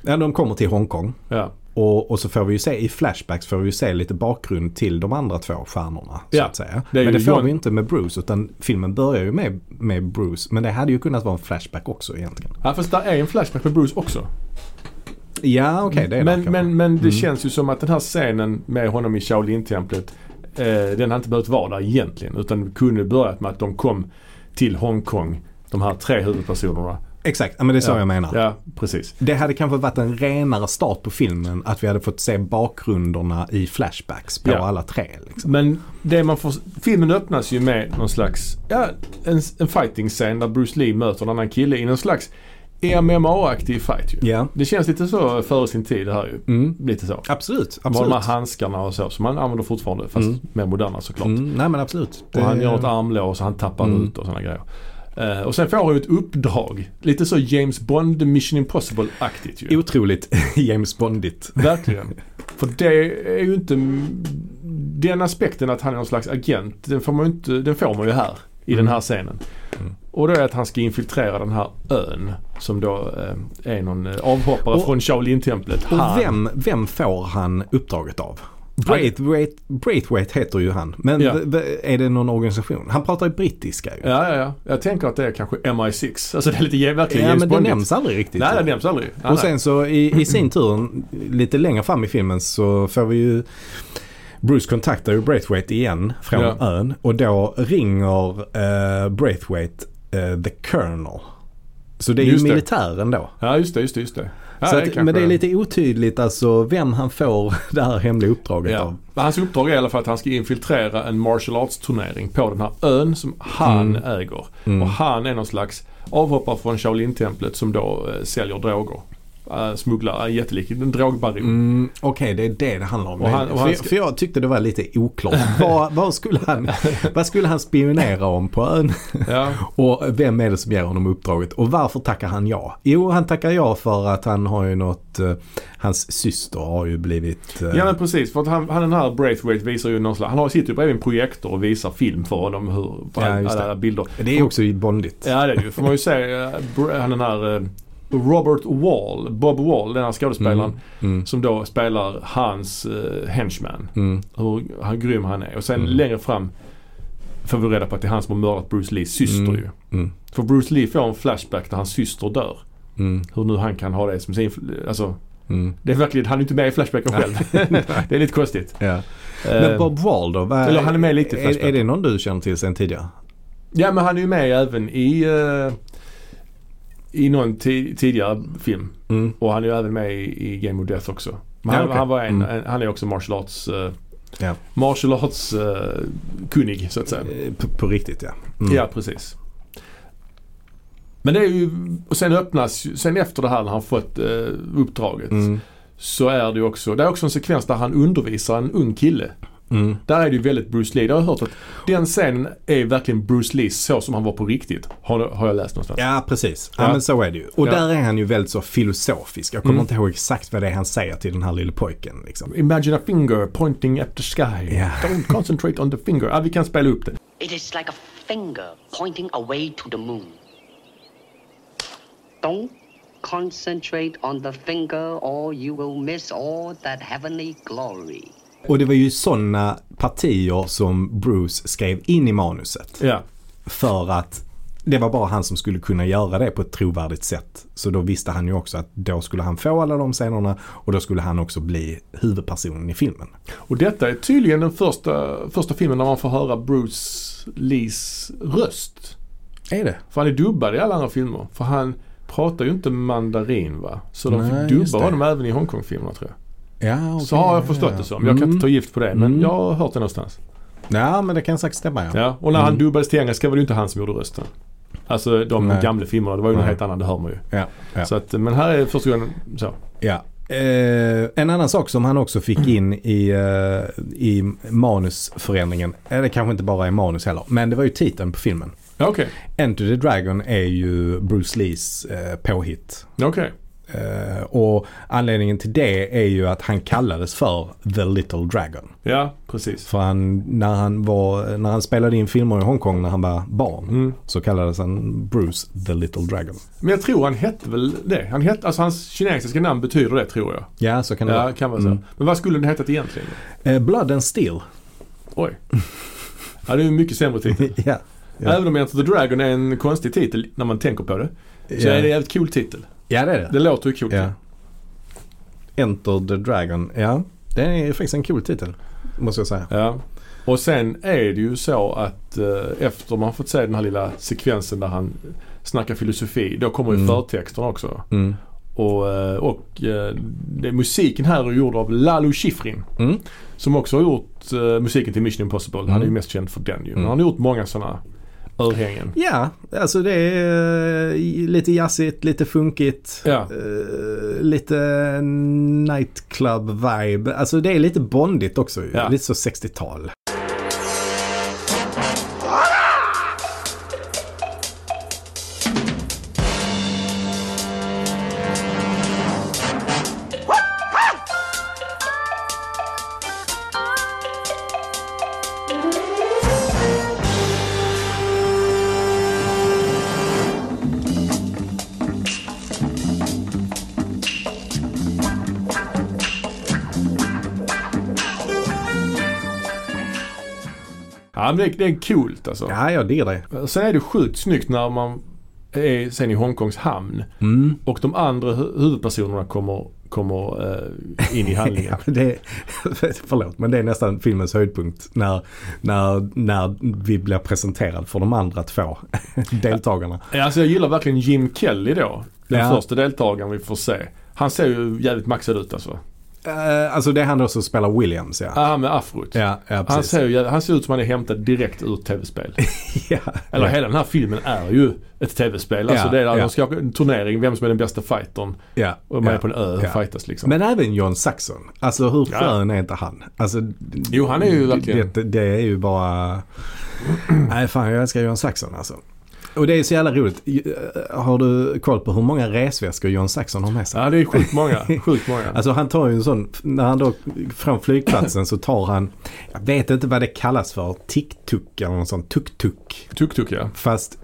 Speaker 2: ja de kommer till Hongkong.
Speaker 1: Ja.
Speaker 2: Och, och så får vi ju se i flashbacks får vi ju se lite bakgrund till de andra två stjärnorna.
Speaker 1: Ja,
Speaker 2: Så att säga.
Speaker 1: det är
Speaker 2: men
Speaker 1: ju
Speaker 2: det får
Speaker 1: John-
Speaker 2: vi inte med Bruce utan filmen börjar ju med, med Bruce. Men det hade ju kunnat vara en flashback också egentligen.
Speaker 1: ja, fast där är en flashback med Bruce också.
Speaker 2: Ja okej det är
Speaker 1: men,
Speaker 2: där
Speaker 1: men, men det
Speaker 2: Mm.
Speaker 1: känns ju som att den här scenen med honom i Shaolin-templet eh, den har inte behövt vara där egentligen. Utan kunde börjat med att de kom till Hongkong, de här tre huvudpersonerna.
Speaker 2: Exakt, ja, men det är så
Speaker 1: ja.
Speaker 2: jag menar.
Speaker 1: Ja, precis.
Speaker 2: Det hade kanske varit en renare start på filmen att vi hade fått se bakgrunderna i flashbacks på
Speaker 1: Ja.
Speaker 2: alla tre. Liksom.
Speaker 1: Men det man får, filmen öppnas ju med någon slags, ja, en, en fighting-scen där Bruce Lee möter en annan kille i någon slags MMA-aktig fight ju.
Speaker 2: Ja,
Speaker 1: Det känns lite så före sin tid det här ju.
Speaker 2: mm.
Speaker 1: Lite så.
Speaker 2: absolut.
Speaker 1: Med de här
Speaker 2: absolut.
Speaker 1: handskarna och så som man använder fortfarande fast
Speaker 2: Mm.
Speaker 1: mer moderna såklart.
Speaker 2: Mm, nej men absolut.
Speaker 1: Och han
Speaker 2: Det-
Speaker 1: gör ett armlås och han tappar
Speaker 2: Mm.
Speaker 1: ut och sådana grejer. Eh, och sen får han ju ett uppdrag. Lite så James Bond Mission Impossible-aktigt ju.
Speaker 2: Otroligt [LAUGHS] James Bondigt.
Speaker 1: Verkligen. För det är ju inte... Den aspekten att han är någon slags agent, den får man ju, inte, den får man ju här. I den här scenen.
Speaker 2: Mm.
Speaker 1: Och då är att han ska infiltrera den här ön som då eh, är någon eh, avhoppare
Speaker 2: Och-
Speaker 1: från Shaolin-templet. Han-
Speaker 2: Och vem, vem får han uppdraget av? Braithwaite, Braithwaite heter ju han. Men
Speaker 1: Ja.
Speaker 2: v- v- är det någon organisation? Han pratar ju brittiska ju.
Speaker 1: Ja, ja, ja. Jag tänker att det är kanske MI6. Alltså det är lite ge- verkligen
Speaker 2: Ja,
Speaker 1: James
Speaker 2: men det
Speaker 1: Bondigt.
Speaker 2: nämns aldrig riktigt.
Speaker 1: Nej, det nämns aldrig. Nej,
Speaker 2: och
Speaker 1: nej.
Speaker 2: sen så i, i sin tur, lite längre fram i filmen så får vi ju Bruce kontaktar ju Braithwaite igen från
Speaker 1: Ja.
Speaker 2: ön och då ringer eh, Braithwaite eh, The Colonel. Så det är
Speaker 1: Just
Speaker 2: ju
Speaker 1: det.
Speaker 2: militären då.
Speaker 1: Ja, just det, just det, just det. Ja,
Speaker 2: så
Speaker 1: det
Speaker 2: att,
Speaker 1: kanske-
Speaker 2: men det är lite otydligt alltså vem han får [LAUGHS] det här hemliga uppdraget av.
Speaker 1: Ja. Men Hans uppdrag är i alla fall att han ska infiltrera en martial arts turnering på den här ön som han äger.
Speaker 2: Mm.
Speaker 1: Och han är någon slags avhoppare från Shaolin-templet som då eh, säljer droger. Eh, smugglar, en jättelik, en drogbaron.
Speaker 2: Mm, Okej, det är det det handlar om.
Speaker 1: Och han- och han
Speaker 2: för,
Speaker 1: ska-
Speaker 2: för jag tyckte det var lite oklart. vad, vad, skulle han, vad skulle han spionera om på ön?
Speaker 1: Ja.
Speaker 2: Och vem är det som ger honom uppdraget? Och varför tackar han ja? Jo, han tackar ja för att han har ju något... eh, hans syster har ju blivit... eh,
Speaker 1: ja, men precis. För att han, han den här Braithwaite visar ju någon slags, han har sitter ju bredvid en projektor och visar film för honom hur,
Speaker 2: Ja,
Speaker 1: alla,
Speaker 2: just det.
Speaker 1: alla bilder.
Speaker 2: det är också ju bondigt.
Speaker 1: Ja det är det ju. Får man ju säga. eh, Br- Han den här eh, Robert Wall, Bob Wall, den här skådespelaren.
Speaker 2: Mm.
Speaker 1: Som då spelar hans eh, henchman.
Speaker 2: Mm.
Speaker 1: Hur han, grym han är. Och sen
Speaker 2: Mm.
Speaker 1: längre fram får vi reda på att det är han som har mördat Bruce Lees syster
Speaker 2: Mm.
Speaker 1: ju.
Speaker 2: Mm.
Speaker 1: För Bruce Lee får en flashback där hans syster dör.
Speaker 2: Mm.
Speaker 1: Hur nu han kan ha det som sin... fl- Alltså,
Speaker 2: Mm.
Speaker 1: det är verkligen, han är inte med i flashbacken själv. [LAUGHS] det är lite konstigt.
Speaker 2: Ja.
Speaker 1: Eh,
Speaker 2: Men Bob Wall då? Vad,
Speaker 1: eller han är med lite i
Speaker 2: är,
Speaker 1: Flashback.
Speaker 2: är det någon du känner till sen tidigare?
Speaker 1: Ja men han är ju med även i... eh, I någon ti- tidigare film.
Speaker 2: Mm.
Speaker 1: Och han är ju även med i, i Game of Death också. Men
Speaker 2: Ja,
Speaker 1: han,
Speaker 2: okej.
Speaker 1: han, var en,
Speaker 2: Mm.
Speaker 1: en, han är också martial arts, eh,
Speaker 2: Ja.
Speaker 1: martial arts eh, kunnig så att säga.
Speaker 2: Eh, På, på riktigt ja. Mm.
Speaker 1: Ja, precis. Men det är ju, och sen öppnas ju- sen efter det här när han fått eh, uppdraget
Speaker 2: Mm.
Speaker 1: så är det ju också, det är också en sekvens där han undervisar en ung kille.
Speaker 2: Mm.
Speaker 1: Där är det ju väldigt Bruce Lee. Det har jag hört att den scenen är verkligen Bruce Lee så som han var på riktigt. Har, har jag läst någonstans.
Speaker 2: Ja, precis. Ja,
Speaker 1: Ja.
Speaker 2: men så är det ju. Och
Speaker 1: Ja.
Speaker 2: där är han ju väldigt så filosofisk. Jag kommer
Speaker 1: Mm.
Speaker 2: inte ihåg exakt vad det är han säger till den här lille pojken. Liksom.
Speaker 1: Imagine a finger pointing at the sky.
Speaker 2: Ja.
Speaker 1: Don't concentrate on the finger. Ja, vi kan spela upp det.
Speaker 3: It is like a finger pointing away to the moon. Don't concentrate on the finger, or you will miss all that heavenly glory.
Speaker 2: Och det var ju sådana partier som Bruce skrev in i manuset.
Speaker 1: Ja.
Speaker 2: För att det var bara han som skulle kunna göra det på ett trovärdigt sätt. Så då visste han ju också att då skulle han få alla de scenerna och då skulle han också bli huvudpersonen i filmen.
Speaker 1: Och detta är tydligen den första, första filmen där man får höra Bruce Lees röst.
Speaker 2: Är det?
Speaker 1: För han är dubbad i alla andra filmer. För han, pratar ju inte mandarin va? Så de
Speaker 2: Nej,
Speaker 1: fick
Speaker 2: just
Speaker 1: dubba
Speaker 2: det.
Speaker 1: honom även i Hongkong-filmerna tror jag.
Speaker 2: Ja,
Speaker 1: Så
Speaker 2: okej,
Speaker 1: har
Speaker 2: ja,
Speaker 1: jag förstått
Speaker 2: ja.
Speaker 1: det som. Jag kan
Speaker 2: Mm.
Speaker 1: inte ta gift på det men
Speaker 2: Mm.
Speaker 1: jag har hört det någonstans.
Speaker 2: Ja, men det kan säkert stämma ja.
Speaker 1: Ja, och när han
Speaker 2: Mm.
Speaker 1: dubbades till engelska var det ju inte han som gjorde rösten. Alltså de
Speaker 2: Nej.
Speaker 1: gamla filmerna, det var ju något
Speaker 2: Nej.
Speaker 1: helt annat, det hör man ju.
Speaker 2: Ja, ja,
Speaker 1: Så att, men här är första gången så.
Speaker 2: ja. Eh, en annan sak som han också fick in i, eh, i manusförändringen, eller kanske inte bara i manus heller, men det var ju titeln på filmen.
Speaker 1: Ja, Okej,
Speaker 2: Enter the Dragon är ju Bruce Lees eh, påhitt.
Speaker 1: Ja, okej.
Speaker 2: Eh, och anledningen till det är ju att han kallades för The Little Dragon.
Speaker 1: Ja, precis.
Speaker 2: För han, när, han var, när han spelade in filmer i Hongkong när han var barn
Speaker 1: Mm.
Speaker 2: så kallades han Bruce The Little Dragon.
Speaker 1: Men jag tror han hette väl det. Han hette, alltså hans kinesiska namn betyder det tror jag.
Speaker 2: Ja, så kan det
Speaker 1: Ja,
Speaker 2: vara.
Speaker 1: kan vara
Speaker 2: Mm.
Speaker 1: så. Men vad skulle den hetat egentligen?
Speaker 2: Eh, Blood and Steel.
Speaker 1: Oj. Ja, det är en mycket sämre titel.
Speaker 2: ja. Ja.
Speaker 1: Även om Enter the Dragon är en konstig titel när man tänker på det. Så
Speaker 2: Ja.
Speaker 1: är det en jävligt cool titel.
Speaker 2: ja, det är det.
Speaker 1: Det låter ju coolt.
Speaker 2: Ja. Enter the Dragon. Ja, det är faktiskt en cool titel. Måste jag säga.
Speaker 1: Ja. Och sen är det ju så att eh, efter man fått se den här lilla sekvensen där han snackar filosofi, då kommer ju
Speaker 2: Mm.
Speaker 1: förtexterna också.
Speaker 2: Mm.
Speaker 1: Och, eh, och eh, det, musiken här är gjord av Lalo Schifrin.
Speaker 2: Mm.
Speaker 1: Som också har gjort eh, musiken till Mission Impossible. Han är ju
Speaker 2: Mm.
Speaker 1: mest känd för den ju. Men
Speaker 2: Mm.
Speaker 1: han har gjort många sådana örhängen.
Speaker 2: Ja, alltså det är eh, lite jazzigt, lite funkigt.
Speaker 1: Ja.
Speaker 2: eh, lite nightclub-vibe. Alltså det är lite bondigt också. ju.
Speaker 1: Ja.
Speaker 2: Lite så 60-tal.
Speaker 1: Ja men det, det är coolt alltså.
Speaker 2: Ja, jag diggar det.
Speaker 1: Sen är det sjukt snyggt när man är sen i Hongkongs hamn.
Speaker 2: Mm.
Speaker 1: Och de andra hu- huvudpersonerna kommer, kommer eh, in i handlingen.
Speaker 2: [LAUGHS] Ja, men det, förlåt, men det är [LAUGHS] nästan filmens höjdpunkt när, när, när vi blir presenterad för de andra två [LAUGHS] deltagarna.
Speaker 1: Ja, Alltså jag gillar verkligen Jim Kelly då. Den
Speaker 2: Ja.
Speaker 1: första deltagaren vi får se. Han ser ju jävligt maxad ut alltså.
Speaker 2: Eh, alltså det är han då som spelar Williams, ja.
Speaker 1: Ja, han med afrot.
Speaker 2: Ja, ja
Speaker 1: han,
Speaker 2: precis.
Speaker 1: ser ju, jävla- han ser ut som han är hämtad direkt ur tv-spel.
Speaker 2: [LAUGHS] ja,
Speaker 1: [LAUGHS] Eller
Speaker 2: ja,
Speaker 1: hela den här filmen är ju ett tv-spel. Alltså
Speaker 2: Ja,
Speaker 1: det är där
Speaker 2: ja.
Speaker 1: de ska ha en turnering, vem som är den bästa fightern.
Speaker 2: ja,
Speaker 1: Och man
Speaker 2: ja.
Speaker 1: är på en ö och
Speaker 2: ja.
Speaker 1: fightas liksom.
Speaker 2: Men även John Saxon. Alltså hur
Speaker 1: Ja.
Speaker 2: skön är inte han? Alltså, d-
Speaker 1: Jo, han är ju verkligen-
Speaker 2: Mm, Det, det är ju bara... [CLEARS THROAT] Nej, fan jag älskar John Saxon alltså. Och det är så jävla roligt. eh, Har du koll på hur många resväskor John Saxon har med sig?
Speaker 1: Ja det är sjukt många. Sjukt många.
Speaker 2: [LAUGHS] Alltså han tar ju en sån, när han då från flygplatsen så tar han, jag vet inte vad det kallas för, tuk-tuk eller någon sån tuk-tuk.
Speaker 1: Tuk-tuk ja.
Speaker 2: Fast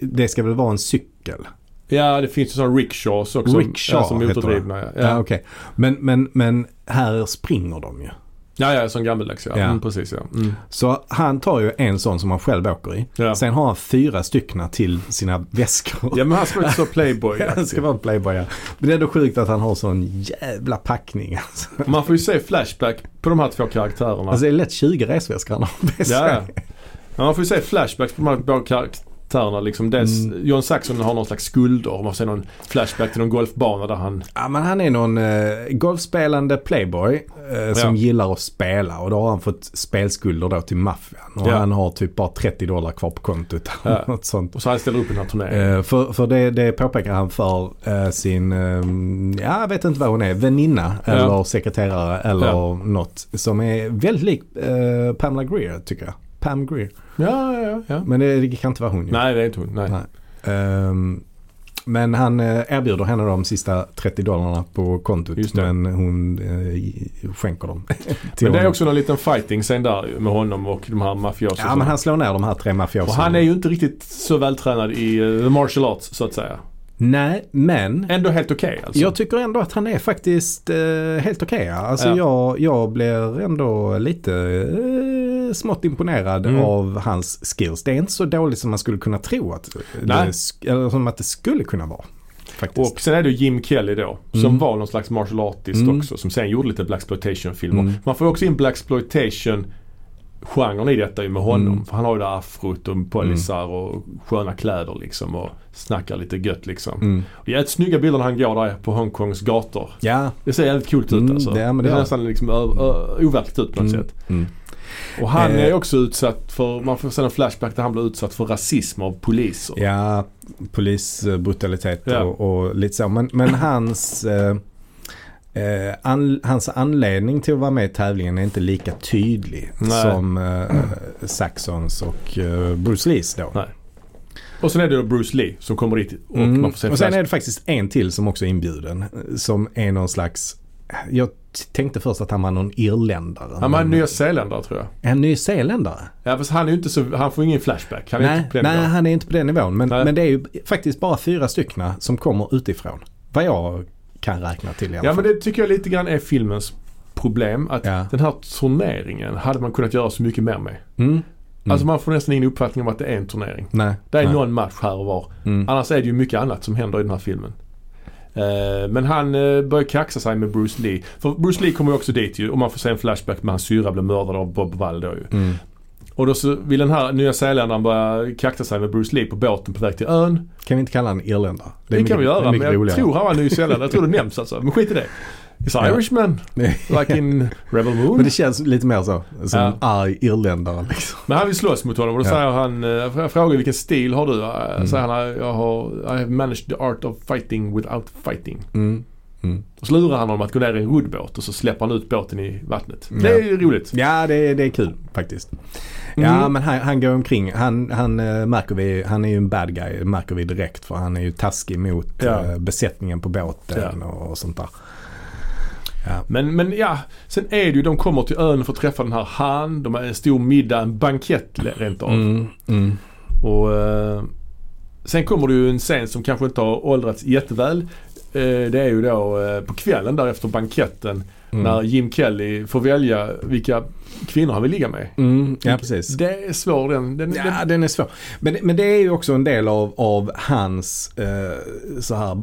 Speaker 2: det ska väl vara en cykel?
Speaker 1: Ja det finns ju sådana rickshaws också.
Speaker 2: Rickshaw
Speaker 1: ja, som är
Speaker 2: heter det.
Speaker 1: motordrivna. Ja.
Speaker 2: Ja,
Speaker 1: Ja.
Speaker 2: okej. Men, men, men här springer de ju.
Speaker 1: ja ja, som gammaldags ja.
Speaker 2: Ja.
Speaker 1: Mm, precis ja. Mm.
Speaker 2: Så han tar ju en sån som han själv åker i.
Speaker 1: Ja.
Speaker 2: Sen har han fyra stycken till sina väskor.
Speaker 1: ja men han ska vara lite så
Speaker 2: [LAUGHS]
Speaker 1: playboy
Speaker 2: Han ska vara en playboy ja. Men det är ändå sjukt att han har sån jävla packning alltså.
Speaker 1: Man får ju se flashback på de här två karaktärerna.
Speaker 2: Alltså det är lätt 20 resväskor han har med sig.
Speaker 1: ja. ja. Men man får ju se flashbacks på de här båda karaktärerna. Liksom dels
Speaker 2: Mm.
Speaker 1: John Saxon har någon slags skulder. Man får se någon flashback till någon golfbana där han...
Speaker 2: Ja men han är någon eh, golfspelande playboy eh, som
Speaker 1: Ja.
Speaker 2: gillar att spela och då har han fått spelskulder då till maffian. Och
Speaker 1: Ja.
Speaker 2: han har typ bara 30 dollar kvar på kontot.
Speaker 1: Ja.
Speaker 2: Något sånt.
Speaker 1: Och så han ställer upp i den här turneringen.
Speaker 2: Eh, för för det, det påpekar han för eh, sin, eh, ja, jag vet inte vad hon är, väninna
Speaker 1: Ja.
Speaker 2: eller sekreterare eller
Speaker 1: Ja.
Speaker 2: något. Som är väldigt lik eh, Pamela Greer tycker jag. Pam Greer.
Speaker 1: Ja, ja, ja.
Speaker 2: Men det, det kan inte vara hon ju.
Speaker 1: Nej, det är inte hon. Nej.
Speaker 2: Nej. Ehm, men han eh, erbjuder henne de sista 30 dollarna på kontot.
Speaker 1: Just det.
Speaker 2: men hon eh,
Speaker 1: [LAUGHS]
Speaker 2: skänker dem. till
Speaker 1: Men det är
Speaker 2: honom.
Speaker 1: också någon liten fighting scen där ju med honom och de här mafioserna.
Speaker 2: Ja men han slår ner de här tre mafioserna.
Speaker 1: Och han är ju inte riktigt så vältränad i eh, the martial arts så att säga.
Speaker 2: Nej men.
Speaker 1: Ändå helt okej alltså.
Speaker 2: Jag tycker ändå att han är faktiskt eh, helt okej. ja. alltså
Speaker 1: Ja.
Speaker 2: jag, jag blir ändå lite eh, smått imponerad
Speaker 1: Mm.
Speaker 2: av hans skills. Det är inte så dåligt som man skulle kunna tro att, det,
Speaker 1: Nej.
Speaker 2: sk- eller som att det skulle kunna vara. Faktiskt.
Speaker 1: Och sen är det ju Jim Kelly då som
Speaker 2: Mm.
Speaker 1: var någon slags martial artist
Speaker 2: Mm.
Speaker 1: också som sen gjorde lite blaxploitation filmer
Speaker 2: Mm.
Speaker 1: Man får ju också in blaxploitation genren i detta är ju med honom.
Speaker 2: Mm.
Speaker 1: För han har ju det här afrot och pollisar och sköna kläder liksom och snackar lite gött liksom.
Speaker 2: Mm.
Speaker 1: Det är jävligt snygga bilder när han går där på Hongkongs gator.
Speaker 2: Ja.
Speaker 1: Det ser jävligt coolt ut
Speaker 2: Mm,
Speaker 1: alltså.
Speaker 2: det- ja, men det
Speaker 1: det ser
Speaker 2: gör det.
Speaker 1: nästan liksom ö- ö- overkligt ut på något sätt.
Speaker 2: Mm.
Speaker 1: Och han
Speaker 2: Eh.
Speaker 1: är också utsatt för, man får sen en flashback där han blir utsatt för rasism av poliser.
Speaker 2: Ja, polisbrutalitet
Speaker 1: Ja.
Speaker 2: och, och lite så. Men, men hans, eh, eh, an, hans anledning till att vara med i tävlingen är inte lika tydlig
Speaker 1: Nej.
Speaker 2: som eh, Saxons och eh, Bruce Lees då.
Speaker 1: Nej. Och sen är det då Bruce Lee som kommer dit och
Speaker 2: Mm.
Speaker 1: man får se
Speaker 2: och sen
Speaker 1: flash-
Speaker 2: är det faktiskt en till som också är inbjuden. eh, Som är någon slags, jag t- tänkte först att han var någon irländare.
Speaker 1: Ja, men han är nyzeeländare tror jag.
Speaker 2: är han nyzeeländare?
Speaker 1: Ja, fast han är ju inte så, han får ingen flashback. Han är
Speaker 2: nej,
Speaker 1: inte på den
Speaker 2: nej,
Speaker 1: nivån.
Speaker 2: han är inte på den nivån. Men,
Speaker 1: Nej.
Speaker 2: men det är ju faktiskt bara fyra stycken som kommer utifrån. Vad jag kan räkna till i alla
Speaker 1: Ja
Speaker 2: fall.
Speaker 1: men det tycker jag lite grann är filmens problem. Att
Speaker 2: Ja.
Speaker 1: den här turneringen hade man kunnat göra så mycket mer med.
Speaker 2: Mm.
Speaker 1: Alltså man får nästan ingen uppfattning om att det är en turnering.
Speaker 2: Nej.
Speaker 1: Det är
Speaker 2: nej.
Speaker 1: någon match här och var.
Speaker 2: Mm.
Speaker 1: Annars är det ju mycket annat som händer i den här filmen. Eh, Men han eh, börjar kaxa sig med Bruce Lee. För Bruce Lee kommer ju också dit ju och man får se en flashback med hans syrra blev mördad av Bob Wall då ju.
Speaker 2: Mm.
Speaker 1: Och då så vill den här nya zeeländaren börja kaxa sig med Bruce Lee på båten på väg till ön.
Speaker 2: Kan vi inte kalla han irländare?
Speaker 1: Det,
Speaker 2: är
Speaker 1: kan vi
Speaker 2: mycket- det är
Speaker 1: göra men
Speaker 2: mycket
Speaker 1: jag
Speaker 2: roligare.
Speaker 1: tror han var nyzeeländare. Jag tror det nämns alltså. Men skit i
Speaker 2: [LAUGHS]
Speaker 1: det. It's
Speaker 2: Ja.
Speaker 1: Irishman.
Speaker 2: [LAUGHS]
Speaker 1: Like in Rebel Moon.
Speaker 2: [LAUGHS] men det känns lite mer så. Som
Speaker 1: Ja.
Speaker 2: en arg irländare liksom.
Speaker 1: Men han vill slåss mot honom och då
Speaker 2: Ja.
Speaker 1: säger han, eh, jag frågar vilken stil har du? Eh,
Speaker 2: Mm.
Speaker 1: Säger han, jag har, I have managed the art of fighting without fighting.
Speaker 2: Mm. Mm.
Speaker 1: Och så lurar han honom att gå ner i en roddbåt och så släpper han ut båten i vattnet.
Speaker 2: Ja.
Speaker 1: Det är ju roligt.
Speaker 2: Ja, det, är- det är kul faktiskt. Ja,
Speaker 1: Mm.
Speaker 2: men han, han går omkring. Han, han eh, märker vi, han är ju en bad guy, det märker vi direkt. För han är ju taskig mot
Speaker 1: Ja.
Speaker 2: eh, besättningen på båten
Speaker 1: Ja.
Speaker 2: och, och sånt där.
Speaker 1: Men, men ja, sen är det ju, de kommer till ön för att träffa den här han. De har en stor middag, en bankett rent av.
Speaker 2: Mm. Mm.
Speaker 1: Och, eh, sen kommer det ju en scen som kanske inte har åldrats jätteväl. Eh, det är ju då eh, på kvällen där efter banketten
Speaker 2: Mm.
Speaker 1: när Jim Kelly får välja vilka kvinnor han vill ligga med.
Speaker 2: Mm. Ja, precis.
Speaker 1: Det är svår den. den, den
Speaker 2: Ja, den är svår. Men, men det är ju också en del av, av hans eh, så här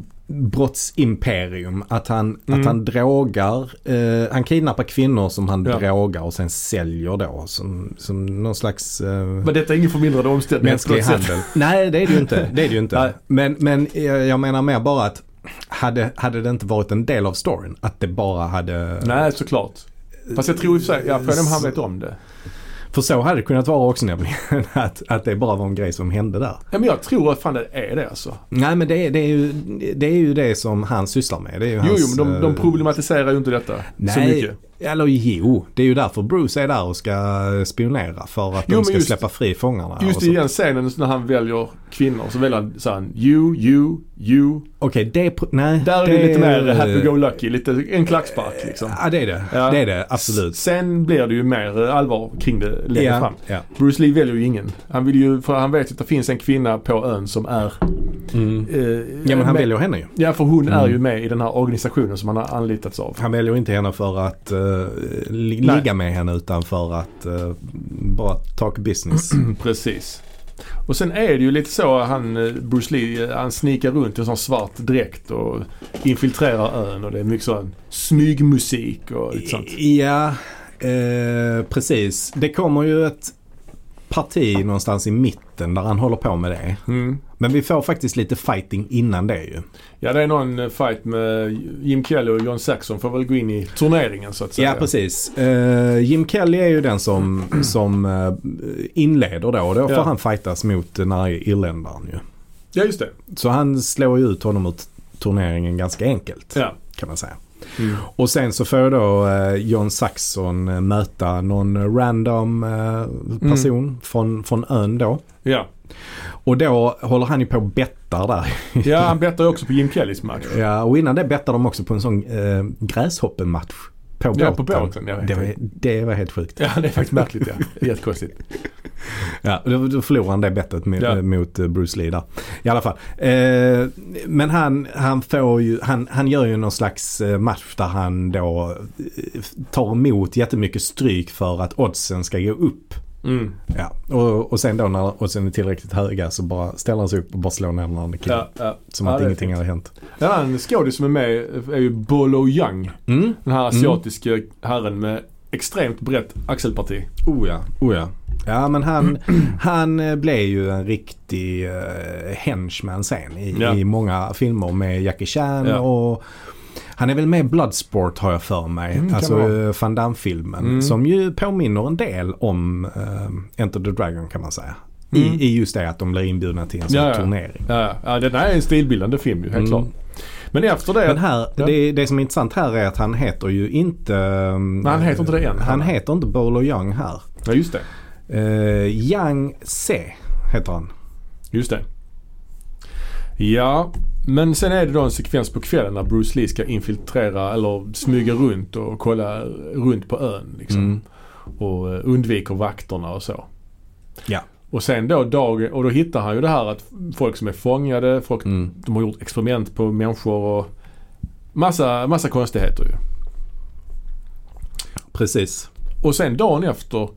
Speaker 2: brottsimperium. Att han,
Speaker 1: Mm.
Speaker 2: att han drogar, eh, han kidnappar kvinnor som han
Speaker 1: Ja.
Speaker 2: drogar och sen säljer då som, som någon slags eh,
Speaker 1: men detta är ingen förmildrande omständighet. på
Speaker 2: mänsklig
Speaker 1: något sätt.
Speaker 2: handel. [LAUGHS] Nej, det är det ju
Speaker 1: [LAUGHS]
Speaker 2: inte. Det är det ju inte.
Speaker 1: Nej.
Speaker 2: men men eh, jag menar mer bara att hade, hade det inte varit en del av storyn, att det bara hade...
Speaker 1: Nej, såklart. Fast jag tror i och för sig, ja, frågan är om han vet om det.
Speaker 2: För så hade det kunnat vara också nämligen. [LAUGHS] Att, att det bara var en grej som hände där.
Speaker 1: Ja, men jag tror att fan det är det alltså.
Speaker 2: Nej men det är, det, är ju, det är ju det som han sysslar med. Det är ju
Speaker 1: Jo,
Speaker 2: hans,
Speaker 1: jo, men de, de
Speaker 2: eh,
Speaker 1: problematiserar ju inte detta
Speaker 2: nej,
Speaker 1: så mycket.
Speaker 2: Eller jo, det är ju därför Bruce är där och ska spionera. För att
Speaker 1: Jo,
Speaker 2: de
Speaker 1: men
Speaker 2: ska
Speaker 1: just-
Speaker 2: släppa fri fångarna. och
Speaker 1: Just
Speaker 2: så.
Speaker 1: i den scenen när han väljer kvinnor så väljer han, så han you, you, you.
Speaker 2: Okej, det är... pro- Nej,
Speaker 1: Där är det lite mer happy-go-lucky, lite en klackspark liksom.
Speaker 2: Ja det är det.
Speaker 1: Ja.
Speaker 2: Det är det, absolut.
Speaker 1: Sen blir det ju mer eh, allvar kring det längre
Speaker 2: Ja,
Speaker 1: fram.
Speaker 2: ja.
Speaker 1: Bruce Lee väljer ju ingen. Han vill ju, för han vet att det finns en kvinna på ön som är... Eh,
Speaker 2: ja men han Mm.
Speaker 1: med,
Speaker 2: väljer henne ju.
Speaker 1: Ja, för hon är ju med i den här organisationen som han har anlitats av.
Speaker 2: Han väljer inte henne för att eh, li-
Speaker 1: Nej.
Speaker 2: ligga med henne utan för att eh, bara talk business.
Speaker 1: Precis. Och sen är det ju lite så han, eh, Bruce Lee, eh, han snikar runt i en sån svart dräkt och infiltrerar ön och det är mycket sån smygmusik och lite [CLEARS THROAT] sånt.
Speaker 2: Ja, eh, precis. Det kommer ju ett parti någonstans i mitten där han håller på med det.
Speaker 1: Mm.
Speaker 2: Men vi får faktiskt lite fighting innan det ju.
Speaker 1: Ja, det är någon eh, fight med Jim Kelly och John Saxon får väl gå in i turneringen så att säga.
Speaker 2: Ja, precis. Eh, Jim Kelly är ju den som, som eh, inleder då. och Då får
Speaker 1: Ja.
Speaker 2: han fightas mot den arga irländaren ju.
Speaker 1: Ja, just det.
Speaker 2: Så han slår ju ut honom ur t- turneringen ganska enkelt
Speaker 1: Ja. Mm.
Speaker 2: kan man säga. Och sen så får då eh, John Saxon eh, möta någon random eh, person
Speaker 1: Mm.
Speaker 2: från, från ön då.
Speaker 1: Ja.
Speaker 2: Och då håller han ju på och bettar där. [LAUGHS]
Speaker 1: ja, han bettar ju också på Jim Kellys match.
Speaker 2: Ja, och innan det bettade de också på en sån eh, gräshoppematch. På båten.
Speaker 1: Ja, på båten, ja.
Speaker 2: det, var, det var helt sjukt.
Speaker 1: Ja, det är faktiskt märkligt ja. Det är Jättekonstigt.
Speaker 2: Ja, och då, då förlorade han det bettet med,
Speaker 1: Ja.
Speaker 2: eh, mot eh, Bruce Lee där. I alla fall. Eh, men han, han, får ju, han, han gör ju någon slags eh, match där han då eh, tar emot jättemycket stryk för att oddsen ska gå upp.
Speaker 1: Mm.
Speaker 2: Ja, och, och sen då när oddsen är tillräckligt höga så bara ställer han sig upp och bara slår ner den andra killen.
Speaker 1: Ja, ja.
Speaker 2: Som
Speaker 1: ja,
Speaker 2: att
Speaker 1: det är
Speaker 2: ingenting
Speaker 1: fint.
Speaker 2: hade hänt.
Speaker 1: En annan skådis som är med är ju Bolo Young.
Speaker 2: Mm.
Speaker 1: Den här asiatiska herren med extremt brett axelparti.
Speaker 2: Oh ja, oh ja. Ja men han, [CLEARS THROAT] han eh, blev ju en riktig uh, henchman sen i,
Speaker 1: Ja.
Speaker 2: i många filmer med Jackie Chan
Speaker 1: Ja.
Speaker 2: och han är väl med i Bloodsport har jag för mig.
Speaker 1: Mm, kan
Speaker 2: alltså
Speaker 1: det vara.
Speaker 2: eh, Van Damme-filmen.
Speaker 1: Mm.
Speaker 2: Som ju påminner en del om eh, Enter the Dragon kan man säga.
Speaker 1: Mm.
Speaker 2: I, I just det att de blir inbjudna till en sån
Speaker 1: Ja, ja.
Speaker 2: turnering.
Speaker 1: Ja, ja, den här är en stilbildande film ju, helt
Speaker 2: Mm.
Speaker 1: klart. Men efter det...
Speaker 2: Men här,
Speaker 1: Ja.
Speaker 2: det, det som är intressant här är att han heter ju inte... eh,
Speaker 1: Nej, han heter inte det än.
Speaker 2: Han heter inte Bolo Young här.
Speaker 1: Ja, just det.
Speaker 2: Eh, Yang Se heter han.
Speaker 1: Just det. Ja, men sen är det då en sekvens på kvällen när Bruce Lee ska infiltrera eller smyga runt och kolla runt på ön. Liksom,
Speaker 2: Mm.
Speaker 1: Och eh, undviker vakterna och så.
Speaker 2: Ja.
Speaker 1: Och sen då dag, och då hittar han ju det här att folk som är fångade, folk,
Speaker 2: Mm.
Speaker 1: de har gjort experiment på människor och massa, massa konstigheter ju.
Speaker 2: Precis.
Speaker 1: Och sen dagen efter,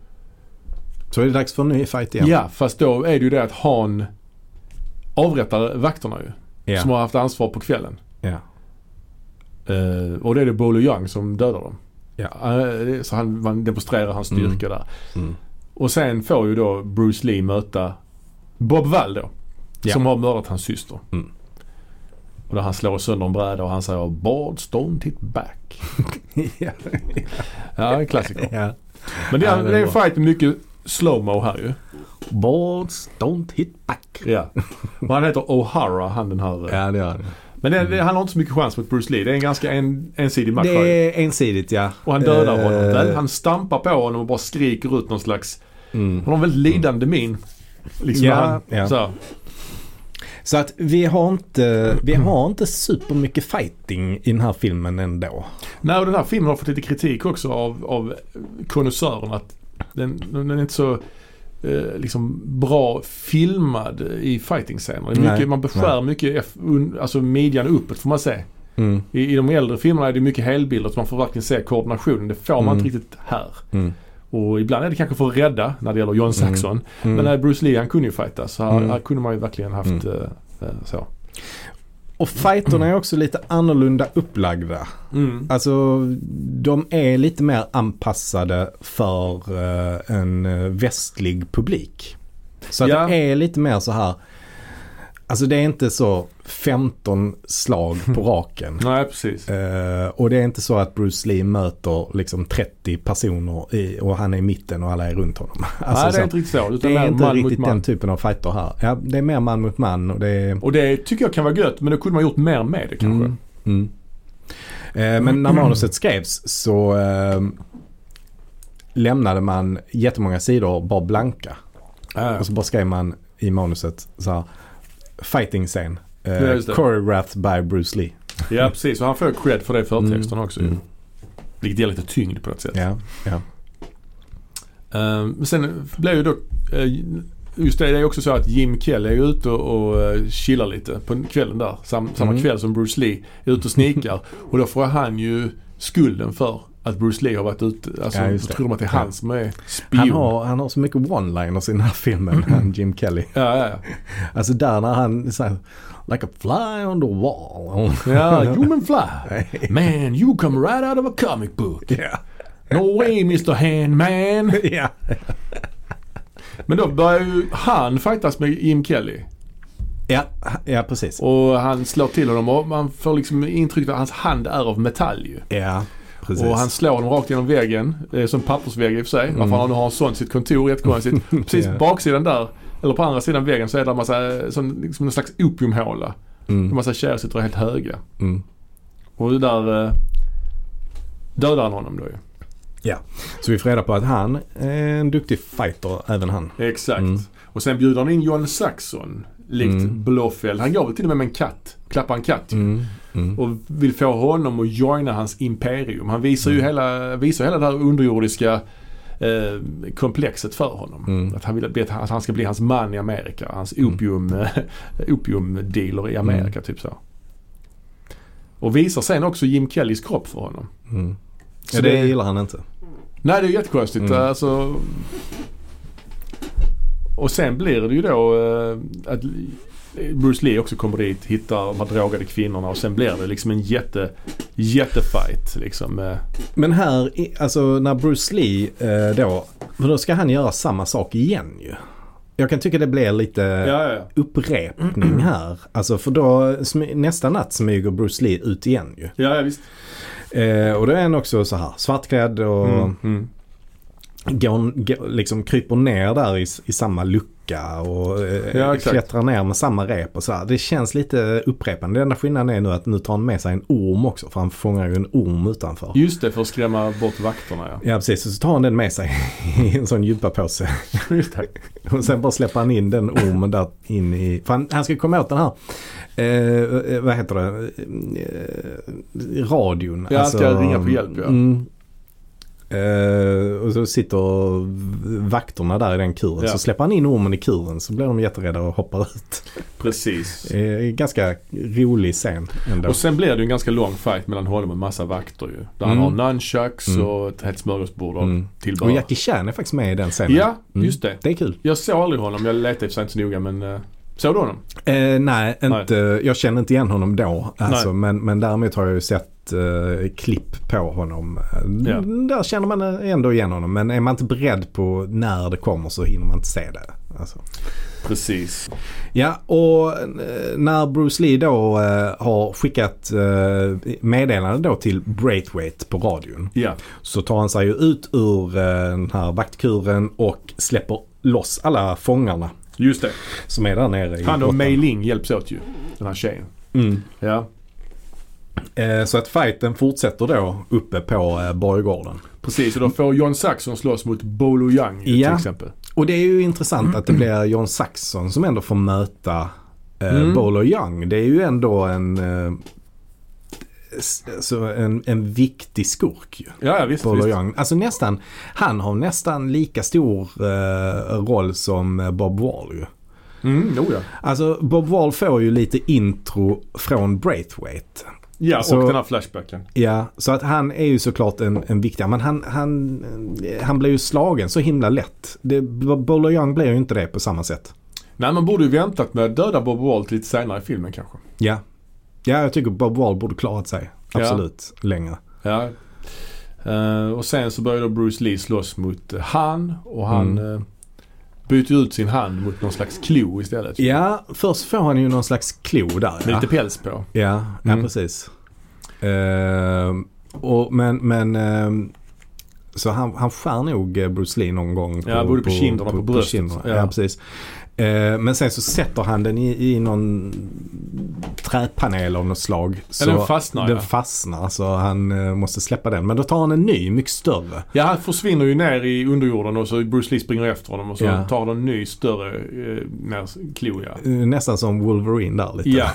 Speaker 2: Så är det dags för en ny fight
Speaker 1: ja,
Speaker 2: igen.
Speaker 1: fast då är det ju det att han avrättar vakterna ju.
Speaker 2: Ja.
Speaker 1: Som har haft ansvar på kvällen.
Speaker 2: Ja.
Speaker 1: Eh, och det är det Bolo Young som dödar dem.
Speaker 2: Ja.
Speaker 1: Eh, så han, man demonstrerar hans styrka där.
Speaker 2: Mm.
Speaker 1: Och sen får ju då Bruce Lee möta Bob Wall då.
Speaker 2: Ja.
Speaker 1: Som har mördat hans syster.
Speaker 2: Mm.
Speaker 1: Och där han slår sönder en bräda och han säger “Bard stoned hit back”.
Speaker 2: [LAUGHS] ja.
Speaker 1: Ja, en klassiker.
Speaker 2: [LAUGHS] ja.
Speaker 1: Men det
Speaker 2: Ja,
Speaker 1: är,
Speaker 2: det är
Speaker 1: det är en
Speaker 2: bra.
Speaker 1: fight med mycket slowmo här ju.
Speaker 2: Boards don't hit back.
Speaker 1: Ja. Och han heter O'Hara, han den här. eh.
Speaker 2: Ja, det gör det.
Speaker 1: Men det, det, han har inte så mycket chans mot Bruce Lee. Det är en ganska en, ensidig match. här ju.
Speaker 2: Det är ensidigt ja.
Speaker 1: Och han dödar honom.
Speaker 2: Eh,
Speaker 1: väl. Han stampar på honom och bara skriker ut någon slags...
Speaker 2: Mm.
Speaker 1: Han har en väldigt lidande min. Liksom
Speaker 2: Ja,
Speaker 1: när han,
Speaker 2: ja.
Speaker 1: Så.
Speaker 2: Så att vi har inte, vi har inte supermycket fighting i den här filmen ändå.
Speaker 1: Nej, och den här filmen har fått lite kritik också av, av konnässörerna. Att den, den är inte så eh, liksom bra filmad i fighting-scener. Det är mycket-
Speaker 2: Nej,
Speaker 1: Man beskär mycket F, un, alltså midjan uppåt får man se.
Speaker 2: Mm.
Speaker 1: I, I de äldre filmerna är det mycket helbilder så man får verkligen se koordinationen. Det får man
Speaker 2: Mm.
Speaker 1: inte riktigt här.
Speaker 2: Mm.
Speaker 1: Och ibland är det kanske för att rädda när det gäller John Saxon. Men när Bruce Lee han kunde ju fighta så här,
Speaker 2: Mm.
Speaker 1: här kunde man ju verkligen haft eh, eh, så.
Speaker 2: Och fighterna är också lite annorlunda upplagda. Alltså de är lite mer anpassade för eh, en eh, västlig publik. Så att
Speaker 1: Ja.
Speaker 2: det är lite mer så här. Alltså det är inte så 15 slag
Speaker 1: [LAUGHS]
Speaker 2: på raken.
Speaker 1: Nej, precis.
Speaker 2: Eh, och det är inte så att Bruce Lee möter liksom 30 personer i, och han är i mitten och alla är runt honom. [LAUGHS] Alltså,
Speaker 1: Nej, det är
Speaker 2: så.
Speaker 1: inte riktigt så. Utan
Speaker 2: det är inte
Speaker 1: man
Speaker 2: riktigt
Speaker 1: mot man.
Speaker 2: den typen av fighter här. Ja, det är mer man mot man och det är...
Speaker 1: Och det tycker jag kan vara gött men då kunde man gjort mer med det kanske.
Speaker 2: Mm. Mm. Eh,
Speaker 1: Mm.
Speaker 2: men när manuset skrevs så eh, lämnade man jättemånga sidor bara blanka.
Speaker 1: Ah, Ja.
Speaker 2: Och så bara skrev man i manuset så här, fighting scen.
Speaker 1: Ja,
Speaker 2: Eh,
Speaker 1: just det.
Speaker 2: choreographed by Bruce Lee.
Speaker 1: ja, precis. Och han får cred för det i förtexten också ju.
Speaker 2: Mm.
Speaker 1: Vilket ger lite tyngd på något sätt.
Speaker 2: Ja, ja.
Speaker 1: Ehm, men sen blev ju då... eh, just det, det är också så att Jim Kell är ju ute och eh, chillar lite på kvällen där. Sam, samma
Speaker 2: Mm.
Speaker 1: kväll som Bruce Lee är ute och snikar. och då får han ju skulden för att Bruce Lee har varit ute. Alltså,
Speaker 2: Ja,
Speaker 1: då
Speaker 2: just det.
Speaker 1: tror de att det är
Speaker 2: Ja.
Speaker 1: han som är spion.
Speaker 2: Han, har, han har så mycket one-liners i den här filmen,
Speaker 1: Mm.
Speaker 2: han [LAUGHS] Jim Kelly.
Speaker 1: Ja, ja,
Speaker 2: Alltså där när han så här, like a fly on the wall.
Speaker 1: ja. ja, human fly. Man, you come right out of a comic book.
Speaker 2: [LAUGHS] Ja,
Speaker 1: No way Mr Handman.
Speaker 2: ja.
Speaker 1: Men då börjar ju han fightas med Jim Kelly.
Speaker 2: Ja, ja precis.
Speaker 1: Och han slår till honom och man får liksom intrycket att hans hand är av metall ju.
Speaker 2: Ja, precis.
Speaker 1: Och han slår honom rakt genom väggen, eh, som pappersvägg i och för sig. Varför han nu har en sån i sitt kontor,
Speaker 2: [LAUGHS]
Speaker 1: jättekonstigt. Precis
Speaker 2: Mm. Ja.
Speaker 1: baksidan där, eller på andra sidan väggen så är det en massa, som liksom en slags opiumhåla.
Speaker 2: Mm.
Speaker 1: En massa tjejer sitter helt höga.
Speaker 2: Mm.
Speaker 1: Och det där eh, dödar han honom då ju.
Speaker 2: Ja, så vi får reda på att han är en duktig fighter, även han.
Speaker 1: Exakt.
Speaker 2: Mm.
Speaker 1: Och sen bjuder han in John Saxon, likt
Speaker 2: Mm.
Speaker 1: Blofeld. Han gav väl till och med med en katt, klappar en katt ju.
Speaker 2: Mm. Mm.
Speaker 1: och vill få honom att joina hans imperium. Han visar
Speaker 2: Mm.
Speaker 1: ju hela, visar hela det här underjordiska eh, komplexet för honom.
Speaker 2: Mm.
Speaker 1: Att, han vill, att- att han ska bli hans man i Amerika. Hans opium, eh, [LAUGHS] opiumdealer i Amerika,
Speaker 2: Mm.
Speaker 1: typ så. Och visar sen också Jim Kellys kropp för honom.
Speaker 2: Mm.
Speaker 1: Så
Speaker 2: Ja, det
Speaker 1: det-
Speaker 2: gillar han inte.
Speaker 1: Mm. Nej, det är jättekonstigt.
Speaker 2: Mm.
Speaker 1: Alltså, Och sen blir det ju då eh, att Bruce Lee också kommer dit, hittar de här drogade kvinnorna och sen blir det liksom en jätte, jättefight. Liksom. eh.
Speaker 2: Men här, i- alltså när Bruce Lee eh, då, för då ska han göra samma sak igen ju. Jag kan tycka det blir lite
Speaker 1: Ja, ja, ja.
Speaker 2: upprepning här. Alltså för då, smy- nästa natt smyger Bruce Lee ut igen ju.
Speaker 1: Ja, ja visst.
Speaker 2: Eh, och då är han också så här svartklädd och
Speaker 1: Mm, mm.
Speaker 2: går, går, liksom kryper ner där i, s- i samma lucka och eh,
Speaker 1: Ja, exakt.
Speaker 2: klättrar ner med samma rep och så här. Det känns lite upprepande. Den enda skillnaden är nu att nu tar han med sig en orm också för han fångar ju en orm utanför.
Speaker 1: Just det, för att skrämma bort vakterna ja.
Speaker 2: Ja precis, så tar han den med sig [LAUGHS] i en sån gympapåse.
Speaker 1: Just det.
Speaker 2: Och sen bara släpper han in den ormen där in i... För han, han ska komma åt den här... Eh, eh, vad heter det? Eh, radion. Alltså,
Speaker 1: Ja, han ska ringa på hjälp, ja.
Speaker 2: Mm. Eh, och så sitter vakterna där i den kuren.
Speaker 1: Ja.
Speaker 2: Så släpper han in ormen i kuren så blir de jätterädda och hoppar ut.
Speaker 1: Precis.
Speaker 2: Eh, ganska rolig scen ändå.
Speaker 1: Och sen blir det ju en ganska lång fight mellan honom och en massa vakter ju. Där
Speaker 2: Mm.
Speaker 1: han har nunchucks
Speaker 2: Mm.
Speaker 1: och ett helt smörgåsbord av
Speaker 2: Mm.
Speaker 1: tillbehör.
Speaker 2: Och Jackie Chan är faktiskt med i den scenen. Mm.
Speaker 1: Ja, just det.
Speaker 2: Det är kul.
Speaker 1: Jag såg aldrig honom. Jag letade i och för sig inte så noga men eh, såg du honom?
Speaker 2: Eh, nej, inte, jag känner inte igen honom då. Alltså,
Speaker 1: Nej.
Speaker 2: men, men däremot har jag ju sett eh, klipp på honom. Eh,
Speaker 1: Ja.
Speaker 2: Där känner man eh, ändå igen honom. Men är man inte beredd på när det kommer så hinner man inte se det. Alltså.
Speaker 1: Precis.
Speaker 2: Ja, och eh, när Bruce Lee då eh, har skickat eh, meddelande då till Braithwaite på radion.
Speaker 1: Ja,
Speaker 2: Så tar han sig ju ut ur eh, den här vaktkuren och släpper loss alla fångarna
Speaker 1: just det.
Speaker 2: som är där nere i
Speaker 1: Han och
Speaker 2: grottan.
Speaker 1: Mei Ling hjälps åt ju. Den här tjejen.
Speaker 2: Mm.
Speaker 1: Ja,
Speaker 2: Eh, Så att fighten fortsätter då uppe på eh, borggården.
Speaker 1: precis. Och då får John Saxon slåss mot Bolo Yang ju,
Speaker 2: Ja.
Speaker 1: till exempel.
Speaker 2: Och det är ju intressant
Speaker 1: Mm.
Speaker 2: att det blir John Saxon som ändå får möta eh,
Speaker 1: Mm.
Speaker 2: Bolo Young. Det är ju ändå en, eh, s- alltså en, en viktig skurk ju.
Speaker 1: Ja, ja visst.
Speaker 2: Bolo
Speaker 1: visst.
Speaker 2: Young. Alltså nästan, han har nästan lika stor eh, roll som eh, Bob Wall ju.
Speaker 1: Mm, jo, ja.
Speaker 2: Alltså Bob Wall får ju lite intro från Braithwaite.
Speaker 1: ja och
Speaker 2: Så-
Speaker 1: den här flashbacken.
Speaker 2: Ja, så att han är ju såklart en, en viktig, men han, han, han blir ju slagen så himla lätt. Det, Bolo Young blir ju inte det på samma sätt.
Speaker 1: Nej, man borde ju väntat med att döda Bob Wall till lite senare i filmen kanske.
Speaker 2: Ja. Ja, jag tycker Bob Wall borde klarat sig.
Speaker 1: Ja.
Speaker 2: Absolut. Längre.
Speaker 1: Ja. Eh, och sen så börjar då Bruce Lee slåss mot eh, han och han eh, byter ut sin hand mot någon slags klo istället.
Speaker 2: Ja, först får han ju någon slags klo där.
Speaker 1: Med
Speaker 2: Ja,
Speaker 1: lite päls på.
Speaker 2: ja, ja
Speaker 1: Mm.
Speaker 2: precis. Ehm, och, men, men ehm, så han, han skär nog eh, Bruce Lee någon gång.
Speaker 1: Ja, både på kinderna och på bröstet.
Speaker 2: kinderna. Ja.
Speaker 1: Ja.
Speaker 2: precis. Eh, men sen så sätter han den i, i någon träpanel av något slag. Så
Speaker 1: den fastnar,
Speaker 2: Den
Speaker 1: ja.
Speaker 2: fastnar så han eh, måste släppa den. Men då tar han en ny, mycket större.
Speaker 1: Ja, han försvinner ju ner i underjorden och så Bruce Lee springer efter honom och så
Speaker 2: Ja.
Speaker 1: tar han en ny större eh, mer klo. Ja.
Speaker 2: Eh, Nästan som Wolverine där lite.
Speaker 1: ja.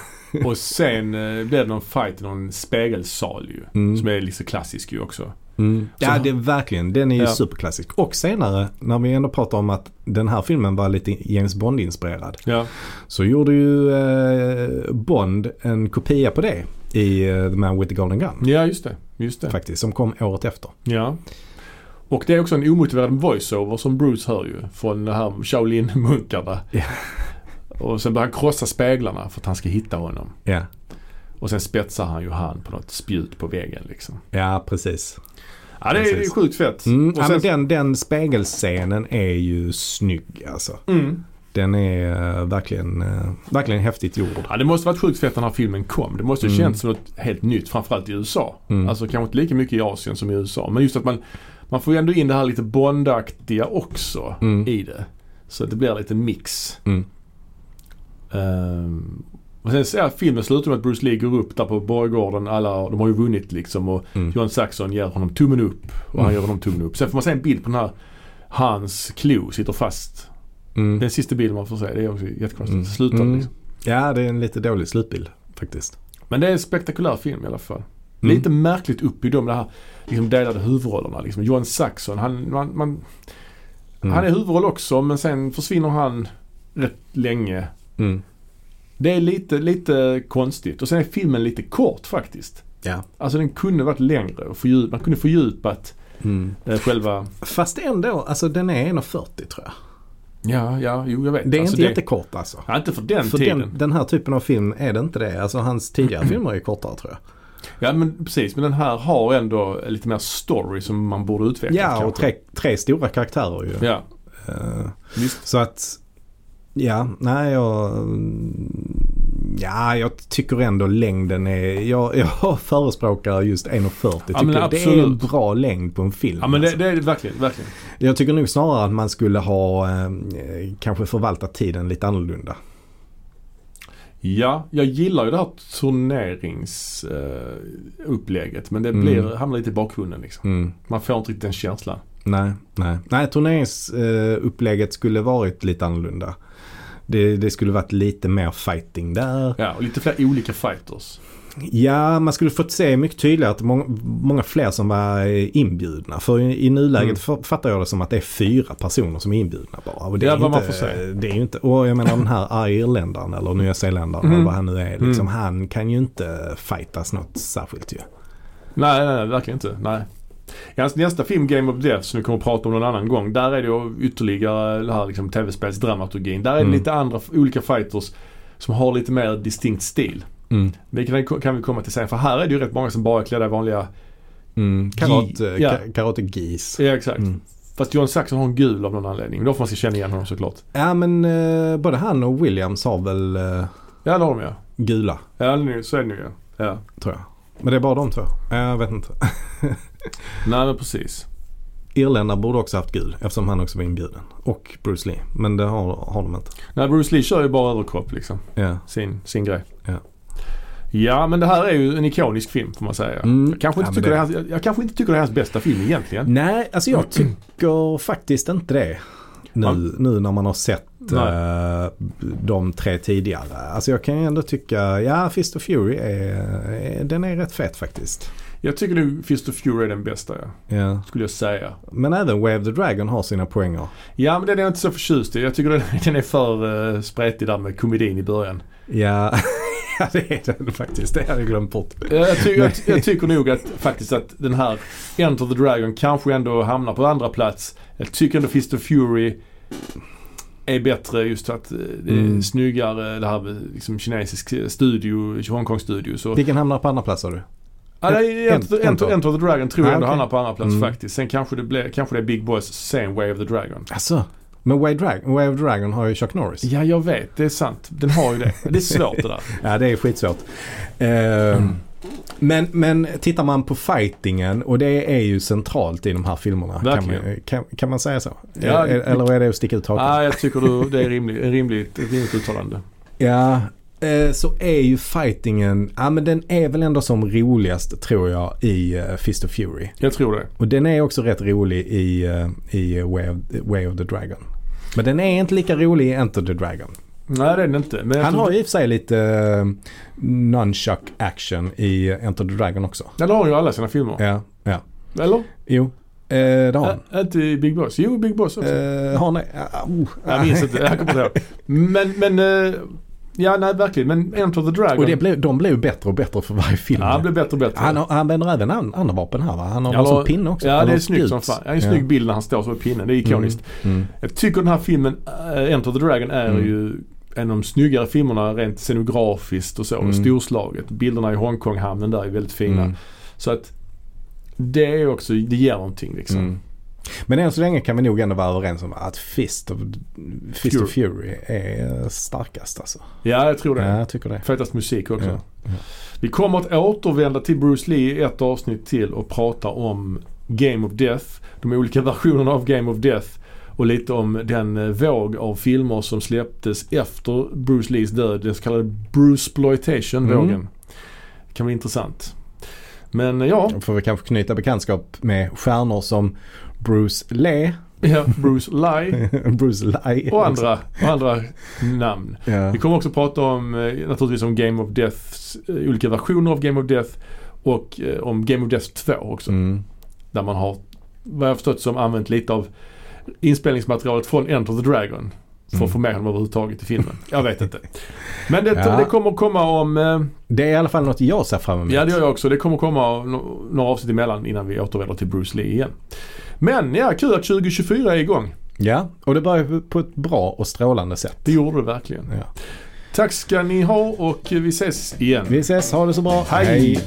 Speaker 1: Och sen eh, blir det någon fight i någon spegelsal ju.
Speaker 2: Mm.
Speaker 1: Som är liksom klassisk ju också.
Speaker 2: Mm. Ja,
Speaker 1: Så-
Speaker 2: det är verkligen. Den är ju
Speaker 1: Ja.
Speaker 2: superklassisk. Och senare, när vi ändå pratar om att den här filmen var lite James Bond-inspirerad,
Speaker 1: Ja,
Speaker 2: så gjorde ju eh, Bond en kopia på det i eh, The Man with the Golden Gun.
Speaker 1: ja just det. Just det.
Speaker 2: Faktiskt, som kom året efter.
Speaker 1: Ja. Och det är också en omotiverad voiceover som Bruce hör ju från de här Shaolin-munkarna.
Speaker 2: Ja.
Speaker 1: Och sen börjar han krossa speglarna för att han ska hitta honom.
Speaker 2: Ja,
Speaker 1: Och sen spetsar han ju han på något spjut på väggen liksom.
Speaker 2: ja precis.
Speaker 1: Ja, det är, det är
Speaker 2: Precis.
Speaker 1: sjukt fett.
Speaker 2: Mm,
Speaker 1: och
Speaker 2: ja,
Speaker 1: sen,
Speaker 2: men den, den spegelscenen är ju snygg alltså.
Speaker 1: mm.
Speaker 2: Den är eh, verkligen, eh, verkligen häftigt gjord.
Speaker 1: ja, det måste varit sjukt fett när den här filmen kom. Det måste ha
Speaker 2: Mm.
Speaker 1: känts som något helt nytt, framförallt i USA.
Speaker 2: Mm.
Speaker 1: Alltså kanske inte lika mycket i Asien som i USA. Men just att man, man får ju ändå in det här lite Bondaktiga också
Speaker 2: Mm.
Speaker 1: i det. Så att det blir lite mix.
Speaker 2: Mm.
Speaker 1: Ehm, och sen ser jag filmen slutar med att Bruce Lee går upp där på borggården. Alla, de har ju vunnit liksom och
Speaker 2: Mm.
Speaker 1: John Saxon ger honom tummen upp och han
Speaker 2: Mm.
Speaker 1: ger honom tummen upp. Sen får man se en bild på den här Hans klo sitter fast.
Speaker 2: Mm.
Speaker 1: Den sista bilden man får se. Det är också jättekonstigt.
Speaker 2: Mm.
Speaker 1: Det Slutar
Speaker 2: Mm.
Speaker 1: liksom.
Speaker 2: Ja, det är en lite dålig slutbild faktiskt.
Speaker 1: Men det är en spektakulär film i alla fall.
Speaker 2: Mm.
Speaker 1: Lite märkligt uppbyggd om de här liksom delade huvudrollerna. Liksom. John Saxon, han, man, man,
Speaker 2: Mm.
Speaker 1: han är huvudroll också men sen försvinner han rätt länge.
Speaker 2: Mm.
Speaker 1: Det är lite, lite konstigt. Och sen är filmen lite kort faktiskt.
Speaker 2: Ja.
Speaker 1: Alltså den kunde varit längre. Och fördjup, man kunde fördjupat
Speaker 2: Mm.
Speaker 1: eh, själva...
Speaker 2: Fast ändå, alltså den är 1,40 tror jag.
Speaker 1: Ja, ja, jo jag vet.
Speaker 2: Det är
Speaker 1: Alltså,
Speaker 2: inte jättekort alltså.
Speaker 1: Ja, inte för den
Speaker 2: För
Speaker 1: tiden.
Speaker 2: den, den här typen av film är det inte det. Alltså hans
Speaker 1: [CLEARS THROAT]
Speaker 2: tidigare filmer är kortare tror jag.
Speaker 1: Ja men precis, men den här har ändå lite mer story som man borde utveckla
Speaker 2: Ja, och
Speaker 1: kanske.
Speaker 2: tre, tre stora karaktärer ju.
Speaker 1: Ja,
Speaker 2: Eh,
Speaker 1: visst.
Speaker 2: Så att, ja, nej jag... Ja, jag tycker ändå längden är... Jag, jag förespråkar just 1,40. Tycker
Speaker 1: men
Speaker 2: det är en
Speaker 1: absolut.
Speaker 2: bra längd på en film.
Speaker 1: Ja men det,
Speaker 2: alltså.
Speaker 1: det är det verkligen, verkligen.
Speaker 2: Jag tycker nog snarare att man skulle ha eh, kanske förvaltat tiden lite annorlunda.
Speaker 1: Ja, jag gillar ju det här turneringsupplägget men det
Speaker 2: Mm.
Speaker 1: blir, hamnar lite i bakgrunden liksom.
Speaker 2: Mm.
Speaker 1: Man får inte riktigt den känslan.
Speaker 2: Nej, nej. Nej, turneringsupplägget skulle varit lite annorlunda. Det, det skulle varit lite mer fighting där.
Speaker 1: Ja, och lite fler olika fighters.
Speaker 2: Ja, man skulle fått se mycket tydligare att många, många fler som var eh, inbjudna. För i, i nuläget
Speaker 1: Mm.
Speaker 2: fa- fattar jag det som att det är fyra personer som är inbjudna bara. Och det,
Speaker 1: Det
Speaker 2: är
Speaker 1: är vad man
Speaker 2: inte,
Speaker 1: får se.
Speaker 2: Det är ju inte, och jag menar den här irländaren eller nyzeeländaren
Speaker 1: Mm.
Speaker 2: eller vad han nu är. Liksom,
Speaker 1: Mm.
Speaker 2: Han kan ju inte fightas något särskilt ju.
Speaker 1: Nej, nej, nej, verkligen inte. Nej. I hans nästa film Game of Death som vi kommer att prata om någon annan gång. Där är det ju ytterligare det här liksom tv-spelsdramaturgin. Där är det
Speaker 2: Mm.
Speaker 1: lite andra, olika fighters som har lite mer distinkt stil. Det kan, kan vi komma till sen för här är det ju rätt många som bara är klädda i vanliga...
Speaker 2: Mm. Karate,
Speaker 1: Gi- ja.
Speaker 2: ka- karate geese.
Speaker 1: Ja, exakt.
Speaker 2: Mm.
Speaker 1: Fast John Saxon har en gul av någon anledning. Då får man ska känna igen honom såklart.
Speaker 2: Ja men eh, både han och Williams har väl eh,
Speaker 1: Ja, det har de ja.
Speaker 2: gula
Speaker 1: Ja, nu- så är det nu ja. ja.
Speaker 2: tror jag. Men det är bara de två. Ja, Jag vet inte.
Speaker 1: Nej, men precis.
Speaker 2: Irländare borde också haft gul eftersom han också var inbjuden. Och Bruce Lee. Men det har, har de inte.
Speaker 1: Nej, Bruce Lee kör ju bara överkropp liksom.
Speaker 2: Ja.
Speaker 1: Sin, sin grej.
Speaker 2: Ja.
Speaker 1: Ja, men det här är ju en ikonisk film får man säga.
Speaker 2: Mm.
Speaker 1: Jag, kanske inte
Speaker 2: Ja, men
Speaker 1: tycker det...
Speaker 2: det-
Speaker 1: är hans, jag, jag kanske inte tycker det är hans bästa film egentligen.
Speaker 2: Nej, alltså jag tycker faktiskt inte det. Nu,
Speaker 1: Man-
Speaker 2: nu när man har sett
Speaker 1: Nej.
Speaker 2: eh, de tre tidigare. Alltså jag kan ju ändå tycka, ja Fist of Fury är, är, den är rätt fet faktiskt.
Speaker 1: Jag tycker nu Fist of Fury är den bästa ja.
Speaker 2: Ja.
Speaker 1: Skulle jag säga.
Speaker 2: Men även Wave the Dragon har sina poänger.
Speaker 1: Ja, men den är jag inte så förtjust i. Jag tycker den, [LAUGHS] den är för uh, spretig där med komedin i början.
Speaker 2: Ja, [LAUGHS] ja det är den faktiskt. Det hade jag glömt bort.
Speaker 1: Eh, Jag, ty- jag, jag tycker nog att faktiskt att den här Enter the Dragon kanske ändå hamnar på andra plats. Jag tycker ändå Fist of Fury är bättre just för att eh, det är
Speaker 2: Mm.
Speaker 1: snyggare det här med liksom, kinesisk studio, Hongkong-studio. Så
Speaker 2: Vilken hamnar på andra plats sa du?
Speaker 1: Ja, nej, Enter,
Speaker 2: Enter.
Speaker 1: Enter, Enter the Dragon tror
Speaker 2: Ah,
Speaker 1: jag ändå
Speaker 2: okej.
Speaker 1: hamnar på andra plats
Speaker 2: Mm.
Speaker 1: faktiskt. Sen kanske det, blir, kanske det är Big Boys, sen Way of the Dragon.
Speaker 2: Alltså, men Wave, Drag- Wave the Dragon har ju Chuck Norris.
Speaker 1: Ja, jag vet. Det är sant. Den har ju det. Det är svårt det
Speaker 2: [LAUGHS]
Speaker 1: där.
Speaker 2: Ja, det är skitsvårt. Ehm,
Speaker 1: Mm.
Speaker 2: men, men tittar man på fightingen och det är ju centralt i de här filmerna. Kan
Speaker 1: Verkligen.
Speaker 2: man, kan, kan man säga så?
Speaker 1: Ja,
Speaker 2: E- Eller är det att sticka ut hakan?
Speaker 1: Ah, jag tycker du, det är rimligt, en rimligt, ett rimligt uttalande.
Speaker 2: Ja, eh, så är ju fightingen, ja men den är väl ändå som roligast tror jag i eh, Fist of Fury.
Speaker 1: Jag tror det.
Speaker 2: Och den är också rätt rolig i, eh, i Way, of, Way of the Dragon. Men den är inte lika rolig i Enter the Dragon.
Speaker 1: Nej, det är den inte. Men jag
Speaker 2: Han
Speaker 1: tror-
Speaker 2: har ju i och för sig lite eh, nunchuck action i eh, Enter the Dragon också.
Speaker 1: Ja, det har han ju i alla sina filmer.
Speaker 2: Ja, ja.
Speaker 1: Eller?
Speaker 2: Jo, eh, det har han.
Speaker 1: Ä- inte i Big Boss? Jo, Big Boss också.
Speaker 2: Eh, har han det? Ah, oh.
Speaker 1: Jag minns inte. Jag kommer inte ihåg. Men, men... eh, Ja, nej verkligen. Men Enter the Dragon.
Speaker 2: Och det blev, de blev ju bättre och bättre för varje film.
Speaker 1: ja, han blev bättre och bättre.
Speaker 2: han, har, han vänder även an, andra vapen här va? Han har
Speaker 1: Ja,
Speaker 2: ja, som
Speaker 1: och-
Speaker 2: pinne också.
Speaker 1: Ja,
Speaker 2: Han
Speaker 1: det
Speaker 2: har
Speaker 1: är snyggt
Speaker 2: spjut.
Speaker 1: som fan. Ja, det är en snygg bild när han står så i pinnen. Det är ikoniskt.
Speaker 2: Mm.
Speaker 1: Jag tycker den här filmen, äh, Enter the Dragon, är
Speaker 2: Mm.
Speaker 1: ju en av de snyggare filmerna rent scenografiskt och så.
Speaker 2: Mm.
Speaker 1: Storslaget. Bilderna i Hongkonghamnen där är väldigt fina.
Speaker 2: Mm.
Speaker 1: Så att det är också, det ger någonting liksom.
Speaker 2: Mm. Men än så länge kan vi nog ändå vara överens om att Fist of, Fist of Fury är starkast alltså.
Speaker 1: Ja, jag tror det.
Speaker 2: Ja, jag tycker det.
Speaker 1: Fetast musik också.
Speaker 2: Ja, ja.
Speaker 1: Vi kommer att återvända till Bruce Lee i ett avsnitt till och prata om Game of Death. De olika versionerna av Game of Death. Och lite om den eh, våg av filmer som släpptes efter Bruce Lees död. Den så kallade Bruceploitation-vågen.
Speaker 2: Mm.
Speaker 1: Kan vara intressant. Men eh, ja,
Speaker 2: Då får vi kanske knyta bekantskap med stjärnor som Bruce Lee, [LAUGHS]
Speaker 1: ja [LAUGHS] Bruce Lie
Speaker 2: Bruce Lee
Speaker 1: och andra, och andra namn.
Speaker 2: Ja.
Speaker 1: Vi kommer också prata om eh, naturligtvis om Game of Deaths eh, olika versioner av Game of Death och eh, om Game of Death 2 också.
Speaker 2: Mm.
Speaker 1: Där man har, vad jag har förstått, som använt lite av inspelningsmaterialet från Enter the Dragon. För
Speaker 2: Mm.
Speaker 1: att få med honom överhuvudtaget i filmen. Jag vet inte. Men det,
Speaker 2: [LAUGHS] Ja.
Speaker 1: det kommer komma om... eh,
Speaker 2: Det är i alla fall något jag ser fram emot.
Speaker 1: Ja, det gör jag också. Det kommer komma no- några avsnitt emellan innan vi återvänder till Bruce Lee igen. Men ja, kul att 2024 är igång.
Speaker 2: Ja, och det börjar på ett bra och strålande sätt.
Speaker 1: Det gjorde det verkligen.
Speaker 2: Ja.
Speaker 1: Tack ska ni ha och eh, vi ses igen.
Speaker 2: Vi ses, ha det så bra.
Speaker 1: Hej.